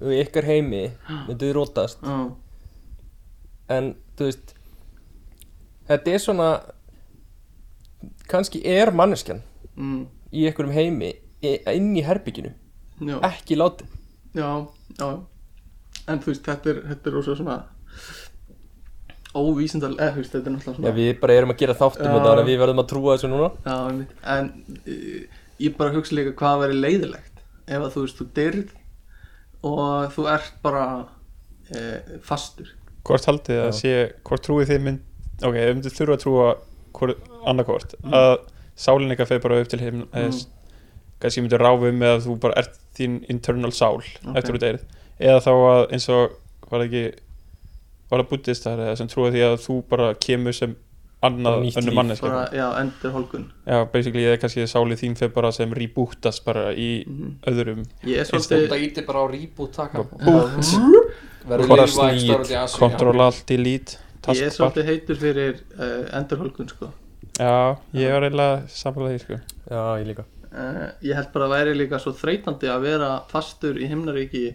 Speaker 1: og í ykkar heimi myndu rótast
Speaker 2: já,
Speaker 1: en þú veist þetta er svona kannski er manneskjan
Speaker 2: mm,
Speaker 1: í einhverjum heimi í- inn í herbygginu,
Speaker 2: já,
Speaker 1: ekki láti
Speaker 2: já, já En þú veist, þetta er, þetta er rosa svona óvísindal, eða þú veist, þetta er náttúrulega
Speaker 1: Já,
Speaker 2: svona
Speaker 1: við bara erum að gera þáttum
Speaker 2: Já.
Speaker 1: þetta þannig að við verðum að trúa þessu núna
Speaker 2: Já, einmitt. en uh, ég bara hugsa líka hvað væri leiðilegt ef að þú veist, þú dyrð og þú ert bara eh, fastur
Speaker 5: Hvort haldið þið að
Speaker 1: Já.
Speaker 5: sé Hvort trúið þið mynd Ok, þið myndir þurfa að trúa hvort, annarkvort að sálin eitthvað fer bara upp til heim mm.
Speaker 2: Mm.
Speaker 5: kannski myndir ráfa um eða þú bara ert þín internal sál
Speaker 2: Ok.
Speaker 5: eftir þú deyrið eða þá að eins og var það ekki var það buddhistar eða sem trúið því að þú bara kemur sem annað
Speaker 1: Bara nýtt líf.
Speaker 5: önnur manneska
Speaker 2: bara, já, endur holgun
Speaker 5: Já, basically eða kannski sálið þín fer bara sem rebootast bara í
Speaker 2: Mm.
Speaker 5: öðrum
Speaker 2: Mhm. Ég er
Speaker 3: Þetta
Speaker 2: svolítið
Speaker 3: ítir bara á reboot taka
Speaker 5: Bútt,
Speaker 3: Verður
Speaker 5: bara
Speaker 3: lífvæg starfandi í
Speaker 5: snýt,
Speaker 3: Asíu
Speaker 5: kontrol allt, delete
Speaker 2: ég er
Speaker 5: taskbar
Speaker 2: svolítið heitur fyrir uh, endur holgun, sko
Speaker 5: Já, ég var eiginlega samfélag því sko
Speaker 1: Já, ég líka
Speaker 2: uh, ég held bara að væri líka svo þreytandi að vera fastur í himnaríki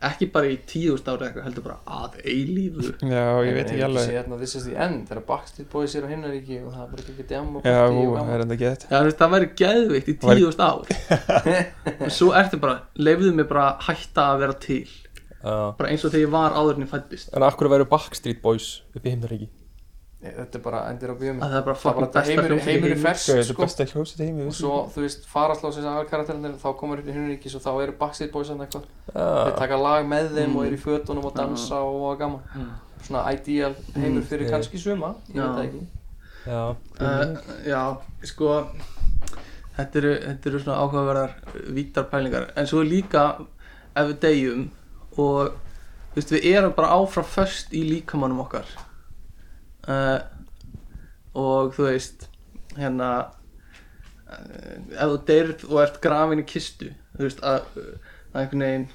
Speaker 2: ekki bara í tíðust ári eitthvað heldur bara að eilífu
Speaker 5: Já, ég veit ekki alveg
Speaker 3: Sérna, hérna, This is the end, þegar Backstreet Boys er á himnaríki og það er bara ekki demo
Speaker 5: Já,
Speaker 3: partí
Speaker 5: ú,
Speaker 3: og
Speaker 5: það
Speaker 3: gaman.
Speaker 5: er enda gett
Speaker 2: Já, þú veist, það væri geðveikt í
Speaker 5: Væri-
Speaker 2: tíðust ár en svo ertu bara, leifðu mig bara að hætta að vera til
Speaker 1: uh,
Speaker 2: bara eins og þegar ég var áður en ég fættist
Speaker 1: En akkur væru Backstreet Boys upp í himnaríki
Speaker 3: Þetta er bara endir á bíómynd
Speaker 2: að það er bara
Speaker 3: Það er
Speaker 2: fucking
Speaker 3: bara
Speaker 2: besta
Speaker 3: heimur,
Speaker 2: hljómsveit í
Speaker 3: heimur
Speaker 2: heimi.
Speaker 3: fersk
Speaker 5: Þetta er
Speaker 3: sko.
Speaker 5: besta hljómsið heimi
Speaker 3: Og svo, þú veist, faraslá sem aðal karakterarnir Þá komur upp í Hinriks og þá eru Backstreet Boys þarna eitthvað Þeir
Speaker 1: uh,
Speaker 3: taka lag með þeim
Speaker 2: Ah. Mm.
Speaker 3: og eru í fötunum og dansa og og gaman
Speaker 2: Mm.
Speaker 3: Svona ideal heimur
Speaker 1: Mm.
Speaker 3: fyrir
Speaker 1: Mm.
Speaker 3: kannski suma Ég
Speaker 2: Já.
Speaker 3: veit það ekki
Speaker 1: Já,
Speaker 2: uh, Já, sko þetta eru, þetta eru svona áhugaverðar vítar pælingar, en svo líka ef við deyjum og þú veist, við erum bara áfram föst í líkamannum okkar uh, og þú veist hérna uh, ef þú deyrð og ert grafin í kistu þú veist að, að einhvern veginn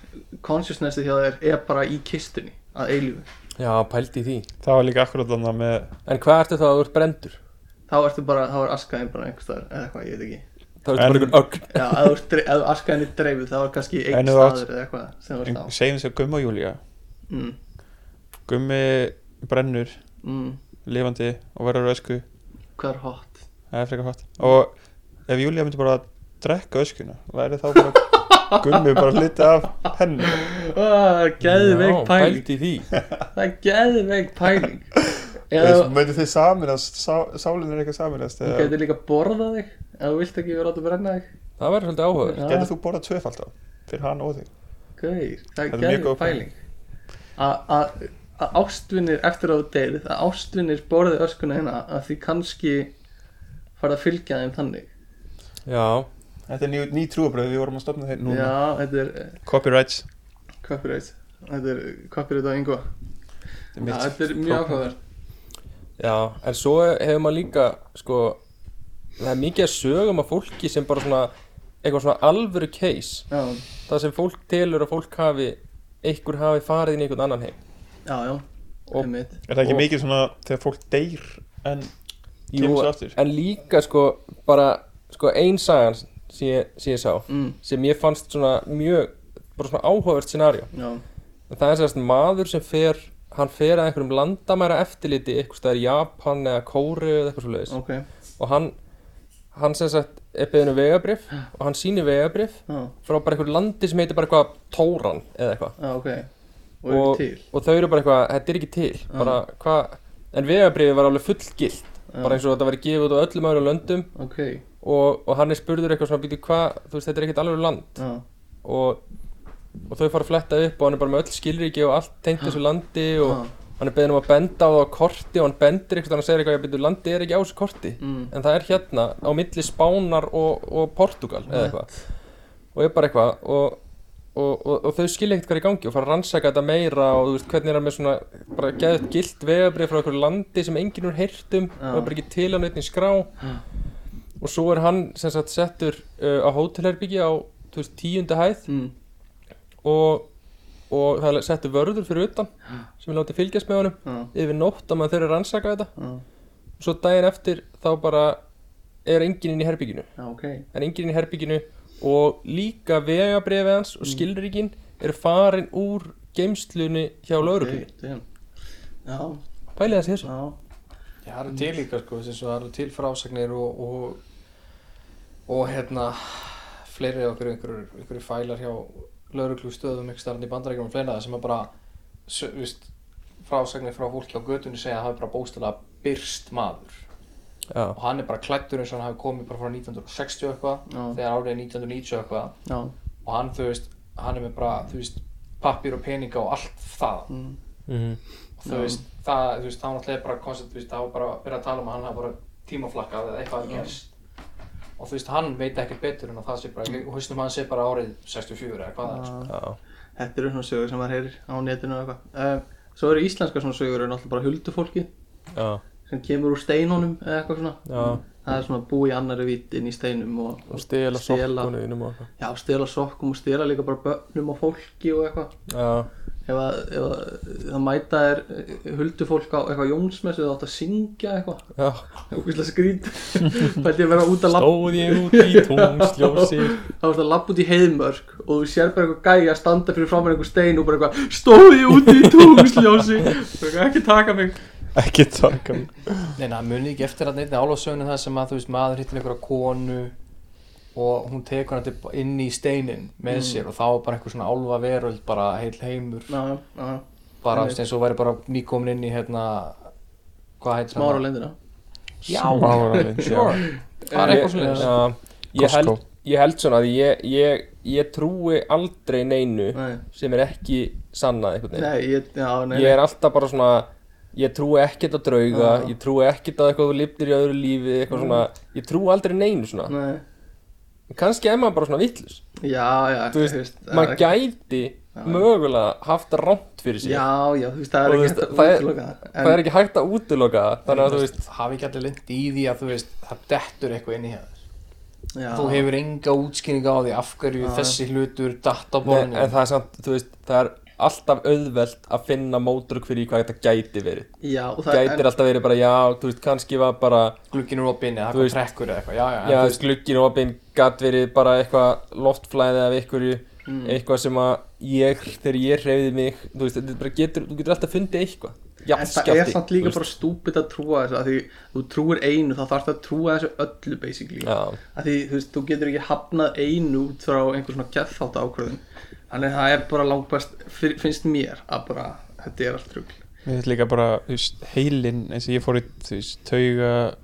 Speaker 2: consciousnessið hjá þér er bara í kistunni að eilífu
Speaker 1: já pældi í því
Speaker 5: Það var líka akkurat þannig með
Speaker 1: En hvað ertu þá að þú ert brendur?
Speaker 2: þá ertu bara, þá er askaðin bara einhvers staðar eða eitthvað, ég veit ekki
Speaker 1: Þá ertu
Speaker 5: En-
Speaker 1: bara einhvern ögn
Speaker 2: Já, ef þú ert dre- ef askaðinni dreifið þá er kannski einn
Speaker 5: En ef þú átt-
Speaker 2: staður eða eitthvað sem þú ert á
Speaker 5: Segjum þess að Gummi og Júlía
Speaker 2: mm,
Speaker 5: Gummi brennur
Speaker 2: mm,
Speaker 5: lifandi og verður á ösku
Speaker 2: Hvað er hot?
Speaker 5: Það er frekar hot Og ef Júlía myndi bara að drekka öskuna væri þá bara Gummi bara hluti af henni
Speaker 2: Ah,
Speaker 1: Já,
Speaker 2: Geðveik pæling
Speaker 1: Pældi í því
Speaker 2: Það er geðveik pæling Eða
Speaker 5: Eða
Speaker 2: þú
Speaker 5: Möndi þið saminast, sá, sálinn er eitthvað saminast
Speaker 2: þú
Speaker 5: eða
Speaker 2: getur líka borðað þig ef þú vilt ekki vera átt að brenna þig
Speaker 1: Það væri svolítið áhugaður
Speaker 2: Já,
Speaker 5: Gerðið þú borðað tvöfald á fyrir hann og þig
Speaker 2: Gauir, það
Speaker 5: Þetta
Speaker 2: er
Speaker 5: er mjög góð
Speaker 2: geðveik pæling Að- Að að ástvinnir eftir að þú deyrið að ástvinnir borðið öskuna hérna að því kannski farið að fylgja þeim þannig
Speaker 1: Já,
Speaker 5: Þetta er ný, ný trúabröð, við vorum að stopna þeir núna
Speaker 2: Já, þetta er eh,
Speaker 5: Copyrights
Speaker 2: copyright Þetta er copyright á yngva
Speaker 5: Þetta er mitt.
Speaker 2: Þetta er mjög áhugaverð
Speaker 1: já En svo hefur maður líka sko Það er mikið að sögum að fólki sem bara svona Eitthvað svona alvöru case
Speaker 2: Já,
Speaker 1: Það sem fólk telur að fólk hafi Einhver hafi farið inn í einhvern annan heim
Speaker 2: já, já
Speaker 1: Og-
Speaker 2: einmitt.
Speaker 5: Er það ekki
Speaker 1: Og-
Speaker 5: mikið svona þegar fólk deyr en
Speaker 1: Jú,
Speaker 5: kemur svo aftur?
Speaker 1: en líka sko Bara sko ein sagan sem ég, sem ég sá
Speaker 2: mm,
Speaker 1: Sem ég fannst svona mjög Bara svona áhugavert scenario
Speaker 2: Já,
Speaker 1: En það er sérst maður sem fer hann fer að einhverjum landamæra eftirliti eitthvað staðar í Japan eða Kóru eða eitthvað svo leiðis
Speaker 2: ok
Speaker 1: og hann, hann sem sagt er beðinu vegabrif og hann sýnir vegabrif
Speaker 2: Já,
Speaker 1: frá bara einhverju landi sem heitir bara eitthvað Tóran eða eitthvað
Speaker 2: já ok Og eru til
Speaker 1: og þau eru bara eitthvað, þetta er ekki til bara, hva, en vegabrifið var alveg fullgilt
Speaker 2: Já,
Speaker 1: bara eins og þetta var gefið út á öllum öðrum löndum
Speaker 2: Ok,
Speaker 1: og, og hann er spurður eitthvað svona býtu hvað, þú veist þetta er ekkert alveg land
Speaker 2: já,
Speaker 1: og, og þau fara að fletta upp og hann er bara með öll skilríki og allt tengt þessu landi og
Speaker 2: já
Speaker 1: hann er beðin um að benda á það á korti og hann bendir eitthvað hann segir eitthvað, ég byrju, landi er ekki á þessu korti
Speaker 2: mm,
Speaker 1: en það er hérna á milli Spánar og, og Portugal eða eitthvað og er bara eitthvað og, og, og, og þau skilja ekkert hvað er í gangi og fara að rannsaka þetta meira og þú veist hvernig er hann með svona bara geðut gilt vegabrið frá einhverju landi sem enginn er heyrt um
Speaker 2: Já.
Speaker 1: og er bara ekki til hann eitthvað skrá
Speaker 2: Já.
Speaker 1: og svo er hann sem sagt settur uh, á hótelherbyggi á þú veist, tíundu hæð
Speaker 2: mm,
Speaker 1: og, og það er settur vörður fyrir utan sem er látið fylgjast með honum
Speaker 2: Já,
Speaker 1: yfir nótt að maður þurfi að rannsaka þetta
Speaker 2: já,
Speaker 1: svo daginn eftir þá bara er enginn inn í herbygginu
Speaker 2: já, ok
Speaker 1: er enginn inn í herbygginu og líka vegabrifið hans
Speaker 2: Mm.
Speaker 1: og skilríkin eru farin úr geimslunni hjá lauruglunni
Speaker 2: Ok, damn. Já,
Speaker 1: pælið þessi þessu
Speaker 2: já,
Speaker 3: Já, það eru til líka sko, þess að það eru til frásagnir og, og, og hérna, fleiri af okkur, einhverju, einhverju fælar hjá lauruglu stöðum ykkur starfandi í bandarækjum og fleira sem er bara, s- veist, frásagnir frá fólki á götunni segja að hafi bara bóstilega byrst maður
Speaker 1: já,
Speaker 3: og hann er bara klættur eins og hann hafi komið bara frá 1960 og eitthvað,
Speaker 2: Já.
Speaker 3: þegar árið er 1990 og eitthvað
Speaker 2: já
Speaker 3: og hann, þú veist, hann er með bara, þú veist, pappir og peninga og allt það
Speaker 2: mm,
Speaker 1: mhm,
Speaker 3: og þú veist, það, þú veist, það var náttúrulega bara koncept, þú veist, það var bara að byrja að tala um að hann hafa bara tímaflakkað eða eitthvað að gerst og þú veist, hann veit ekkert betur en að það sé bara, og hausnum hann sé bara árið 64 eða hvað það er, sko.
Speaker 2: já.
Speaker 1: já,
Speaker 2: Þetta eru svona sögur sem maður heyrir á netinu og eitthvað uh, Svo eru íslenska svona sögur eru náttúrulega bara huldufólki
Speaker 1: já,
Speaker 2: sem kemur úr steinunum eða eitthvað svona
Speaker 1: já
Speaker 2: Það er svona að búa í annari vitt inn í steinum og,
Speaker 1: og stela
Speaker 2: Stela.
Speaker 1: sokkunu innum og
Speaker 2: Já, stela sokkum og stela líka bara börnum og fólki og eitthvað
Speaker 1: já,
Speaker 2: ef, að, ef að, það mæta er huldufólk á eitthvað jónsmessu þá átt að syngja eitthvað
Speaker 1: já
Speaker 2: úkvæmlega skrýnd fælt ég að vera út að labba
Speaker 1: stóð ég út í tungsljósi
Speaker 2: þá átt að labba út í heiðmörk og þú sér bara eitthvað gæja að standa fyrir framan einhver stein og bara eitthvað stóð ég út í tungsljósi Bara eitthvað, ekki taka mig
Speaker 5: Ekki taka mig
Speaker 3: Nei, na, muni ekki eftir að neitt álásögnu það sem að, þú veist, maður hittir einhverja konu og hún tekur hann til- inn í steinin með sér og þá er bara eitthvað svona álfa veröld bara heil heimur
Speaker 2: já, já, já, já.
Speaker 3: bara
Speaker 2: Einmitt.
Speaker 3: eins og væri bara nýkomin inn í hérna hvað heitir
Speaker 2: Smára lindina
Speaker 3: Já,
Speaker 5: Smáralind, já.
Speaker 3: sure Það er eitthvað
Speaker 1: Ég-
Speaker 3: svona
Speaker 1: Já, ég held,
Speaker 5: Costco.
Speaker 1: ég held svona að ég, ég, ég trúi aldrei neinu
Speaker 2: Nei,
Speaker 1: sem er ekki sannað einhvern veginn.
Speaker 2: nei, ég, já, nei Ah.
Speaker 1: Ég er alltaf bara svona, ég trúi ekkert að drauga,
Speaker 2: Já.
Speaker 1: ég trúi ekkert að eitthvað þú liftir í öðru lífi, eitthvað svona,
Speaker 2: Mm.
Speaker 1: ég trúi aldrei neinu svona.
Speaker 2: Nei,
Speaker 1: En kannski er maður bara svona vittlust.
Speaker 2: já, já,
Speaker 1: Þú veist, Maður gæti mögulega haft rámt fyrir sér.
Speaker 2: Já, já, þú veist, það
Speaker 1: Og þú
Speaker 2: er ekki
Speaker 1: veist,
Speaker 2: hægt að
Speaker 1: það er-
Speaker 2: útloka
Speaker 1: Það er ekki hægt að útiloka það, þannig að þú veist,
Speaker 3: hafi ekki allir lind í því að þú veist það dettur eitthvað inn í hérna. hér
Speaker 2: já,
Speaker 3: þú hefur enga útskýringa á því af hverju
Speaker 2: Já.
Speaker 3: þessi hlutur datt á
Speaker 1: nei, en
Speaker 3: borðinu
Speaker 1: það er samt, þú veist, það er alltaf auðvelt að finna mótrök fyrir því hvað þetta gæti verið.
Speaker 2: Já, og það
Speaker 1: Gæti er alltaf verið bara, já, þú veist, kannski var bara,
Speaker 3: glugginn er opinn eða
Speaker 1: Þú
Speaker 3: eitthvað
Speaker 1: veist-
Speaker 3: trekkur eða eitthvað já, já, en
Speaker 1: já,
Speaker 3: þú veist,
Speaker 1: glugginn opinn gæti verið bara eitthvað loftflæði af einhverju,
Speaker 2: Mm.
Speaker 1: eitthvað sem að ég, þegar ég hreyfði mig, þú veist, þetta er bara getur, þú getur alltaf fundið eitthvað. Já,
Speaker 2: En það er samt líka bara stúpid að trúa þessu að því þú trúir einu þá þarfst að trúa þessu öllu basically
Speaker 1: Já,
Speaker 2: að því þú veist þú getur ekki hafnað einu út frá einhver svona geðfátt ákvörðun þannig það er bara langt best fyr- finnst mér að bara þetta er allt rugl
Speaker 5: Mér finnst líka bara, þú veist, heilin eins og ég fór í, þú veist, tauga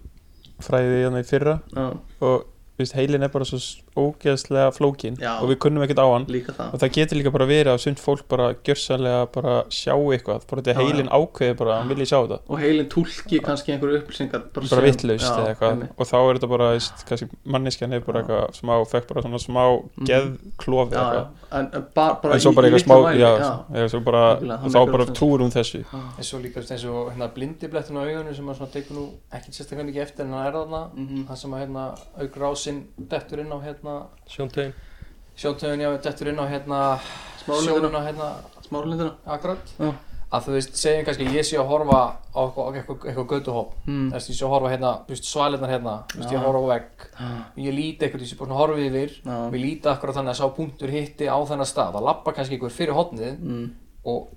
Speaker 5: fræðið þannig fyrra
Speaker 2: já,
Speaker 5: og, þú veist, heilin er bara svo s- ógeðslega flókin
Speaker 2: Já.
Speaker 5: og við kunnum ekkert á hann
Speaker 2: líka það
Speaker 5: og það getur líka bara verið að sumt fólk bara gjörsanlega bara sjá eitthvað bara þetta
Speaker 2: Já,
Speaker 5: heilin ákveði bara, að hann vilji sjá þetta
Speaker 2: og heilin tólki kannski einhverju upplýsingar
Speaker 5: bara
Speaker 2: sem-
Speaker 5: vittlaust
Speaker 2: já,
Speaker 5: eða eitthvað
Speaker 2: einmitt.
Speaker 5: og þá er þetta bara, þú veist, kannski manneskjan hefur bara
Speaker 2: Já.
Speaker 5: eitthvað smá, fekk bara svona smá
Speaker 2: Mhm.
Speaker 5: geðklofi
Speaker 2: já, já,
Speaker 5: eitthvað
Speaker 2: en en bara, bara
Speaker 5: en svo
Speaker 2: í-
Speaker 5: bara
Speaker 2: í
Speaker 5: eitthvað
Speaker 2: litlum
Speaker 5: smá,
Speaker 2: mæli,
Speaker 5: já,
Speaker 2: já.
Speaker 5: já, svo bara,
Speaker 2: Algjörlega, það
Speaker 5: og þá
Speaker 2: meikar
Speaker 5: bara
Speaker 2: alveg
Speaker 5: trúir hún þessu
Speaker 3: eins og líka eins og hérna blindiblettin á augunum sem maður svona tekur nú ekki sérstaklega mikið eftir en hann er þarna
Speaker 2: Mhm.
Speaker 3: það sem að hérna augrásin dettur inn á hérna
Speaker 1: sjóntögin.
Speaker 3: sjóntöðun já dettur inn á hérna
Speaker 2: Smáralindina.
Speaker 3: sjónuna hérna
Speaker 2: smáralindina
Speaker 3: akkurat
Speaker 2: Já.
Speaker 3: að þú veist segjum kannski ég sé að horfa á eitthvað eitthvað, eitthvað göduhóp
Speaker 2: mm.
Speaker 3: þú veist ég sé að horfa hérna þú veist svalinnar hérna þú veist ég
Speaker 2: Já.
Speaker 3: horfa á vegg
Speaker 2: já,
Speaker 3: ég líti eitthvað ég sé bara svona horfið yfir
Speaker 2: já,
Speaker 3: við líti akkurat þannig að sá punktur hitti á þennan stað það lappa kannski einhver fyrir hodnið
Speaker 2: mm.
Speaker 3: og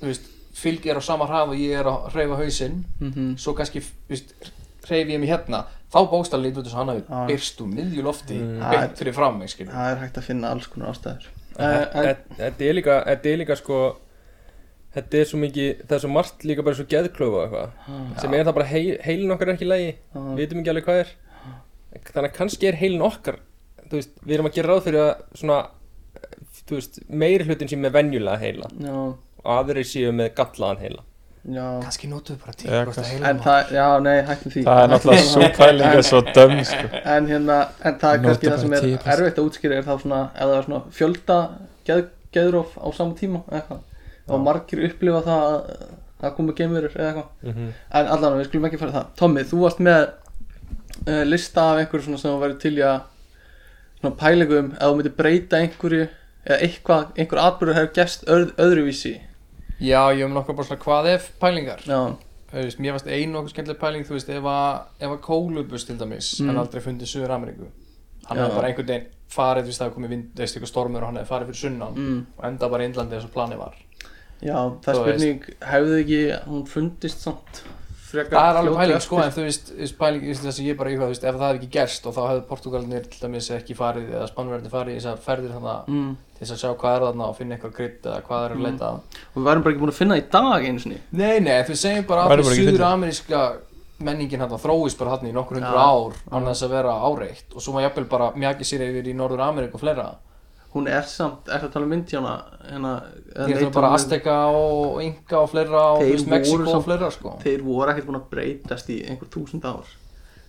Speaker 3: þú veist fylgi er á sama hrað og ég er að hreyfa hausinn
Speaker 2: mhm.
Speaker 3: svo kannski þú veist, hreyfi ég mig hérna þá bóstal lítur þess að hann
Speaker 2: Já.
Speaker 3: hafi byrst úr miðju lofti
Speaker 1: Mm.
Speaker 3: beint fyrir fram mig skilur
Speaker 2: það er hægt að finna alls konar ástæður eh.
Speaker 1: Þetta þetta er líka, þetta er líka sko Þetta er svo mikið, það er svo margt líka bara svo geðklöfu og eitthvað sem er það bara heil, heilin okkar er ekki í lagi við
Speaker 2: en,
Speaker 1: vitum ekki alveg hvað er þannig að kannski er heilin okkar þú veist, við erum að gera ráð fyrir að svona þú veist, meiri hlutin sem er venjulega heila
Speaker 2: já,
Speaker 1: og aðrir séu með gallaðan heila
Speaker 2: já
Speaker 3: kannski notuðu bara
Speaker 5: Já,
Speaker 3: 10%
Speaker 5: kannski.
Speaker 2: en
Speaker 3: heilum
Speaker 2: það, já, nei, hættum því
Speaker 5: það er náttúrulega svo pæling er svo döm sko.
Speaker 2: en hérna, en það er
Speaker 5: Nota
Speaker 2: kannski
Speaker 5: bara
Speaker 2: það sem er
Speaker 5: 10%.
Speaker 2: erfitt að útskýra er þá svona, ef það er svona fjölda geð, geðróf á sama tíma eða eitthvað og margir upplifa það að það komi geimurur eða eitthvað
Speaker 1: mm
Speaker 5: Mhm.
Speaker 1: -hmm.
Speaker 2: en allan, við skulum ekki fara í það Tommi, þú varst með uh, lista af einhverju svona sem þú væri til í að svona pælingum, ef þú myndir breyta einhverju eða eitthvað, einhver atbyrður hefur gest öð, öðruvísi
Speaker 3: já ég hef nokkuð bara svona hvað ef pælingar
Speaker 2: já,
Speaker 3: Þú veist, mér varst einu okkur skemmtileg pæling þú veist ef að, ef að kólubus til dæmis
Speaker 2: Mm.
Speaker 3: hann aldrei fundið Suður Ameríku hann
Speaker 2: Já.
Speaker 3: hefði bara einhvern veginn farið þú veist það hefði komið vind, þú veist eitthvað stormur og hann hefði farið fyrir sunnan
Speaker 2: mm,
Speaker 3: og enda bara í Indlandi eins og planið var
Speaker 2: já, það er
Speaker 3: Þú veist.
Speaker 2: spurning hefðu ekki, hún fundist samt frekar
Speaker 3: það er alveg
Speaker 2: fljótlega
Speaker 3: pæling
Speaker 2: eftir.
Speaker 3: sko en þú veist, þú veist pæling þú veist, það sem ég bara íhuga þú veist ef það hefði ekki gerst og þá hefði Portugalinir til dæmis ekki farið eða Spanverðinir farið í þessar ferðir þannig
Speaker 2: mm,
Speaker 3: til þess að sjá hvað er þarna og finna eitthvað krydd eða hvað er að
Speaker 2: Mm.
Speaker 3: leita að
Speaker 2: og við værum bara ekki búin að finna það í dag einu sinni
Speaker 3: nei nei þú segjum bara að
Speaker 5: Væri bara
Speaker 3: því
Speaker 5: ekki
Speaker 3: suður
Speaker 5: fyndið.
Speaker 3: ameríska menningin hann þróist bara hann í nokkur hundur
Speaker 2: Ja.
Speaker 3: ár án þess að vera áreitt og svo maður jafnvel bara mjaki sér yfir í norður Ameríku og fleira
Speaker 2: hún er samt, er það að tala um Indíana hérna, eða
Speaker 3: ég ætla
Speaker 2: Nathan-
Speaker 3: bara Azteca og Inga og fleira og þú
Speaker 2: Þeir
Speaker 3: veist,
Speaker 2: voru
Speaker 3: Mexiko og
Speaker 2: samt-
Speaker 3: fleira sko
Speaker 2: þeir voru ekkert búin að breytast í einhver þúsund ár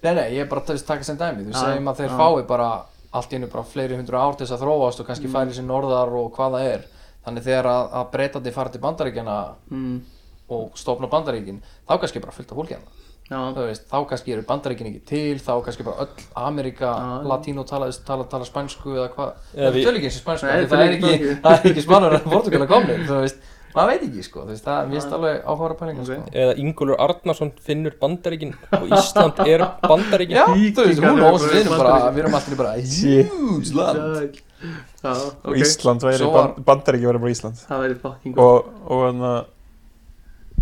Speaker 3: Nei, nei, ég er bara að taka sem dæmi, þú
Speaker 2: Já,
Speaker 3: segjum að þeir
Speaker 2: já.
Speaker 3: fái bara allt í einu bara fleiri hundru ár til þess að þróast og
Speaker 2: Mm.
Speaker 3: kannski færi sér norðar og hvað það er þannig þegar að, að breytandi fara til bandaríkjana
Speaker 2: mm,
Speaker 3: og stofna bandaríkin þá kannski er bara fullt af fólki hérna
Speaker 2: já,
Speaker 3: Þú veist, þá kannski eru bandaríkin ekki til þá er kannski bara öll Ameríka
Speaker 2: Já, já.
Speaker 3: latínó tala, tala, tala spænsku eða hvað
Speaker 1: Eða
Speaker 3: það
Speaker 1: við-
Speaker 3: tölu ekki eins og spænsku
Speaker 2: Nei,
Speaker 3: af því það er
Speaker 2: þeir eru
Speaker 3: ekki,
Speaker 2: ekki-
Speaker 3: það er ekki spannur en Portugal er komnir þú veist, maður veit ekki sko þú veist, það er mjög alveg áhverja pælingar
Speaker 2: Ok.
Speaker 3: sko.
Speaker 1: eða Ingólfur Arnarsson finnur bandaríkin og Ísland er bandaríkin
Speaker 3: Já, þú veist, hún
Speaker 2: Víkingar
Speaker 3: og við
Speaker 2: eru
Speaker 3: erum
Speaker 2: bara
Speaker 3: bara,
Speaker 2: Bandaríkin.
Speaker 3: við erum alltaf bara huge land
Speaker 2: já, ok
Speaker 5: Ísland væri,
Speaker 3: Svo
Speaker 5: var...
Speaker 3: var-
Speaker 5: bandaríki væri bara Ísland
Speaker 2: það væri fucking gott
Speaker 5: og, og hann að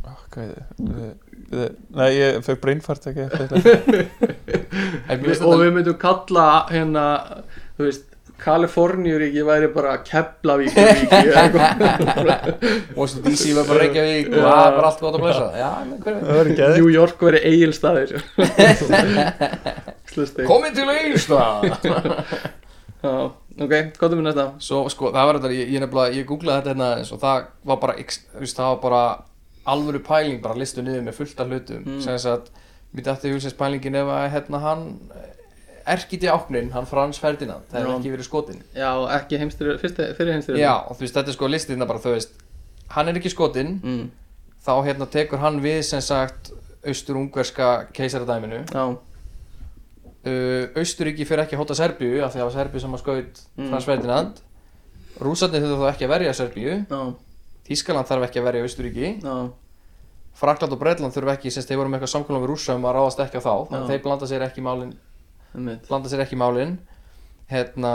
Speaker 5: oh, hvað er það nei, ég fekk brainfart ekki
Speaker 3: En mér
Speaker 2: Við-
Speaker 3: finnst þetta-
Speaker 2: og við myndum kalla hérna þú þú veist Kaliforníuríki væri bara Keflavíkuríki eða eitthvað.
Speaker 3: Washington DC var bara Reykjavík og það var allt gott að blessa já, menn, hver veit?
Speaker 5: Það verður geðið
Speaker 2: New York væri eigilstaðir Slustið
Speaker 3: komið til Ísland
Speaker 2: Ok, hvað er mér næsta?
Speaker 3: svo sko, það var þetta, ég, ég nefnilega, ég googlaði þetta hérna eins og það var bara, ex- þú veist, það var bara alvöru pæling, bara listu niður með fullt af hlutum,
Speaker 2: Mm.
Speaker 3: mm. sem þess að mér dætti hugsaðs pælingin ef að hérna hann eh, erkiti áknin, hann Frans Ferdinand það hefði
Speaker 2: Já.
Speaker 3: ekki verið skotin
Speaker 2: Já, ekki heimstyrjur, fyrsti, fyrir heimstyrjur
Speaker 3: já, og þú veist, þetta er sko listin bara, þú veist hann er ekki skotin,
Speaker 2: mm.
Speaker 3: þá hérna tekur hann við sem sagt austur-ungverska keisaradæminu
Speaker 2: Já,
Speaker 3: uh, Austuríki fyrir ekki að hóta Serbíu af því að það var Serbíu sem að skaut
Speaker 2: Mm.
Speaker 3: Frans Ferdinand Rúsarnir þurfa þá ekki að verja Serbíu
Speaker 2: já,
Speaker 3: Þískaland þarf ekki að verja Austuríki
Speaker 2: já
Speaker 3: Frakland og Breitland þurfa ekki, sem þeir voru með eitthvað samkvæmlega við Rússa um að ráðast ekki á þá þannig að
Speaker 2: Já.
Speaker 3: þeir blanda sér ekki í málin
Speaker 2: einmitt.
Speaker 3: blanda sér ekki í málin hérna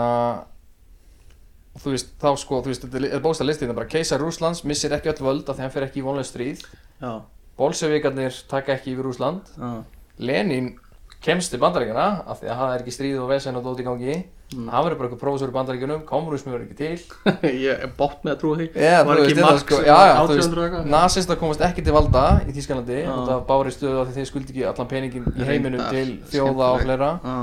Speaker 3: og þú veist, þá sko, þú veist, þetta er bósta listið bara keisar Rúslands missir ekki öll völd af því að hann fyrir ekki í vonlega stríð
Speaker 2: Já,
Speaker 3: Bolsevikarnir taka ekki yfir Rúsland
Speaker 2: já,
Speaker 3: Lenin kemst til bandaríkjana af því að það er ekki stríð og vesen og dót í gangi
Speaker 2: Mm.
Speaker 3: hann verður bara eitthvað prófessor í bandaríkjunum komunismi verður ekki til
Speaker 2: ég er bótt með að trúa því
Speaker 3: Já,
Speaker 2: Var
Speaker 3: þú
Speaker 2: ekki
Speaker 3: veist, þetta
Speaker 2: Marx
Speaker 3: sko,
Speaker 2: sem
Speaker 3: já,
Speaker 2: var
Speaker 3: já, þú
Speaker 2: 1800 og
Speaker 3: veist,
Speaker 2: eitthvað?
Speaker 3: nasista komast ekki til valda í Þískalandi
Speaker 2: Já.
Speaker 3: út af bári stöðu af því þeir skuldi ekki allan peningin í heiminum
Speaker 2: Reyndar,
Speaker 3: til þjóða og fleira
Speaker 2: Já,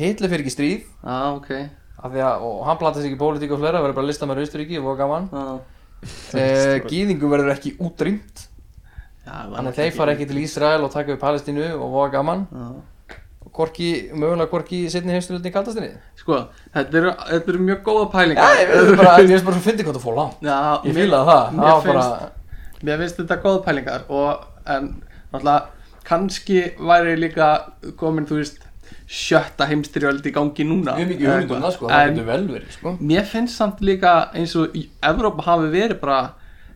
Speaker 3: Hitler fyrir ekki stríð
Speaker 2: já, ok
Speaker 3: af því að, og hann platast ekki í pólitík og fleira verður bara listamæður Austuríki, það var gaman
Speaker 2: Já,
Speaker 3: e, Gýðingum verður ekki útrýmt
Speaker 2: já það var
Speaker 3: þannig að þeir fara ekki til Ísrael og taka við Palestínu og var gaman
Speaker 2: Já
Speaker 3: og korki, mögulega korki setni heimsturlutni kaldastinni
Speaker 2: Sko, þetta eru, þetta eru mjög góða pælingar
Speaker 3: Já, ég veist bara, ég veist bara svo fyndi hvað það fór langt
Speaker 2: Já,
Speaker 3: Ég
Speaker 2: mér-
Speaker 3: fílaði það,
Speaker 2: mér
Speaker 3: það var bara
Speaker 2: finnst- Mér finnst þetta góða pælingar og en náttúrulega kannski væri líka komin þú veist sjötta heimstyrjöld í gangi núna
Speaker 3: mjög mikið
Speaker 2: Eða
Speaker 3: hugmyndum það sko, það
Speaker 2: en
Speaker 3: getur vel verið sko
Speaker 2: mér finnst samt líka eins og í- Evrópa hafi verið bara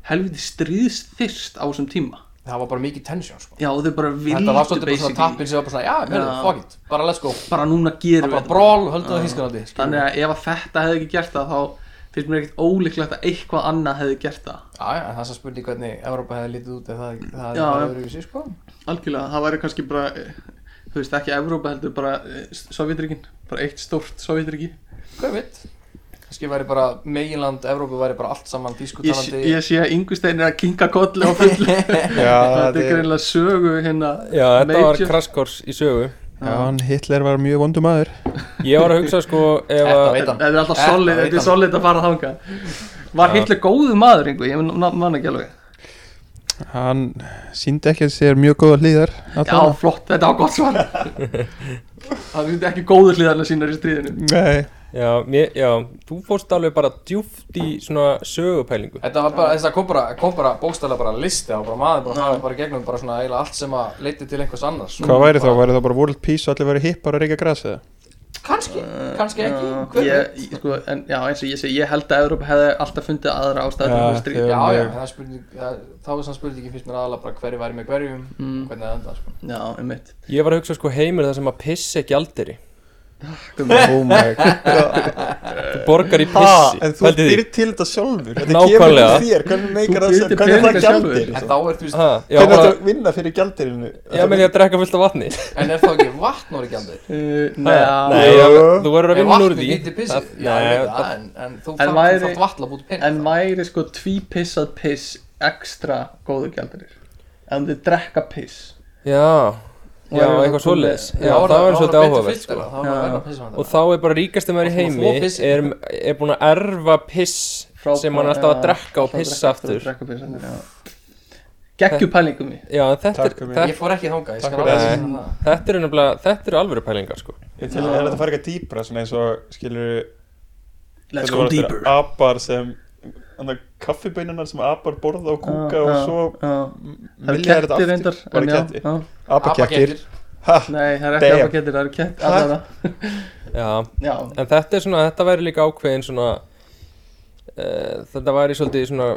Speaker 2: helviti stríðsþyrst á þessum tíma
Speaker 3: Það var bara mikið tensjón sko
Speaker 2: já og þau bara vildu
Speaker 3: Þetta var svolítið bara svona
Speaker 2: basically-
Speaker 3: tappin sem var bara svona, já, hérna,
Speaker 2: Já.
Speaker 3: fuck it, bara let's go
Speaker 2: bara núna gerum
Speaker 3: Það
Speaker 2: við
Speaker 3: bara
Speaker 2: þetta.
Speaker 3: bról, höldum það þískanandi
Speaker 2: þannig að ef að þetta hefði ekki gert það þá finnst mér ekkert ólíklegt að eitthvað annað hefði gert það
Speaker 3: Já, já, en það er svo spurning hvernig Evrópa hefði lítið út ef það, það
Speaker 2: Já,
Speaker 3: hefði bara
Speaker 2: já.
Speaker 3: verið í sig sko
Speaker 2: Algjörlega, það væri kannski bara eh, þú veist ekki Evrópa heldur bara Sovjetryggin, bara eitt stórt Sovjetryggi
Speaker 3: Hvað veit, kannski væri bara meginland Evrópu væri bara allt saman
Speaker 2: ég, sé-
Speaker 3: dískutalandi
Speaker 2: ég sé að Ingustein er að kinga kolli og fullu
Speaker 5: Já,
Speaker 2: þetta er
Speaker 5: þetta er-
Speaker 2: greinlega sögu hérna
Speaker 1: Já, þetta var
Speaker 2: Major-
Speaker 1: kraskors í sögu
Speaker 5: Já, hann Hitler var mjög vondum aður
Speaker 1: Ég var að hugsa sko ef
Speaker 3: Þetta
Speaker 1: að
Speaker 3: veit
Speaker 2: þetta
Speaker 3: hann,
Speaker 2: þetta er alltaf
Speaker 3: Þetta
Speaker 2: solid,
Speaker 3: veit
Speaker 2: þetta er
Speaker 3: hann.
Speaker 2: solid að fara þanga var
Speaker 1: Já.
Speaker 2: Hitler góðu maður einhver, ég mun- na- man ekki alveg
Speaker 5: Hann síndi ekki að sér mjög góða hlýðar
Speaker 2: já, flott, þetta var gott svar það finnst ekki góðu hliðarna sínar í stríðinu
Speaker 5: Nei,
Speaker 1: já, mér, já, þú fórst alveg bara djúft í svona sögupælingu
Speaker 3: þetta var bara, þetta kom bara, kom bara bókstæðlega bara listi og bara maður bara hafði bara í gegnum bara svona eiginlega allt sem að leiti til einhvers annars sko.
Speaker 5: hvað væri þá? Væri þá bara world peace og allir væri hippar að reyka gras eða?
Speaker 3: Kannski, kannski ekki, hver veit
Speaker 2: Eh, ég, ég- sko, en já, eins og ég segi, ég held að Evrópa hefði alltaf fundið aðra ástæður
Speaker 5: Já,
Speaker 2: fyrir þessu stríð
Speaker 5: þau-
Speaker 3: Já,
Speaker 5: Um,
Speaker 3: já,
Speaker 5: ég-
Speaker 3: það er spurning, það, þá er sann spurningi fyrst mér aðalega bara hverju væri með hverjum
Speaker 2: Mm.
Speaker 3: og hvernig það enda, sko.
Speaker 2: já, um mitt
Speaker 1: Ég var að hugsa sko heimur þar sem að pissa ekki aldrei
Speaker 5: Oh my god
Speaker 1: Þú borgar í pissi
Speaker 5: En þú
Speaker 1: pældi því.
Speaker 5: styrir til þetta sjálfur Þetta
Speaker 1: Nákvæmlega.
Speaker 5: kemur til þér, hvernig
Speaker 2: Þú
Speaker 5: meikar það
Speaker 2: býrð til
Speaker 5: sem Hvernig er það
Speaker 2: peninga sjálfur.
Speaker 5: gjaldir?
Speaker 3: En þá er, þú veist,
Speaker 1: Ha, Já,
Speaker 5: Hvernig
Speaker 1: bara,
Speaker 5: ertu að vinna fyrir gjaldirinu?
Speaker 1: já menn ég að drekka fullt af vatni
Speaker 3: en er þá ekki vatn orðið gjandir?
Speaker 2: uh, neða,
Speaker 1: Nei,
Speaker 5: Jú.
Speaker 1: já, þú verður að
Speaker 3: Er
Speaker 1: vinna úr
Speaker 3: vatn
Speaker 1: því
Speaker 3: ekki pissið?
Speaker 1: Það-
Speaker 3: Já, ég
Speaker 1: nei,
Speaker 3: veit
Speaker 1: það-
Speaker 3: það, en, en þú
Speaker 2: En
Speaker 3: þarf
Speaker 2: væri-
Speaker 3: væri... vatn að búti
Speaker 2: En
Speaker 3: pening.
Speaker 2: væri sko tvípissað piss ekstra góðu gjaldarir En þið drekka piss
Speaker 1: Já,
Speaker 2: Og
Speaker 1: já,
Speaker 2: erum við
Speaker 1: eitthvað
Speaker 2: að koma
Speaker 1: svoleiðis Já, það verður svolítið áhugavert sko
Speaker 3: Það var
Speaker 2: Já.
Speaker 3: verið að pissa hann
Speaker 1: Og þá er bara ríkasti maður í
Speaker 3: Og þú
Speaker 1: heimi
Speaker 3: þvo pissið.
Speaker 1: er, er búin að erfa piss
Speaker 2: Frá-
Speaker 1: sem hann er alltaf að
Speaker 2: já,
Speaker 1: drekka og
Speaker 2: alltaf að
Speaker 1: pissa
Speaker 2: drekka
Speaker 1: aftur
Speaker 2: og drekka piss, já. Geggju pælingum í
Speaker 1: Já, en þetta er
Speaker 5: Takk fyrir mig.
Speaker 1: þetta-
Speaker 3: Ég fór ekki þangað, ég skal
Speaker 5: Takk fyrir
Speaker 3: alveg
Speaker 5: það.
Speaker 3: segja það.
Speaker 1: Þetta eru nefnilega, þetta eru alvöru pælingar sko
Speaker 5: Ég til að þetta fara eitthvað dýpra, svona eins og skilur
Speaker 2: Let's go deeper
Speaker 5: Apar sem Þannig kaffibeinunar sem apar borða og kúka og svo
Speaker 2: Það eru
Speaker 5: vilja þeir
Speaker 2: kettir reyndar
Speaker 5: Bara
Speaker 2: en já,
Speaker 5: kettir
Speaker 2: já.
Speaker 5: Apakettir
Speaker 3: Apakettir.
Speaker 5: Ha,
Speaker 2: Nei, það er ekki
Speaker 5: Damn.
Speaker 2: apa kettir, það eru kettir
Speaker 5: Ha?
Speaker 2: allavega.
Speaker 1: Já,
Speaker 2: Já,
Speaker 1: en þetta er svona, þetta væri líka ákveðin svona uh, Þetta væri svolítið svona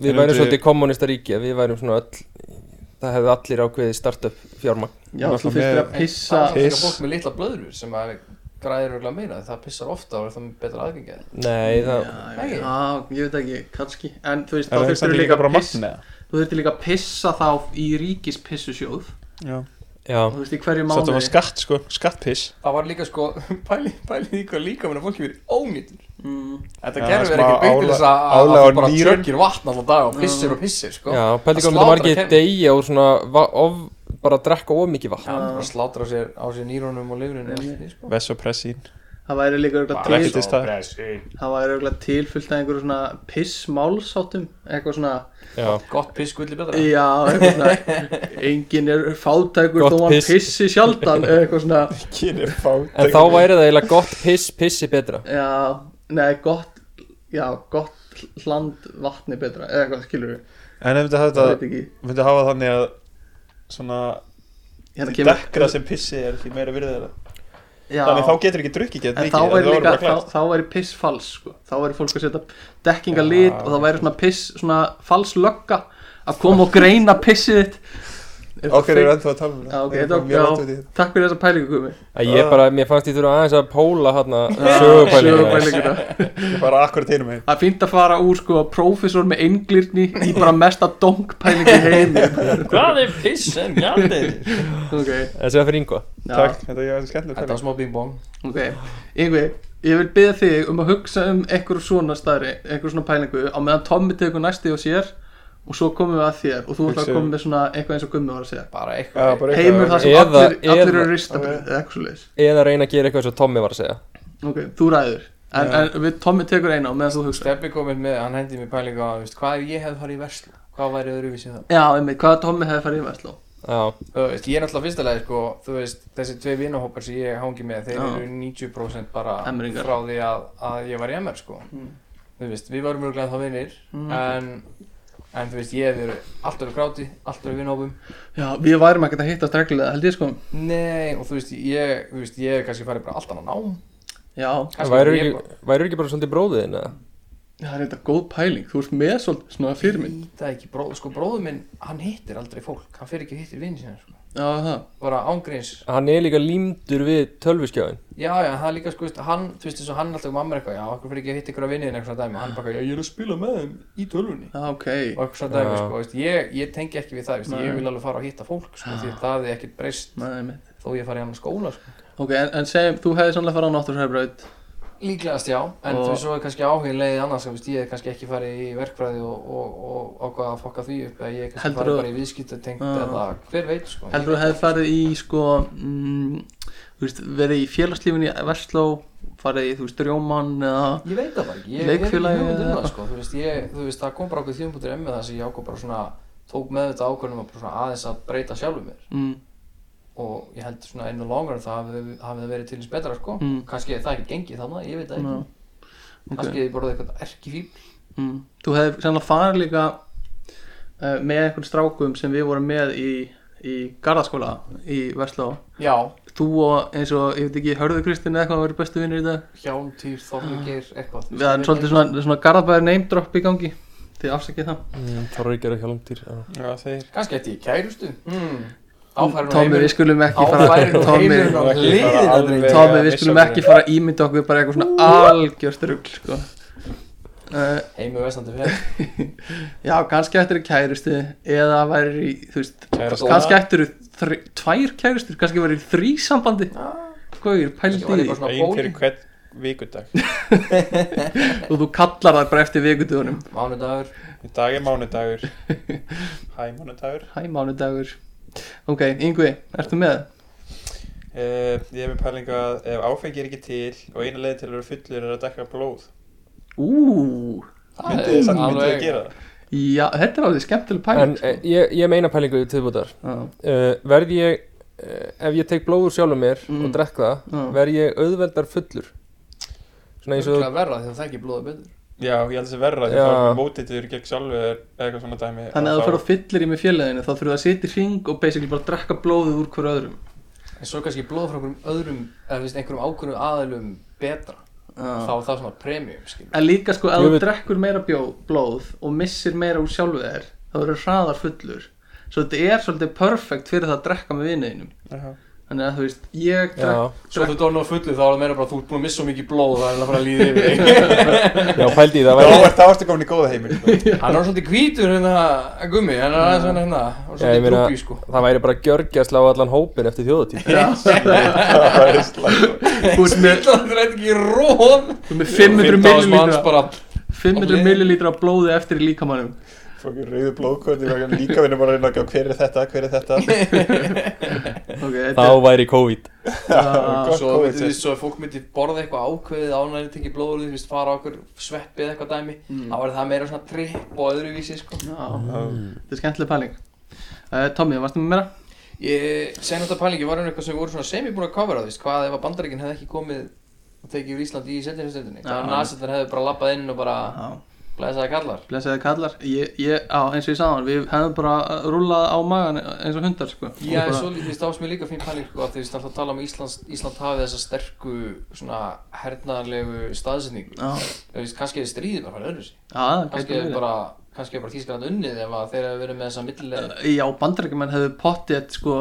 Speaker 1: Við
Speaker 5: Þeir
Speaker 1: værum
Speaker 5: myndu-
Speaker 1: svolítið kommunista ríki Við værum svona öll Það hefði allir ákveðið startup fjármagn
Speaker 2: já,
Speaker 5: Náttúrulega
Speaker 2: þú fyrir að
Speaker 5: með-
Speaker 2: pissa
Speaker 3: Það er líka
Speaker 5: Piss.
Speaker 3: fólk með litla blöðrur sem að græðir örugglega meira, það pissar ofta og er það með betra aðgengið.
Speaker 1: Nei, það,
Speaker 2: Já, ég- já, ég veit ekki, kannski En þú veist,
Speaker 5: Er
Speaker 2: þá
Speaker 5: það
Speaker 2: þurftir
Speaker 5: ekki líka
Speaker 2: líka
Speaker 5: bara
Speaker 2: að piss
Speaker 5: matn eða?
Speaker 2: Þú þurftir líka að pissa þá í ríkispissusjóð
Speaker 5: Já,
Speaker 1: já, já,
Speaker 2: þú veist í hverju
Speaker 5: Satt að
Speaker 2: mánuði
Speaker 5: var skatt sko, skattpiss
Speaker 3: Það var líka sko, pæli, pæli því hvað líka meina fólki verið ónýttur
Speaker 2: mm,
Speaker 3: Þetta
Speaker 5: Já,
Speaker 3: gerður verið
Speaker 5: smá
Speaker 3: ekki byggt til
Speaker 5: ála-
Speaker 3: þess að að þú
Speaker 5: álag á
Speaker 3: bara
Speaker 5: nýrun.
Speaker 3: tjöngir vatn alltaf dag og pissir og pissir sko
Speaker 1: já pældi hvað
Speaker 3: Að slátra
Speaker 1: myndi margir
Speaker 3: kerfið.
Speaker 1: degja og svona va- of, bara að drekka of mikið vatn
Speaker 3: Já, bara slátra sér á sér nýrónum og lifrinu og allt því sko
Speaker 5: Vesopressin
Speaker 2: það væri líka örugglega til
Speaker 5: Drekkist það
Speaker 2: það væri örugglega til fullt af einhverju svona pissmálsáttum eitthvað svona
Speaker 1: já,
Speaker 3: Gott piss gulli betra
Speaker 2: já, eitthvað svona engin er fátækur
Speaker 1: Gott
Speaker 2: þó hann
Speaker 1: piss.
Speaker 2: pissi sjaldan eitthvað svona
Speaker 5: Kynir fát
Speaker 1: en þá væri það eiginlega gott piss, pissi betra
Speaker 2: já, nei, gott já, gott hland vatni betra eða eitthvað, skilur við,
Speaker 5: En ef þetta
Speaker 2: það veit
Speaker 5: þetta
Speaker 2: ekki
Speaker 5: myndi hafa þannig að Svona
Speaker 2: hérna
Speaker 5: Dekkra sem pissi er því meira virðið þeirra
Speaker 2: já,
Speaker 5: Þannig þá getur ekki drukkið gett
Speaker 2: En
Speaker 5: mikið
Speaker 2: þá
Speaker 5: en
Speaker 2: væri
Speaker 5: það
Speaker 2: líka,
Speaker 5: bara
Speaker 2: þá,
Speaker 5: klætt.
Speaker 2: þá væri piss fals sko. þá væri fólk að setja dekkinga lit og það væri svona piss, svona fals lögga að koma og greina pissið þitt Er það
Speaker 5: Okkar eru
Speaker 2: fake?
Speaker 5: ennþá að tala um
Speaker 2: Já, ok,
Speaker 5: Ég er
Speaker 2: þetta
Speaker 5: bara mjög langt út í
Speaker 2: já, Takk fyrir þessa pælingu Gumi
Speaker 1: að ég bara, mér fannst ég þurfa aðeins að póla hérna
Speaker 2: Ah,
Speaker 1: sögupælingu
Speaker 2: Sögupælinguna.
Speaker 5: þetta. Ég bara akkurat hinum megin
Speaker 2: Það er fínt að fara úr sko prófessor með englirni í bara mesta donkpælingu í heimi
Speaker 3: Hvað er piss sem gjaldir?
Speaker 2: Ok,
Speaker 1: þessi var fyrir yngva
Speaker 2: já,
Speaker 5: Takk, þetta er skemmtileg
Speaker 3: Þetta
Speaker 5: pæling
Speaker 3: var smá bing bong
Speaker 2: ok Yngvi, ég vil byrja þig um að hugsa um einhverju svona staðri, einhverju svona pælingu á meðan Tommi tekur næsti og sér og svo komum við að þér og þú ætlar að
Speaker 5: Hugsa-
Speaker 2: koma með svona eitthvað eins og Gummi var að segja
Speaker 3: Bara
Speaker 5: Já,
Speaker 3: eitthvað
Speaker 5: bara eitthvað-
Speaker 2: heimur það sem
Speaker 1: Eða-
Speaker 2: allir, allir
Speaker 1: eða-
Speaker 2: eru ristabri
Speaker 5: Ok.
Speaker 2: eða eitthvað svo leiðis
Speaker 1: eða reyna að gera eitthvað eins og Tommy var að segja
Speaker 2: ok, þú ræður en, en við, Tommy tekur eina og meðan þú hugsa
Speaker 3: Steppi kominn með, hann hendi mér pælingu á veist, Hvað ef ég hefði farið í verslu? Hvað væri öðruvísi það?
Speaker 2: já, einmitt, hvað Tommy hefði farið í Vestló
Speaker 1: já,
Speaker 3: Þú veist, ég er náttúrulega fyrstulega sko, þú veist, þessi tvei vinahópar sem ég hangi með, þeir
Speaker 2: Já.
Speaker 3: eru 90% bara
Speaker 2: Emringar.
Speaker 3: frá því að, að ég var í MR sko.
Speaker 2: Mm.
Speaker 3: Þú veist, við varum mjög þá vinnir, en, en þú veist, ég hef verið allt öru gráti, allt öru vinahópum.
Speaker 2: já, við værum ekkert að hitta streglulega held ég sko
Speaker 3: Nei, og þú veist, ég, þú veist, ég hef kannski farið bara allt annað nám.
Speaker 2: já,
Speaker 3: Kannski
Speaker 1: væri
Speaker 3: ég
Speaker 1: ekki, væri ekki bara svolítið bróðið þinn eða?
Speaker 2: það er þetta góð pæling þú ert með svolítið svona fyrirmynd
Speaker 3: Ég veit ekki, bróð, sko, bróður minn, hann hittir aldrei fólk, hann fer ekki og hittir vinn sinna, sko.
Speaker 2: já, það,
Speaker 3: Bara ángreins,
Speaker 1: hann er líka límdur við tölviskjáin
Speaker 3: já, já, það er líka, sko, veist, hann, þú veist, eins og hann alltaf mamma er eitthvað, já, okkur fer ekki að hitta ykkur að vinni þinn eitthvað svona dæmi, og hann bara, já, ég er að spila með þeim í tölvunni.
Speaker 2: já, ok
Speaker 3: Og eitthvað svona dæmi,
Speaker 1: Já.
Speaker 3: sko, veist, ég, ég tengi ekki við það, veist,
Speaker 2: Nei.
Speaker 3: ég vil alveg fara og hitta fólk, sko, því það er ekkert breyst
Speaker 2: Nei, einmitt.
Speaker 3: þó ég fari í annan skóla, sko.
Speaker 2: ok, en, en segjum, þú hefði sannlega farið á náttúrsæðbraut
Speaker 3: Líklegast, já, en
Speaker 2: Og-
Speaker 3: þú veist, svo er kannski áhugin leiðið annars, þú veist, ég er kannski ekki farið í verkfræði og, og, og ákvað að fokka því upp, eða ég er kannski
Speaker 2: Heldurðu-
Speaker 3: farið bara í viðskiptatengt
Speaker 2: Já.
Speaker 3: eða hver veit, sko.
Speaker 2: heldur þú hefði farið í sko mm, þú veist, verið í félagslífinni í Vestló farið í, þú veist, Rjómann eða
Speaker 3: Ég veit það bara ekki, ég er ekki
Speaker 2: Leikfélagi
Speaker 3: hugmynd um
Speaker 2: eða
Speaker 3: það
Speaker 2: eitthvað?
Speaker 3: sko, þú veist, ég, þú veist, það kom bara okkur þjóðbútur emmi það sem ég ákvað bara svona, tók með þetta ákvörðum að bara svona aðeins að breyta sjálfum mér
Speaker 2: mm,
Speaker 3: og ég held svona einu langar það hafi, hafi það verið til eins betra sko,
Speaker 2: Mm.
Speaker 3: kannski er það ekki gengið þannig, ég veit það ekki,
Speaker 2: no.
Speaker 3: kannski okay. ég borðið eitthvað erki fíl,
Speaker 2: Mm. Þú hefði sannlega farið líka uh, með einhvern strákum sem við vorum með í, í gardaskóla í Vestló
Speaker 3: já,
Speaker 2: Þú og eins og, ég veit ekki, Hörður Kristinn eða eitthvað að vera bestu vinnir í dag
Speaker 3: hjálm, týr, þorningir, eitthvað þú
Speaker 2: Við erum
Speaker 3: veist,
Speaker 2: svolítið svona, svona garðabæður name drop í gangi Þið afsakið það
Speaker 1: Mm, Torryggjur og hjálmdýr já.
Speaker 5: Já, þeir
Speaker 3: Kannski ætti ég kærustu, mm. áfærin
Speaker 2: Tommi, við skulum ekki fara
Speaker 3: áfærin og
Speaker 2: Tommi,
Speaker 3: heimurinn og
Speaker 5: Ekki bara alveg-
Speaker 3: hliðin
Speaker 2: Tommi,
Speaker 5: að
Speaker 2: við
Speaker 5: missa
Speaker 2: skulum
Speaker 5: okkur.
Speaker 2: ekki fara að ímynda okkur bara eitthvað svona algjörst rugl sko. uh,
Speaker 3: heimur vestandi fyrir,
Speaker 2: Já, kannski ættir kæristi eða væri, þú veist,
Speaker 5: Kærasta.
Speaker 2: kannski ættir tvær kæristur, kannski væri þrý sambandi Hvað er pælt
Speaker 3: kannski var ég
Speaker 2: í því?
Speaker 3: bara svona
Speaker 5: Einn
Speaker 3: bóli,
Speaker 5: fyrir hvern vikudag
Speaker 2: og þú kallar það bara eftir vikutugunum
Speaker 3: mánudagur,
Speaker 5: Í dag er mánudagur Hæ, mánudagur
Speaker 2: hæ mánudagur ok, Yngvi, ertu með?
Speaker 5: uh, Ég hef með pælingu að ef áfengi er ekki til og eina leið til að vera fullur er að dekka blóð
Speaker 2: Ú,
Speaker 3: það
Speaker 5: Myndið þið samt myndið þið
Speaker 3: alveg-
Speaker 5: að gera það
Speaker 2: já, þetta er alveg skemmtileg pæling sko.
Speaker 1: en eh, ég, ég meina pælingu tilbútar
Speaker 2: já,
Speaker 1: uh, verð ég uh, ef ég tek blóður sjálfum mér
Speaker 2: Mm.
Speaker 1: og drekk það
Speaker 2: Já.
Speaker 1: verð ég auðveldar fullur svona eins og
Speaker 3: Það er verra þegar það ekki blóða betur
Speaker 5: Já, ég held þessi verra því
Speaker 1: Já.
Speaker 5: að það er mótitur gegn sjálfur eða eitthvað svona dæmi
Speaker 2: þannig að þú
Speaker 5: þá-
Speaker 2: fyrir að fyllir í með félaginu þá þurfum við að sitja í ring og basically bara drekka blóðið úr hverju öðrum
Speaker 3: En svo er kannski blóð frá einhverjum öðrum eða þú veist, einhverjum ákvörðum aðalum betra þá
Speaker 2: já.
Speaker 3: er það svona premium skilur
Speaker 2: en líka sko, ef
Speaker 1: Ég
Speaker 2: þú
Speaker 1: veit-
Speaker 2: drekkur meira bjó, blóð og missir meira úr sjálfu þér þá verður hraðar fullur svo þetta er svolítið perfekt fyrir það að drekka með vinniðinum
Speaker 5: Já.
Speaker 2: þannig að þú veist ég drakk,
Speaker 1: Já,
Speaker 3: Svo þú dónu á fullu þá er það meira bara að þú ert búin að missa svo mikið blóð og það er eiginlega bara að líða yfir þig
Speaker 1: já pældi í það
Speaker 5: Þá
Speaker 1: væri
Speaker 5: ert það komin í góða sko. heimil
Speaker 3: Hann er svolítið hvítur hérna að gummi, hann er aðeins hann hérna og
Speaker 1: Já, ég
Speaker 3: svolítið
Speaker 1: meina-
Speaker 3: drúpi sko
Speaker 1: Það væri bara gjörgjast á allan hópin eftir þjóðutíð
Speaker 5: Það er slæmt
Speaker 2: þú ert með,
Speaker 3: Það er ekki róð
Speaker 2: þú ert með 500
Speaker 3: manns
Speaker 2: millilítra
Speaker 3: bara
Speaker 2: 500 millilítra af blóði eftir í líkamannum
Speaker 5: Fokkin rauðu blóðkvöld Líka vinur bara að reyna að gá, hver er þetta, hver er þetta
Speaker 2: ok, þetta
Speaker 1: Þá væri COVID
Speaker 2: er
Speaker 5: Gott
Speaker 3: Svo,
Speaker 5: COVID
Speaker 3: þú veist, svo ef fólk myndi borða eitthvað ákveðið ánæri tengi blóður, þú veist, fara á okkur sveppið eða eitthvað dæmi, þá
Speaker 2: Mm.
Speaker 3: verður það meira svona tripp og öðruvísi, sko.
Speaker 2: Já, þetta er skemmtileg pæling uh, Tommy, varstu með mér að?
Speaker 3: Ég segi náttúrulega pælingi, var einhver eitthvað sem voru svona semi búin að covera, þú veist, hvað ef að bandaríkinn hefði ekki komið og tekið yfir Ísland í setjumstöndinni,
Speaker 2: Já.
Speaker 3: þannig að nasendar hefði bara lappað inn og bara
Speaker 2: Já,
Speaker 3: blæsaði kallar.
Speaker 2: blessaði kallar ég, ég, á, eins og ég sagði hann, við hefum bara rúlað á magan eins og hundar sko. Og
Speaker 3: Já, en
Speaker 2: bara,
Speaker 3: svo líka, þú veist, ást mér líka fín pæling, sko, að þú veist, alltaf tala um að Íslands, Ísland hafi þessa sterku, svona, hernaðarlegu staðsetningu.
Speaker 2: Já,
Speaker 3: Þú veist, kannski hefði stríðið bara farið öðru
Speaker 2: já, það
Speaker 3: kannski
Speaker 2: gæti
Speaker 3: er
Speaker 2: verið
Speaker 3: bara kannski er bara Þískland unnið ef að þeir eru verið með þessa millilega
Speaker 2: Já, bandarækjumenn hefðu pottið sko,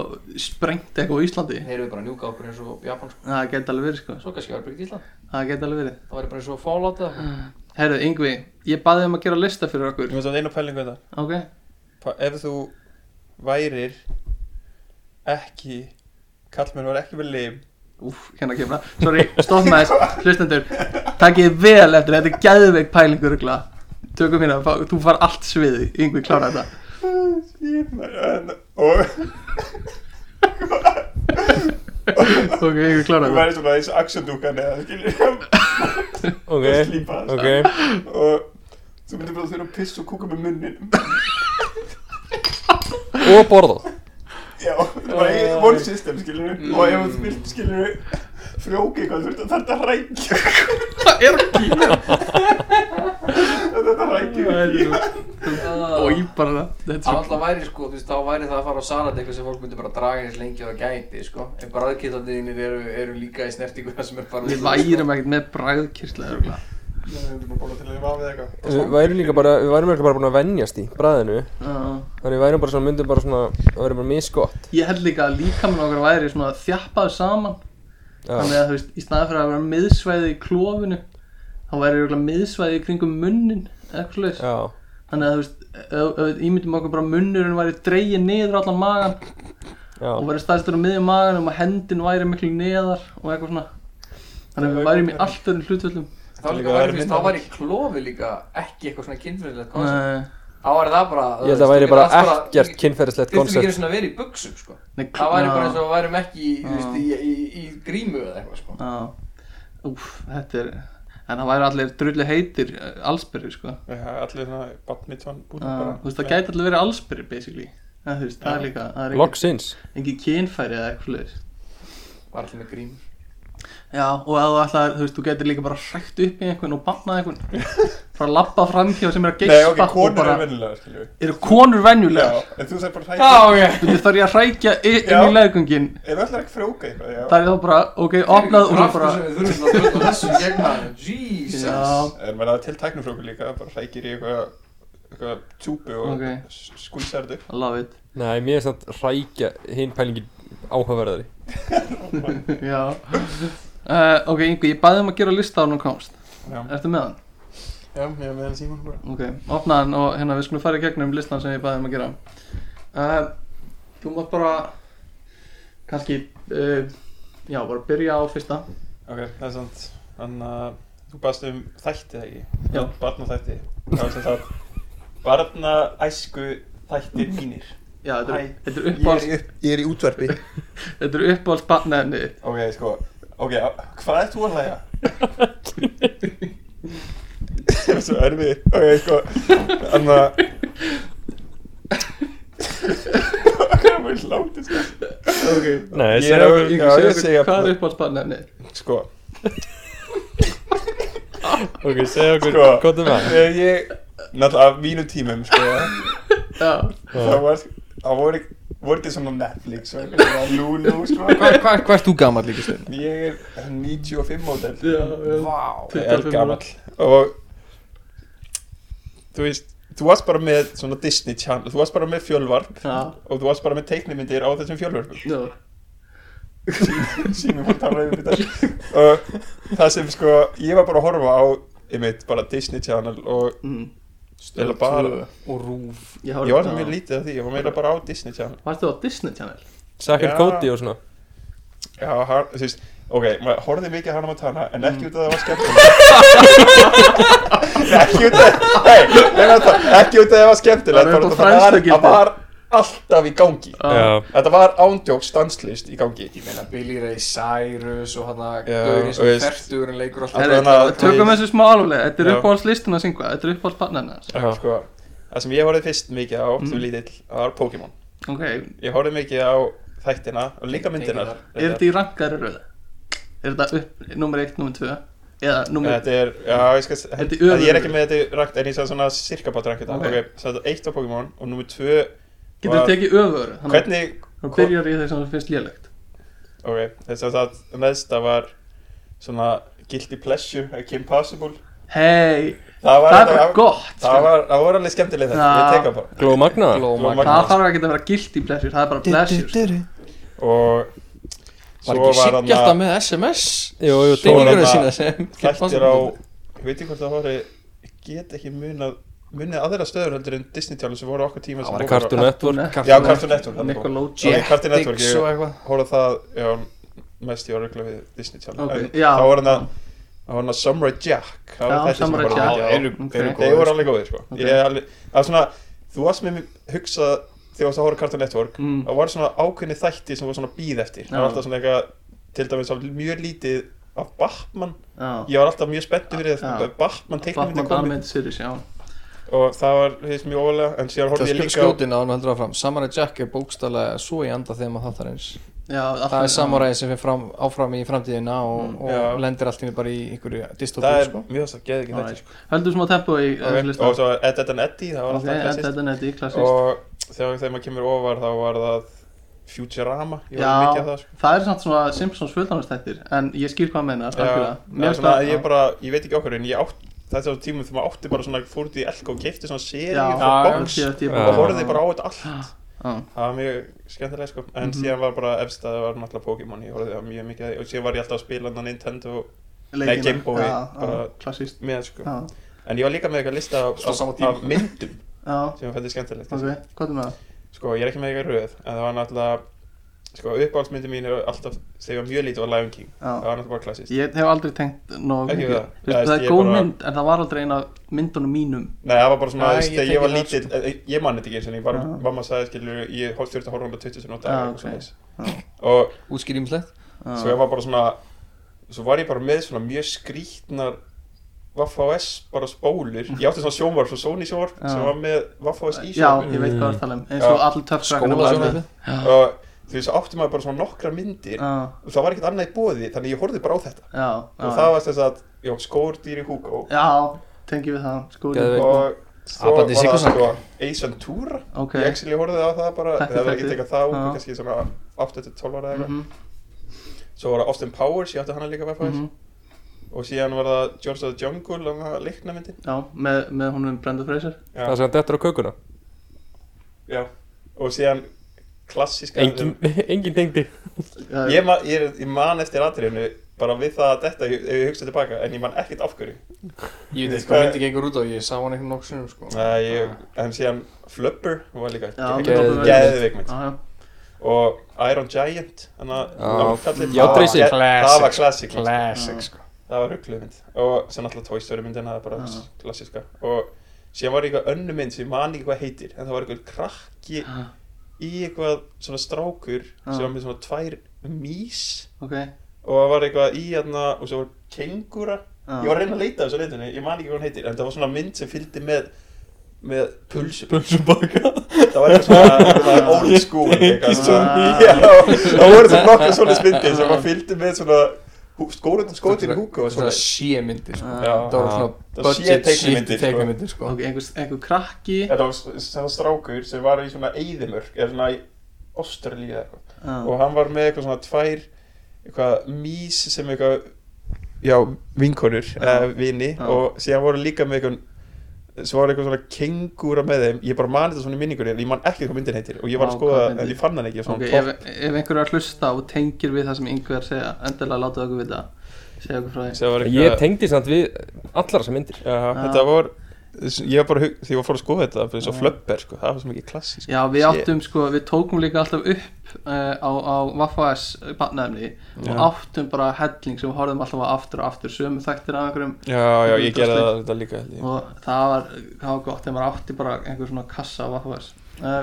Speaker 2: sprengt eitthvað á Íslandi
Speaker 3: þeir eru bara að njúka okkur eins og Japan sko.
Speaker 2: Það gæti alveg verið sko.
Speaker 3: svo kannski var bara ekki Ísland
Speaker 2: Það gæti alveg verið
Speaker 3: það væri bara eins og Fallout eða eitthvað.
Speaker 2: Herðu, Yngvi, ég baði um að gera lista fyrir okkur
Speaker 4: Ég veist að einu pælingu þetta
Speaker 2: Ok,
Speaker 4: Pa- Ef þú værir ekki Kallmenn var ekki með lim
Speaker 2: úf, hérna kemur það Sorry, stopp með þess, hlustendur Takið vel eftir, þetta er gæðveik pælingur ykla. Tökum hérna, fá- þú far allt sviði Yngvi, klára þetta
Speaker 5: Og
Speaker 2: Ok, Yngvi, klára
Speaker 5: þú
Speaker 2: þetta
Speaker 5: væri svona eins og axendúkan eða skilur
Speaker 1: Ok,
Speaker 5: Slípa
Speaker 1: ok
Speaker 5: Og þú myndir bara þurfa að pissa og kúka með munnin
Speaker 1: Og borða
Speaker 5: Já, það var eigin one system skilur
Speaker 2: Mm.
Speaker 5: Og ef þú vilt skilur Frjóki eitthvað þú þurft að þetta rækja
Speaker 2: Það er að kýra
Speaker 5: Þetta rækja ekki
Speaker 2: Og ég bara, þetta
Speaker 3: Það
Speaker 2: er svo
Speaker 3: alltaf væri sko, þú veist, þá væri það að fara á salat eitthvað sem fólk myndi bara draga eins lengi og það gæti, sko. En bræðkillandinir eru, eru líka í snertingu það sem er bara...
Speaker 2: Við værum ekkert með bræðkýrsla örgulega
Speaker 5: Þú myndir bara bóla til að lifa af eða eitthvað
Speaker 1: Við værum líka bara, við værum líka bara búin að venjast í bræðinu
Speaker 2: Já.
Speaker 1: Þannig við værum bara svona, myndum bara svona, það væri bara misgott
Speaker 2: Ég held líka að líkamann okkar væri svona þjappaður saman Þannig
Speaker 1: Já,
Speaker 2: að þú veist, í staðan fyrir að vera miðsvæði í klófinu þá væri örugglega miðsvæði í kringum munnin eitthvað slags
Speaker 1: já
Speaker 2: Þannig að þú veist, ef- ef við ímyndum okkur bara að munnurinn væri dregið niður á allan magan
Speaker 1: Já,
Speaker 2: og væri staðstur á miðjum maganum og hendin væri miklu neðar og eitthvað svona Þannig að við værum í allt öðrum hlutvöldum
Speaker 3: Þá líka væri, þú veist, þá væri klófi líka ekki eitthvað svona kynfyrirlegt koncept.
Speaker 2: Nei,
Speaker 3: Þá væri það bara... þú
Speaker 1: ég held
Speaker 3: veist,
Speaker 1: að væri
Speaker 3: þú
Speaker 1: bara
Speaker 3: getur allt
Speaker 1: ekkert kynferðislegt
Speaker 3: Þú getur
Speaker 1: koncept
Speaker 3: ekki svona verið í buksum, sko.
Speaker 2: nei,
Speaker 3: Það væri bara
Speaker 2: já,
Speaker 3: eins og við værum ekki, í, þú veist,
Speaker 2: Já.
Speaker 3: í, í, í, í grímu eða eitthvað, sko.
Speaker 2: Já, úf, þetta er En það væri allir drullu heitir allsbyrri, sko
Speaker 4: Já, allir svona badminton búin
Speaker 2: Uh,
Speaker 4: bara
Speaker 2: Þú veist, það gæti allir verið allsbyrri, basically Það, þú veist, það er líka, það er ekki-
Speaker 1: Loksins
Speaker 2: engin kynfæri eða eitthvað leir.
Speaker 3: Var allir með grímu.
Speaker 2: Já, og að þú ætlar, þú veist, þú getur líka bara hrækt upp í einhvern og bannað einhvern bara að labba framhjá sem er að
Speaker 5: Nei,
Speaker 2: geispa
Speaker 5: ok,
Speaker 2: og
Speaker 5: konur
Speaker 2: bara,
Speaker 5: er vennilega skilur
Speaker 2: eru konur venjulegar?
Speaker 5: Já, en þú þarf bara að
Speaker 3: Já,
Speaker 5: rækja
Speaker 3: ok.
Speaker 2: Þú veist, þarf ég að hrækja i-
Speaker 5: Já.
Speaker 2: inn í leðgöngin
Speaker 5: Ef þú ætlar ekki frjóka eitthvað, já
Speaker 2: það er þá bara, ok, opnað og svo bara
Speaker 3: Kraftur sem við þurfum að brjóta þessu í gegn maður. Jesus.
Speaker 2: Já,
Speaker 5: En maður er til tæknufrjókur líka, bara hrækir í eitthvað eitthvað tjúpu og
Speaker 2: Ok.
Speaker 5: okay. skúlsar þetta upp.
Speaker 2: I love it
Speaker 1: Nei, mér er samt rækja hinn pælingin áhugaverðari
Speaker 2: Já uh, Ok, Ingu, ég baði um að gera lista á hann og komst
Speaker 5: Já.
Speaker 2: Ertu með hann?
Speaker 4: Já, ég er með hann síman bara
Speaker 2: Ok, opnað hann og hérna við skulum fara í gegnum listan sem ég baði um að gera uh, Þú mátt bara kannski uh, já, bara byrja á fyrsta
Speaker 4: Ok, það er sant Þannig að þú baðst um þætti það ekki
Speaker 2: Já.
Speaker 4: Barnaþætti Það var sem sagt Barnaæsku þættir mínir
Speaker 2: Já, þetta
Speaker 4: Æ,
Speaker 2: er- þetta er uppáhalds
Speaker 5: upp, ég er í útverfi.
Speaker 2: Þetta er uppáhalds barnefni
Speaker 5: ok, sko, ok, hvað ert þú að hlæja? Ég er svo erfiðir. Ok, sko, þannig að... Ok, maður er hlátt, sko.
Speaker 2: Ok
Speaker 1: Nei,
Speaker 5: Ég er að, já, ég segja,
Speaker 2: Hvað er uppáhalds barnefni?
Speaker 5: sko,
Speaker 1: ok, segja okkur,
Speaker 5: Sko.
Speaker 1: hvað er um það?
Speaker 5: þegar ég, náttúrulega af mínum tímum, sko,
Speaker 2: Já
Speaker 5: það var, það voru, voru ekki svona Netflix og eitthvað svona Lulu sko.
Speaker 3: Hvað hva, hva ert þú gammal líka stund?
Speaker 5: ég er 95 mótel
Speaker 2: Já, já
Speaker 3: Vá.
Speaker 5: ég er gamall og þú veist þú varst bara með svona Disney Channel þú varst bara með fjölvarp
Speaker 2: Já
Speaker 5: og þú varst bara með teiknimyndir á þessum fjölvarpum
Speaker 2: Já
Speaker 5: sínum fór að tala um þetta og það sem sko ég var bara að horfa á einmitt bara Disney Channel og
Speaker 2: mm.
Speaker 5: Eða bara-
Speaker 3: og rúf
Speaker 5: ég var mjög lítið af því, ég var meira bara á Disney Channel
Speaker 2: Varst þú á Disney Channel?
Speaker 1: Sakur
Speaker 5: Já.
Speaker 1: Cody og svona
Speaker 5: já, har, þú veist, ok, maður horfði mikið hann á Montana en
Speaker 2: Mm.
Speaker 5: ekki út af það var skemmtilegt ekki út af hey, nei, nei, það- ekki út af það var
Speaker 2: Það
Speaker 5: skemmtilegt
Speaker 2: er upp á
Speaker 5: bara það var,
Speaker 2: fræðslugildi.
Speaker 5: það var alltaf í gangi
Speaker 1: Já.
Speaker 5: þetta var ándjók stanslist í gangi
Speaker 3: ég meina Billy Ray Cyrus og hann að
Speaker 5: Já,
Speaker 3: gaurinn sem
Speaker 5: og veist-
Speaker 3: færtugurinn leikur alltaf
Speaker 5: Alla
Speaker 2: Herri,
Speaker 5: vegna-
Speaker 2: Tökum þessu smá alveg, þetta er
Speaker 5: Já.
Speaker 2: uppáhaldslistin að syngja, þetta er uppáhaldspartnerinn hans
Speaker 1: Já.
Speaker 5: sko, það sem ég horfði fyrst mikið á
Speaker 2: Mm.
Speaker 5: sem lítill var Pokémon
Speaker 2: Ok, er
Speaker 5: ég horfði mikið á þættina og líka myndinar
Speaker 2: þetta í rankaðri röðu? Er þetta upp, nummer 1, nummer 2? Eða nummer
Speaker 5: þetta er, já, ég skal
Speaker 2: Þetta er
Speaker 5: ég er
Speaker 2: öfugur.
Speaker 5: ekki með þetta rankt en ég sagði svona sirkabátt rankt þetta
Speaker 2: Ok.
Speaker 5: ok, svo þetta er eitt á Pokémon og nummer tvö
Speaker 2: Getur
Speaker 5: var-
Speaker 2: þú tekið öfur?
Speaker 5: hvernig,
Speaker 2: Þú byrjar í þess að það finnst lélegt
Speaker 5: ok, þess að það neðsta var svona guilty pleasure, ekki impossible
Speaker 2: Hei,
Speaker 5: það var,
Speaker 2: það er bara
Speaker 5: þetta-
Speaker 2: gott
Speaker 5: það
Speaker 2: sko.
Speaker 5: var, það var alveg skemmtileg þetta,
Speaker 2: Já.
Speaker 5: ég teka bara
Speaker 1: Glow Magna
Speaker 5: Glómagna.
Speaker 3: glóma
Speaker 2: sko. Það þarf ekki að vera guilty pleasure, það er bara pleasure sko.
Speaker 5: og
Speaker 3: var
Speaker 5: svo
Speaker 3: ekki
Speaker 5: var
Speaker 3: siggjalt
Speaker 5: hann
Speaker 3: að með SMS
Speaker 1: Jú, jú,
Speaker 5: Svo var
Speaker 3: dýrgröðu
Speaker 5: þarna
Speaker 3: sína sem
Speaker 5: þættir á ég veit ekki hvort það var ég get ekki munað munið aðra stöður heldur en Disney tjálu sem voru okkar tíma sem voru á-
Speaker 1: Cartoon Network
Speaker 5: já, Cartoon Network þarna kom.
Speaker 2: Nickelodeon
Speaker 5: Ok, Cartoon Network,
Speaker 3: Jetix
Speaker 5: ég
Speaker 3: og eitthvað
Speaker 5: horfði á það já, mest í orðuglega við Disney Channel
Speaker 2: Ok,
Speaker 5: en
Speaker 2: já.
Speaker 5: þá var hann að þá var hann að Samurai Jack það var
Speaker 2: Já,
Speaker 5: þetta sem
Speaker 2: Samurai
Speaker 5: ég horfði á.
Speaker 2: Jack.
Speaker 5: Já,
Speaker 2: Já,
Speaker 5: eru-
Speaker 2: ok. Þeir
Speaker 5: eru góðir,
Speaker 3: voru
Speaker 5: sko. alveg góðir sko.
Speaker 2: Ok.
Speaker 5: okay. alveg, það var svona, þú varst með mér hugsað þegar þú varst að horfa á Cartoon Network
Speaker 2: Mm.
Speaker 5: það var svona ákveðni þætti sem var svona bíð eftir það var
Speaker 2: Já.
Speaker 5: alltaf svona eitthvað til dæmis að mjög lítið af Batman
Speaker 2: Já,
Speaker 5: ég var alltaf mjög spenntur fyrir
Speaker 2: Já.
Speaker 5: það Batman teiknum
Speaker 2: Batman Animated Series, já
Speaker 5: og það var hefðis mjög óvalega en síðan
Speaker 3: Það
Speaker 5: horfði ég
Speaker 3: skjótt
Speaker 5: líka á
Speaker 3: skjótin á hann heldur áfram Samurai Jack er bókstallega svo í anda þegar maður þáttar eins
Speaker 2: Já, allt
Speaker 3: Það
Speaker 2: með-
Speaker 3: er Samurai sem fyrir fram, áfram í framtíðina og, og
Speaker 5: Mm, Já.
Speaker 3: lendir allt í einu bara í einhverju
Speaker 5: það
Speaker 3: dystopíu
Speaker 5: er
Speaker 3: sko
Speaker 5: mjög svo geðið ekki
Speaker 2: Alright.
Speaker 5: þetta
Speaker 2: Höldum smá tempo í eh, þessu
Speaker 5: Ok,
Speaker 2: listan
Speaker 5: og svo Ed, Ed and Eddy það var
Speaker 2: Ok,
Speaker 5: alltaf
Speaker 2: þetta
Speaker 5: klassist
Speaker 2: er netti, klassist
Speaker 5: og þegar, þegar maður kemur ofar þá var það Futurama ég var mikið
Speaker 2: Já,
Speaker 5: af það sko.
Speaker 2: það er samt svona Simpsons fullanastættir En ég skil hvað að meina,
Speaker 5: Já, það er svona,
Speaker 2: algjörlega
Speaker 5: ég, bara, ég veit ekki okkur en ég átt þetta var tímum þegar maður átti bara svona fór út í elk og keipti svona
Speaker 2: Já,
Speaker 5: seríu frá
Speaker 2: já,
Speaker 5: box
Speaker 2: ég- ég-
Speaker 5: og horfði bara á þetta allt
Speaker 2: Já. Mhm.
Speaker 5: það var mjög skemmtilega sko en síðan var bara efst að það var náttúrulega Pokémon ég horfði á mjög mikið af því og síðan var ég alltaf að spila hann Nintendo
Speaker 2: Leikina.
Speaker 5: Game
Speaker 2: Já,
Speaker 5: Boy,
Speaker 2: já,
Speaker 5: bara-
Speaker 2: klassískt
Speaker 5: með sko
Speaker 2: Já,
Speaker 5: en ég var líka með eitthvað lista af,
Speaker 3: Svo sama
Speaker 5: af,
Speaker 3: tíma.
Speaker 5: af myndum
Speaker 2: já,
Speaker 5: sem ég fætti skemmtilegt
Speaker 2: ok, hvað er með það?
Speaker 5: Sko, ég er ekki með eitthvað röð, en það var náttúrulega Sko, uppáhaldsmyndi mín er alltaf þegar ég var mjög lítið var Lion King
Speaker 2: Já.
Speaker 5: Það var náttúrulega bara klassist
Speaker 2: Ég hef aldrei tengt nóg
Speaker 5: Ekki við það. Já,
Speaker 2: Það
Speaker 5: ég
Speaker 2: er góð
Speaker 5: bara-
Speaker 2: mynd, en það var aldrei eina myndunum mínum
Speaker 5: Nei, það var bara svona,
Speaker 3: Já,
Speaker 5: þú veist,
Speaker 3: ég
Speaker 5: þegar ég var
Speaker 3: tengi það,
Speaker 5: lítið eh, eh, Ég man þetta ekki eins og ég bara,
Speaker 2: sko. Já.
Speaker 5: mamma sagði, skilur Ég hótt þurft að horfa hundra 20 sem nota
Speaker 2: Já, ok.
Speaker 5: Og
Speaker 3: Útskýrýmslegt
Speaker 2: Já.
Speaker 5: svo ég var bara svona Svo var ég bara með svona mjög skrítnar Vaff.S bara spólur Ég átti svona sjónvarp, svo Sony sjónvarp
Speaker 2: Já.
Speaker 5: sem var með Vaff.S í
Speaker 2: Já,
Speaker 5: sjónvarpinu
Speaker 2: ég veit hvað það er að tala um eins og
Speaker 5: Já.
Speaker 2: allir töffrækana
Speaker 5: um
Speaker 3: Skóla svona
Speaker 5: Og þú veist, svo átti maður bara svona nokkra myndir
Speaker 2: um. Já,
Speaker 5: Og það var ekkert annað í bóði, þannig ég horfði bara á þetta
Speaker 2: já,
Speaker 5: og það
Speaker 2: já,
Speaker 5: var þess að já, skórdýri Hugo
Speaker 2: já tengi við það skóla
Speaker 1: Geðveikt.
Speaker 5: og svo var
Speaker 3: Apandi
Speaker 5: það
Speaker 3: Sigurðsson.
Speaker 5: sko Ace Ventura
Speaker 2: Ok,
Speaker 5: ég actually horfði á það bara
Speaker 2: Þetta
Speaker 5: það var
Speaker 2: er
Speaker 5: ekki
Speaker 2: þetta.
Speaker 5: tekað það út
Speaker 2: Já.
Speaker 5: kannski svona 8-12 ára eða
Speaker 2: Mhm.
Speaker 5: eitthvað svo var það Austin Powers, ég átti hana líka verðfæðis
Speaker 2: Mhm.
Speaker 5: og síðan var það George of the Jungle og það leikna myndin
Speaker 2: já, með, með honum Brenda Fraser
Speaker 1: Það sem hann dettur á kökuna
Speaker 5: já. og síðan klassíska
Speaker 1: Engin, engin tengdi
Speaker 2: Já,
Speaker 5: ég, man, ég, er- ég man eftir atriðinu bara við það að þetta, ef ég hugsa tilbaka en ég man ekkert af hverju
Speaker 3: Ég veit
Speaker 5: Ég-
Speaker 3: ekki hvað myndi gengur út á, ég sá hann eitthvað nokkur sinnum sko
Speaker 5: Nei, ég, en síðan Flubber var líka
Speaker 2: Ah. Já,
Speaker 5: ekki-
Speaker 1: Geðveik
Speaker 2: mynd.
Speaker 5: geðveik mynd
Speaker 2: Já, já.
Speaker 5: og Iron Giant þannig
Speaker 1: Já,
Speaker 5: að nákallinn-
Speaker 1: já, Tracy.
Speaker 5: það það var klassik
Speaker 3: Classic sko
Speaker 5: það var ruggluð mynd og svo náttúrulega Toy Story myndina það er bara
Speaker 2: Já.
Speaker 5: klassiska og síðan var eitthvað önnu mynd sem ég man ekki hvað heitir en það var eitthvað krakki
Speaker 2: Já,
Speaker 5: í eitthvað svona strákur sem
Speaker 2: Já.
Speaker 5: var með svona tvær mís
Speaker 2: Ok,
Speaker 5: og það var eitthvað í hérna og svo var kengúra
Speaker 2: Já.
Speaker 5: ég var að reyna að leita þessu leitunni ég man ekki hvað hann heitir en það var svona mynd sem fylgdi með með pulsum
Speaker 1: Pulsum baka
Speaker 5: það var eitthvað svona það var old school eitthvað
Speaker 2: Ah.
Speaker 5: svona já, það voru svona nokkra svona spyndir sem maður fylgdi með svona skórutin skótin í húka og svona
Speaker 3: Svona sémyndir sko
Speaker 2: já.
Speaker 5: já,
Speaker 3: Það voru
Speaker 1: Já.
Speaker 3: svona
Speaker 5: Það var
Speaker 3: budget
Speaker 5: sé-teiknimyndir,
Speaker 3: shit
Speaker 5: sko.
Speaker 3: teiknumyndir sko
Speaker 2: ok, einhver, einhver krakki
Speaker 5: þetta var svona strákur sem var í svona eyðimörk eða svona í Ástralíu eða eitthvað
Speaker 2: Já,
Speaker 5: og hann var með eitthvað svona tvær eitthvað mís sem eitthvað já, vinkonur eða vini
Speaker 2: Já.
Speaker 5: og síðan voru líka með eitthvað svo var eitthvað svona kengúra með þeim ég bara mani þetta svona í minningunni en ég man ekki hvað myndin heitir og ég var
Speaker 2: Vá,
Speaker 5: að skoða
Speaker 2: hvað
Speaker 5: en
Speaker 2: myndin?
Speaker 5: ég fann hann ekki
Speaker 2: Ok,
Speaker 5: svona
Speaker 2: ef, ef einhver er að hlusta og tengir við það sem einhver er að segja, endilega láta okkur vita segja okkur frá því
Speaker 5: Svo var
Speaker 1: Ég
Speaker 5: eitthvað-
Speaker 1: tengdi samt við allar þessar myndir
Speaker 5: Jaha,
Speaker 2: Já.
Speaker 5: þetta var ég var bara hug- þegar ég var að fór að skoða þetta fyrir svo flöpper sko það var svo mikið klassísk
Speaker 2: Já, við
Speaker 5: Shit.
Speaker 2: áttum sko, við tókum líka alltaf upp uh, á, á Waffa S barnaefni
Speaker 5: Já.
Speaker 2: og áttum bara helling sem við horfðum alltaf á aftur og aftur sömu þættir af einhverjum
Speaker 5: já já ég gerði það þetta líka held ég.
Speaker 2: og það var, það var gott þegar maður átti bara einhver svona kassa á Waffa S uh,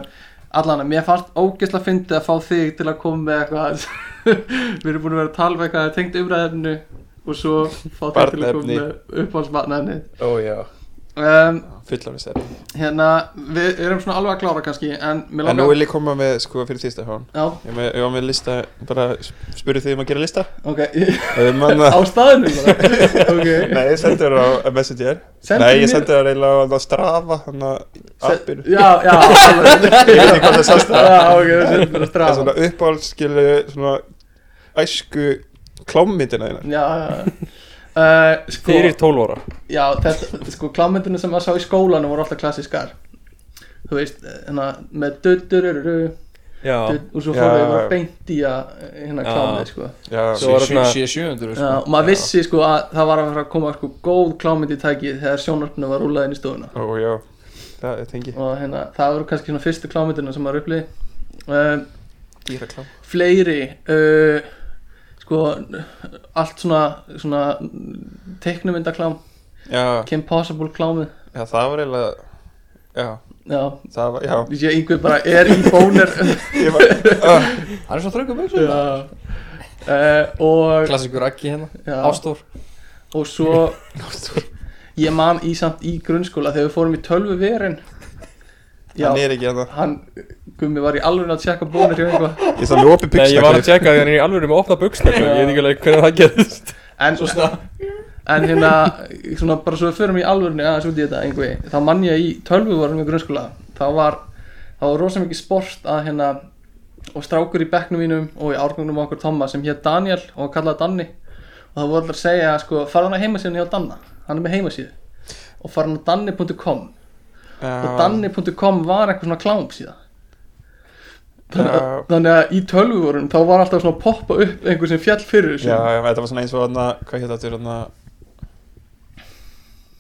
Speaker 2: Allan, mér fannst ógeðslega fyndið að fá þig til að koma með eitthvað við erum búin að vera að tala um eitthvað tengt umræðefnu og svo fá þig til að koma
Speaker 5: Barnaefni.
Speaker 2: með uppáhaldsbarnaefni
Speaker 5: ó já
Speaker 2: um,
Speaker 5: fullarins er
Speaker 2: Hérna, við erum svona alveg að klára kannski en mér
Speaker 5: en nú
Speaker 2: langar
Speaker 5: vil ég koma með sko fyrir tísta hán
Speaker 2: Já,
Speaker 5: ég var með, ég var með lista bara spurði þig um að gera lista
Speaker 2: ok,
Speaker 5: Eh, manna
Speaker 2: á staðinu bara ok
Speaker 5: Nei, ég sendi þér á Messenger
Speaker 2: Sendu
Speaker 5: Nei, ég
Speaker 2: mér-
Speaker 5: sendi þér eiginlega á þarna Strava Þannig að appinu
Speaker 2: já, já, alveg.
Speaker 5: Ég veit ekki hvað það sást það
Speaker 2: já, ok, þú setur bara
Speaker 5: Það er
Speaker 2: strafa
Speaker 5: svona uppáhaldsskilu Svona æsku klámmyndina þína
Speaker 2: já, já Uh, sko,
Speaker 1: Fyrir 12 ára
Speaker 2: já, þetta, sko, klámyndinu sem maður sá í skólanum voru alltaf klassískar þú veist, hérna, með duttururu
Speaker 1: Já
Speaker 2: og svo
Speaker 5: Já,
Speaker 2: fóruðu
Speaker 5: já,
Speaker 2: bara
Speaker 5: já.
Speaker 2: beint í að hérna
Speaker 1: Já.
Speaker 2: klámið, sko
Speaker 5: Já,
Speaker 1: Svo var það svona-
Speaker 3: 700
Speaker 2: já, og maður vissi, sko, að það var að vera að koma sko, góð klámynd í tæki þegar sjónarpinu var rúlað inn í stofuna
Speaker 5: ó já Það er tengi
Speaker 2: og hérna, það voru kannski svona fyrstu klámyndina sem maður upplýði um,
Speaker 5: Dýra klám
Speaker 2: fleiri uh, sko allt svona, svona teiknumyndaklám,
Speaker 5: já,
Speaker 2: Kim Possible klámið
Speaker 5: já, það var eiginlega Já,
Speaker 2: já,
Speaker 5: það var, já
Speaker 2: ég einhver bara er í bónir
Speaker 5: Ég var, uh,
Speaker 3: Hann er svo þröngu með svona
Speaker 2: já Uh, og,
Speaker 3: Klassikur Raggi hérna,
Speaker 2: já,
Speaker 3: Ástór
Speaker 2: og svo ég man í samt í grunnskóla þegar við fórum í tölvu verin já,
Speaker 5: hann er ekki hann
Speaker 2: hann gummi var í alveg að tjekka bónir hjá einhvað
Speaker 5: Ég er það lópi
Speaker 1: Nei, ég var að
Speaker 5: píkstakli
Speaker 1: tjekka því hann er í alvöru með opna buksnakka Ég veit ekki alveg hvernig það gerðist
Speaker 2: En, en hérna, svona bara svo við förum í alvörinu aðeins út í þetta einhverju, þá mann ég í tölvuvarum í grunnskóla, þá var, þá var rosa mikið sport að hérna, og strákur í bekknum mínum og í árgangunum okkur Tomma sem hétt Daniel og kallaði Danni og það voru allir að segja, sko, fara hann að heimasíðan hjá Danna, hann er með heimasíðu og fara hann að danni.com
Speaker 5: Ah.
Speaker 2: og danni.com var eitthvað svona klámsíða þannig, að-
Speaker 5: Já.
Speaker 2: þannig að í tölvuvarum þá var alltaf svona að poppa upp einhver sem fjall fyrir þessu
Speaker 5: Já, já, þetta var svona eins og hann Hvað hétt þetta er hann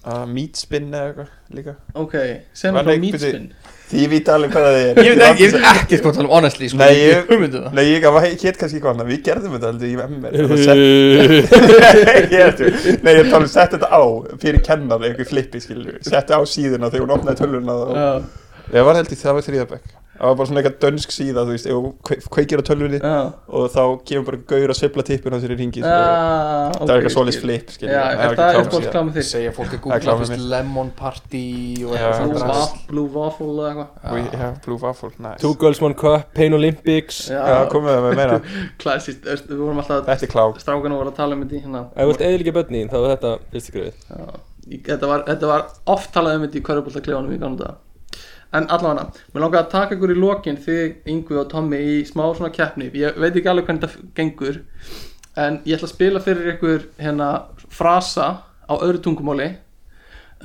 Speaker 5: að Meatspin uh, eða eitthvað líka
Speaker 2: Ok, sem
Speaker 5: Var
Speaker 2: er frá
Speaker 5: leik-
Speaker 2: mítspinn
Speaker 5: Því ég veit alveg hvað það er
Speaker 3: Ég veit ekki, ég veit ekki sko að tala um honestly sko,
Speaker 5: Nei,
Speaker 3: ég
Speaker 5: ég-
Speaker 3: hef hugmyndu það
Speaker 5: Nei, ég hétt kannski hvað annað, við gerðum þetta aldrei í MR þannig að
Speaker 1: Ég
Speaker 5: sett- Ég ertu. Nei, ég tala um sett þetta á fyrir kennan, einhver flippi skilur sett á síðuna þegar hún opnaði tölvuna og...
Speaker 2: Já,
Speaker 5: Ég var held í það var þrýðabæk Það var bara svona eitthvað dönsk síða, þú veist ef hún kve- kveikir á tölvunni
Speaker 2: já
Speaker 5: og þá kemur bara gaur að sveifla tippin á sér í ringi Það
Speaker 2: Ah, ok,
Speaker 5: er eitthvað svoleiðis
Speaker 2: skil.
Speaker 5: flip, skilur
Speaker 2: Já,
Speaker 5: Það
Speaker 2: er
Speaker 5: ekki
Speaker 2: það
Speaker 5: klám
Speaker 2: er fólk
Speaker 5: síða.
Speaker 2: klámið þig
Speaker 3: Segja fólk að
Speaker 5: Það er
Speaker 3: googla
Speaker 5: klámið
Speaker 3: fyrst Lemon Party og
Speaker 5: Já.
Speaker 3: eitthvað
Speaker 2: Blue
Speaker 3: svona
Speaker 2: Waff- Blue Waffle eða eitthvað
Speaker 5: Og ég- Já, Blue Waffle, nice
Speaker 1: Two Girls One Cup, Pain Olympics
Speaker 5: Já, komið það með meira
Speaker 2: klassist, við vorum alltaf
Speaker 5: Þetta er klám
Speaker 2: strákanu voru að tala um þetta í hérna
Speaker 1: Ef þú vilt eðlíka börni þín, þá er þetta fyrst skrifið
Speaker 2: Já, ég- þetta var, þetta var oft talað um þetta í hverjabóltakleifanum í ganum dag en allavega, mér langaði að taka ykkur í lokin þig, Yngvi og Tommi í smá svona keppni ég veit ekki alveg hvernig þetta gengur en ég ætla að spila fyrir ykkur hérna frasa á öðru tungumáli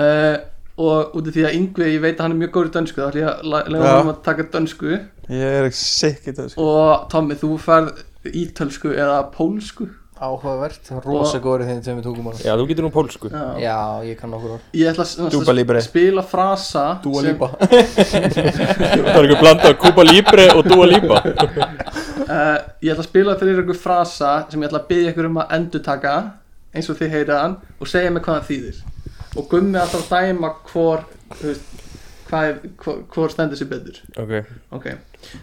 Speaker 2: uh, og út af því að Yngvi, ég veit að hann er mjög góður í dönsku þá ætla ég að la- leyfa
Speaker 5: Já.
Speaker 2: hann að taka dönsku
Speaker 5: Ég er sikkert að
Speaker 2: og Tommi, þú færð ítölsku eða pólsku
Speaker 3: Áhugavert, rosa góður í þeim tveimur tungumálum
Speaker 1: Já, þú getur nú pólsku
Speaker 2: Já.
Speaker 3: Já, ég kann okkur orð
Speaker 2: ég ætla að
Speaker 5: Dúpa Libre.
Speaker 2: s- spila frasa
Speaker 3: Dúa
Speaker 2: sem-
Speaker 3: lípa
Speaker 1: Það er eitthvað blanda Kuba Libre og Dua Lipa
Speaker 2: Uh, ég ætla að spila fyrir ykkur frasa sem ég ætla að byggja ykkur um að endurtaka eins og þið heyrið hann og segja mig hvað það þýðir og gummi alltaf að dæma hvor þú veist, hvað, er- hvor, hvor stendur sér betur
Speaker 1: Ok
Speaker 2: ok,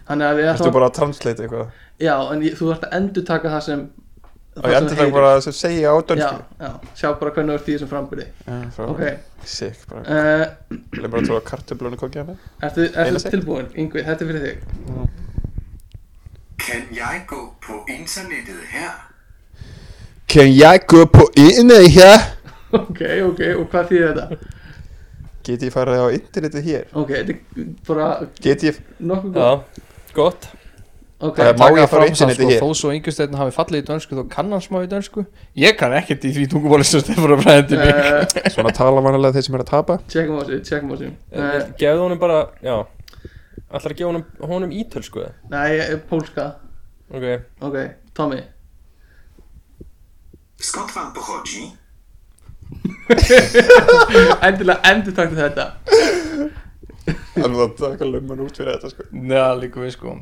Speaker 2: þannig að við
Speaker 5: Ertu
Speaker 2: ætlum
Speaker 5: bara að translate eitthvað?
Speaker 2: já, en ég, þú ert að endurtaka það sem
Speaker 5: Og ég endur það bara að segja á
Speaker 2: já,
Speaker 5: dönsku
Speaker 2: já, sjá bara hvernig þú ert í þessum frambyrði ok,
Speaker 5: Sikk, bara
Speaker 2: uh,
Speaker 5: Leif bara að tróða kartöflunni kokið hann
Speaker 2: ertu,
Speaker 5: Eina
Speaker 2: ertu
Speaker 5: sek.
Speaker 2: tilbúin Yngvi, þetta er fyrir þig
Speaker 7: Kan jeg gå på internettet her?
Speaker 5: Kan ég gå på inni hér?
Speaker 2: ok, ok, og hvað þýðir þetta
Speaker 5: Get ég farið á internetið hér?
Speaker 2: ok, þetta er bara
Speaker 5: Get ég
Speaker 2: nokkuð
Speaker 1: Já,
Speaker 2: góð
Speaker 1: gott
Speaker 2: ok,
Speaker 5: Það er-
Speaker 3: taka
Speaker 5: Má ég
Speaker 3: fram
Speaker 5: fara á
Speaker 3: það,
Speaker 5: internetið
Speaker 3: sko,
Speaker 5: hér?
Speaker 3: Þó svo yngursteinn hafi fallið í dönsku Þó kann hann smá í dönsku Ég kann ekkert í því tungumóli sem Stefán er fræðandi mig
Speaker 2: uh,
Speaker 5: Svona tala vanalega þeir sem er að tapa
Speaker 2: checkum á þessu, checkum á þessu uh,
Speaker 1: Eh, Gefðu honum bara, já Ætlar að gefa honum, honum ítölsku eða?
Speaker 2: Nei, eh, pólska
Speaker 1: Ok,
Speaker 2: Ok, Tommy
Speaker 7: Skąd pan pochodzi?
Speaker 2: Endilega endur taktu þetta
Speaker 5: Hann var að taka lömman út fyrir þetta sko
Speaker 3: Já, líka við sko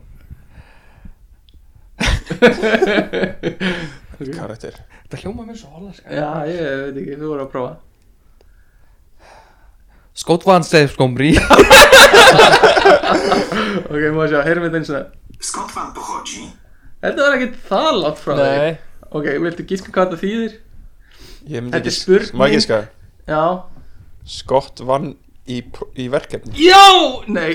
Speaker 5: Karakter
Speaker 3: Þetta hljóma mér svo hollandska
Speaker 2: Já, ég veit ekki, þú voru að prófa
Speaker 3: Skótvan Stefskomri
Speaker 2: Ok, maður sjá, heyrum við þetta eins og
Speaker 7: Skąd pan pochodzi?
Speaker 2: Þetta var ekkert það látt frá þig
Speaker 1: nei
Speaker 2: Ok, viltu gíska hvað þetta þýðir?
Speaker 5: Ég myndi
Speaker 2: Þetta
Speaker 5: ekki
Speaker 2: er spurning.
Speaker 5: Má ég giska?
Speaker 2: Já
Speaker 5: Scott vann í, pr- í verkefni
Speaker 2: Já, nei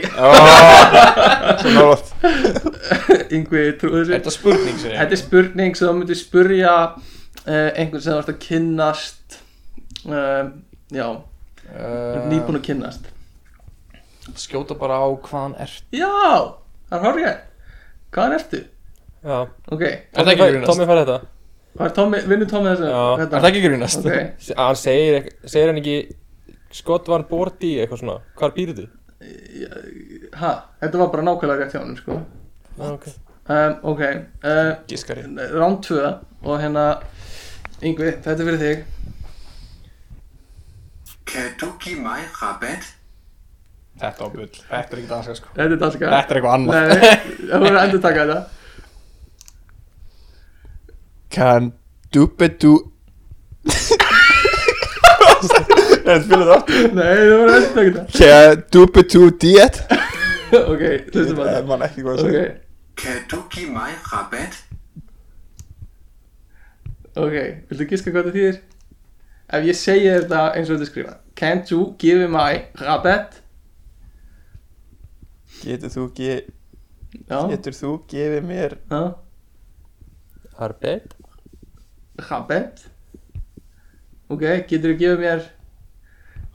Speaker 5: Svo nálaft
Speaker 2: Yngvi trúður sér
Speaker 3: Þetta er spurning sem ég
Speaker 2: Þetta er spurning sem þú myndir spurja uh, einhvern sem þú ert að kynnast uh, Já, nýbúin að kynnast
Speaker 3: Eh, Skjóta bara á hvaðan ert
Speaker 2: Já, það er horrið Hvaðan ertu?
Speaker 1: Já,
Speaker 2: Ok,
Speaker 3: Er það ekki að grínast?
Speaker 1: Tommy fær þetta
Speaker 2: hvað er Tommy, vinnur Tommy þessu?
Speaker 1: Já.
Speaker 3: Er það ekki að grínast?
Speaker 2: Ok,
Speaker 1: Se- Hann segir, ekk- segir hann ekki Skott var borti eitthvað svona Hvar býrðu þið?
Speaker 2: ha, þetta var bara nákvæmlega rétt hjá hann sko
Speaker 1: Okay.
Speaker 2: um, Ok, uh,
Speaker 5: Gískari
Speaker 2: ránd 2 og hérna Yngvi, þetta er fyrir þig
Speaker 7: Ketuki maj rabet?
Speaker 3: Þetta á bull Þetta er ekki danska sko
Speaker 2: Þetta er danska
Speaker 3: Þetta er eitthvað annað
Speaker 2: Nei, það voru að endur taka þetta
Speaker 5: Can dupedu Þetta fyrir það aftur.
Speaker 2: Nei, það voru að endur taka þetta
Speaker 5: Can dupedu diet
Speaker 2: Ok, hlustum að
Speaker 5: Ég
Speaker 2: það
Speaker 5: man ekki hvað að
Speaker 2: Ok,
Speaker 5: segja
Speaker 7: Ketuki maj rabet?
Speaker 2: ok, viltu gíska hvað þetta þýðir? Ef ég segi þér þetta eins og þetta er skrifað Can't you give my rabbit?
Speaker 5: Getur þú, ge,
Speaker 2: Já,
Speaker 5: getur þú gefið mér
Speaker 2: já,
Speaker 1: Arbeit
Speaker 2: rabbit Ok, getur þú gefið mér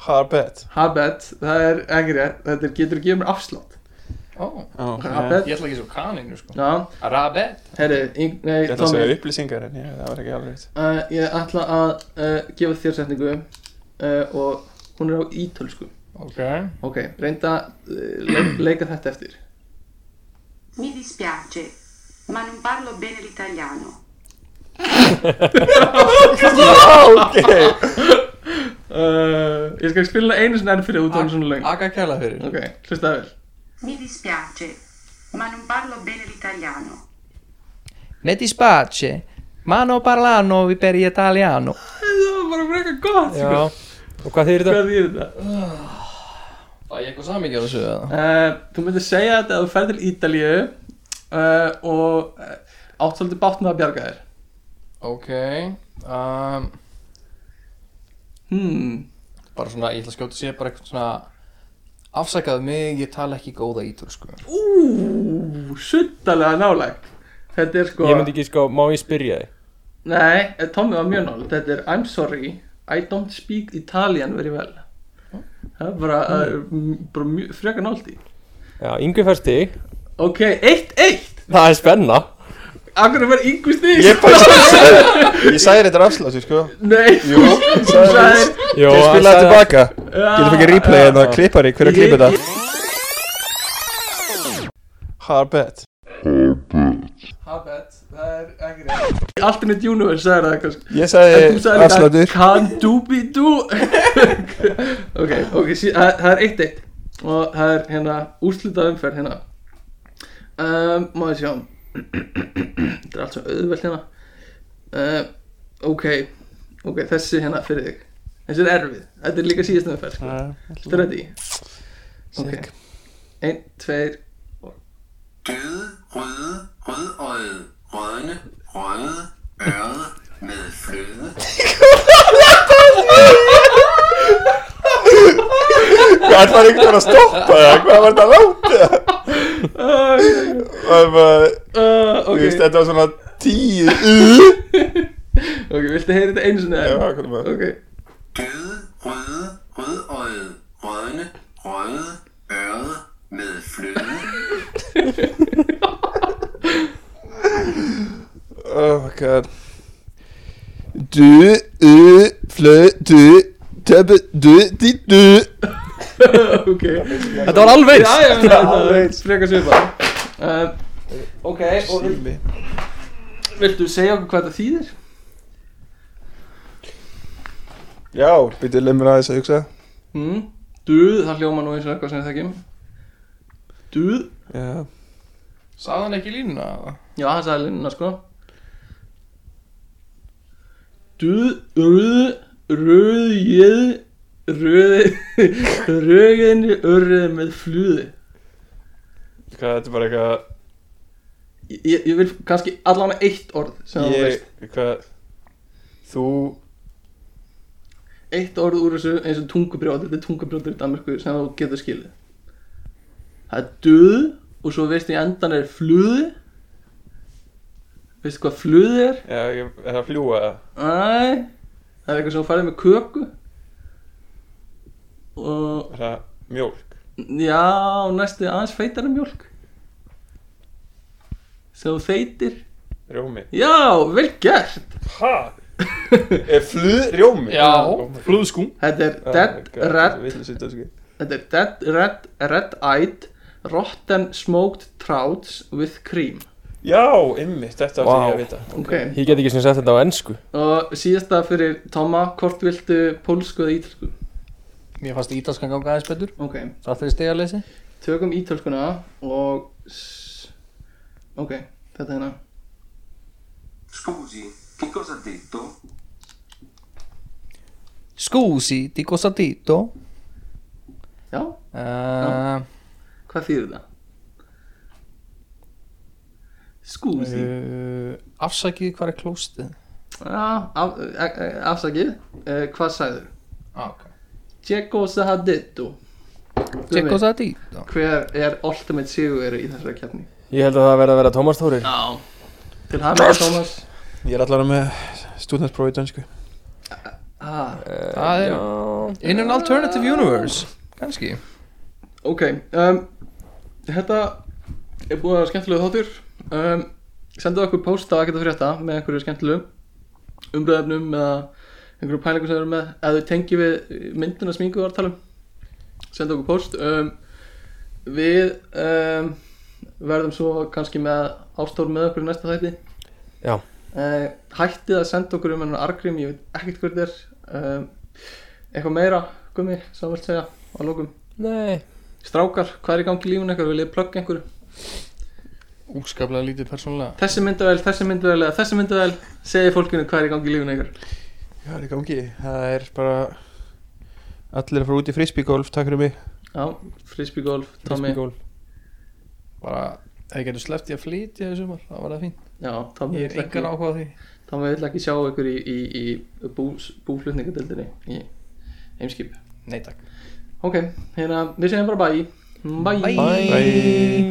Speaker 5: Harbet
Speaker 2: rabbit? Það er ekki rétt, þetta er getur þú gefið mér afslátt
Speaker 3: Ó,
Speaker 2: Rabbit,
Speaker 3: Ég ætla ekki svo kaninu sko
Speaker 2: já,
Speaker 3: Rabet
Speaker 2: herri, yng- nei,
Speaker 5: Ég ætla að
Speaker 2: Tommy
Speaker 5: segja upplýsingar en ég, það var ekki alveg rétt.
Speaker 2: uh, Ég ætla að uh, gefa þér setningu uh, og hún er á ítölsku
Speaker 3: Ok
Speaker 2: Ok, reynda uh, leik, leika þetta eftir
Speaker 8: Mi dispiace, ma non parlo bene l'italiano.
Speaker 2: Ah, uh, Ég skal spila hana einu sinni enn fyrir út af hún er svona löng
Speaker 3: Aga kæla fyrir
Speaker 2: Ok, hlusta vel
Speaker 8: Mi dispiace, ma non parlo bene l'italiano.
Speaker 3: Meti space Mano parlano vi per italiano
Speaker 2: Það var bara frekar gott sko.
Speaker 1: Já Og hvað þýr þetta?
Speaker 2: Hvað þýðir þetta?
Speaker 3: Það er eitthvað samingi á þessu eða?
Speaker 2: Uh, þú myndir segja þetta að þú ferð til Ítalíu uh, og uh, átt svolítið bátt með að bjarga þér
Speaker 3: Ok um,
Speaker 2: hmm.
Speaker 3: Bara svona, ég ætla að skjóta sér bara eitthvað svona Afsakaðu mig, ég tala ekki góða ítölsku
Speaker 2: Ú, suttalega nálægt Þetta er sko
Speaker 1: Ég myndi ekki sko, má ég spyrja þig?
Speaker 2: Nei, eh, Tommy var mjög nálægt Þetta er I'm sorry, I don't speak Italian very well Það er bara, mm. uh, bara mjög, frekar nálægt í
Speaker 1: Já, yngvi fær stig
Speaker 2: Ok, eitt, eitt
Speaker 1: Það er spenna
Speaker 2: Akkur er verið yngvist þig
Speaker 5: Ég bara sagði Ég sagði þetta afslátt, sko
Speaker 2: Nei,
Speaker 5: Jú,
Speaker 2: þú
Speaker 5: sagði
Speaker 2: sagðir
Speaker 1: Jó,
Speaker 5: Ég spila það tilbaka Getur fengið replay en það klippar í Hver er að klippa
Speaker 2: Ah. Ég-
Speaker 5: þetta? Hard bet
Speaker 2: Habit, það er ekki reynd Alternate Universe sagði það kannski
Speaker 5: Ég
Speaker 2: En þú
Speaker 5: sagði
Speaker 2: sagði
Speaker 5: afsláttur
Speaker 2: Can do be do Ok, ok, sí, það, það er eitt eitt Og það er hérna úrslitað umferð hérna um, Má ég sjá Þetta er allt svo auðvelt hérna um, Ok, ok, þessi hérna fyrir þig Þessi er erfið, þetta er líka síðast umferð sko. Þetta er þetta í Ok, ein, tveir
Speaker 7: Døde, røde, rødøjet, rødne, røde, ørede med fløde.
Speaker 5: Það var einhvern veginn að stoppa það Hvað var þetta langt? Það var bara
Speaker 2: uh,
Speaker 5: Þú
Speaker 2: Ok,
Speaker 5: veist, þetta var svona tíu uh.
Speaker 2: ok, viltu heyra þetta einu sinni
Speaker 5: Já,
Speaker 2: enn?
Speaker 5: hvað er maður?
Speaker 2: Ok,
Speaker 7: Døde, røde, rødøjet, rødne, røde, ørede med fløde.
Speaker 4: god
Speaker 9: Du, u, flø, du, tøbbe, du, ditt, du
Speaker 2: ok
Speaker 1: Þetta var alveg
Speaker 2: Já, já, já, þetta er frekar svipað uh, Ok, og vil,
Speaker 4: Sími
Speaker 2: viltu segja okkur hvað þetta þýðir?
Speaker 5: Já, býtið lemur aðeins að hugsa
Speaker 2: Mm. Duð, það hljóma nú eins og eitthvað sem ég þekkjum Duð
Speaker 5: Já,
Speaker 3: Sagði hann ekki línuna? eða?
Speaker 2: Já, hann sagði línuna sko Duð, urð, röð, jöð, röð, röginni, urrið með fluði
Speaker 5: hvað, þetta er bara eitthvað
Speaker 2: Ég, ég vil kannski allan eitt orð sem þú
Speaker 5: Ég,
Speaker 2: veist
Speaker 5: hvað Þú
Speaker 2: Eitt orð úr þessu eins og tungubrjóð Þetta er tungubrjóður í Danmarku sem þú getur skilið Það er duð og svo veist ég endan er fluði Veistu hvað fluði er?
Speaker 5: Já, ég, er það að fljúga
Speaker 2: Æ,
Speaker 5: það?
Speaker 2: það er eitthvað sem þú færði með köku og
Speaker 5: Er það mjólk?
Speaker 2: já, næstu aðeins feitar mjólk sem þú þeitir
Speaker 5: Rjómi?
Speaker 2: já, vel gert
Speaker 5: Ha? Er fluð rjómi?
Speaker 3: Já, flúðskún
Speaker 2: þetta er dead red
Speaker 5: Villu sitt ösku
Speaker 2: þetta er dead red red eyed rotten smoked trouts with cream
Speaker 5: Já, ymmið, þetta átti
Speaker 1: Vá.
Speaker 5: ég að vita
Speaker 2: ok,
Speaker 1: Ég get ekki sem sagt þetta á ennsku
Speaker 2: og síðasta fyrir Toma, hvort viltu pólsku eða ítalsku
Speaker 3: Mér fannst ítalskan ganga aðeins betur
Speaker 2: ok,
Speaker 3: Það fyrir stegaleysi
Speaker 2: tökum ítalskuna og s- ok, þetta hérna
Speaker 7: Scusi, che cosa ha detto?
Speaker 3: Scusi, di cosa dito?
Speaker 2: já,
Speaker 3: Uh,
Speaker 2: Hvað þýðir það? Skúsi
Speaker 3: uh, afsakið hvað er klóstið
Speaker 2: Já, af, e- e- afsakið uh, Hvað sagður?
Speaker 3: ah, okay.
Speaker 2: Tjekko sahadittu
Speaker 3: Tjekk og það dýta
Speaker 2: Hver er ultimate sigurveri í þessari keppni?
Speaker 1: Ég held að það verði að vera Tómas Þórir
Speaker 2: Já Til hafði Thomas
Speaker 4: Ég er allavega með stúdnarsprófi í dönsku
Speaker 2: ah,
Speaker 3: Það er In an alternative universe Kanski
Speaker 2: Ok um, Þetta er búið að vera skemmtilegu þáttur um, Sendaðu okkur post á ekkert að frétta með einhverju skemmtilegu umbröðefnum eða einhverju pælingu sem þeir eru með eða þau tengi við myndina smingu var að tala um senda okkur post um, við um, verðum svo kannski með ástór með okkur í næsta þætti
Speaker 1: Já.
Speaker 2: Eh, hættið að senda okkur um hennar argrym ég veit ekkert hver þér um, eitthvað meira, gummi, sem þú vilt segja á lókum
Speaker 1: Nei
Speaker 2: strákar, hvað er í gangi í lífun eitthvað, viljið plugga einhverju
Speaker 3: Úskaplega lítið persónulega
Speaker 2: þessi myndavel, þessi myndavel eða þessi myndavel segi fólkinu hvað er í gangi í lífun eitthvað
Speaker 4: Já, það er í gangi Það er bara Allir að fara út í frisbeegolf, takk fyrir mig
Speaker 2: já, frisbeegolf, Tommy
Speaker 1: Frisbeegolf.
Speaker 3: Bara Ef ég getur sleppt ég að flytja í sumar Það var það fínt
Speaker 2: já, Tommy
Speaker 3: Ég er
Speaker 2: vill ekki-
Speaker 3: engar áhuga á því
Speaker 2: Tommy vill ekki sjá ykkur í, í, í bús, búflutningadeldinni í heimskip
Speaker 3: Nei takk
Speaker 2: ok, hérna, við segjum bara bye bye,
Speaker 3: Bye.
Speaker 4: Bye.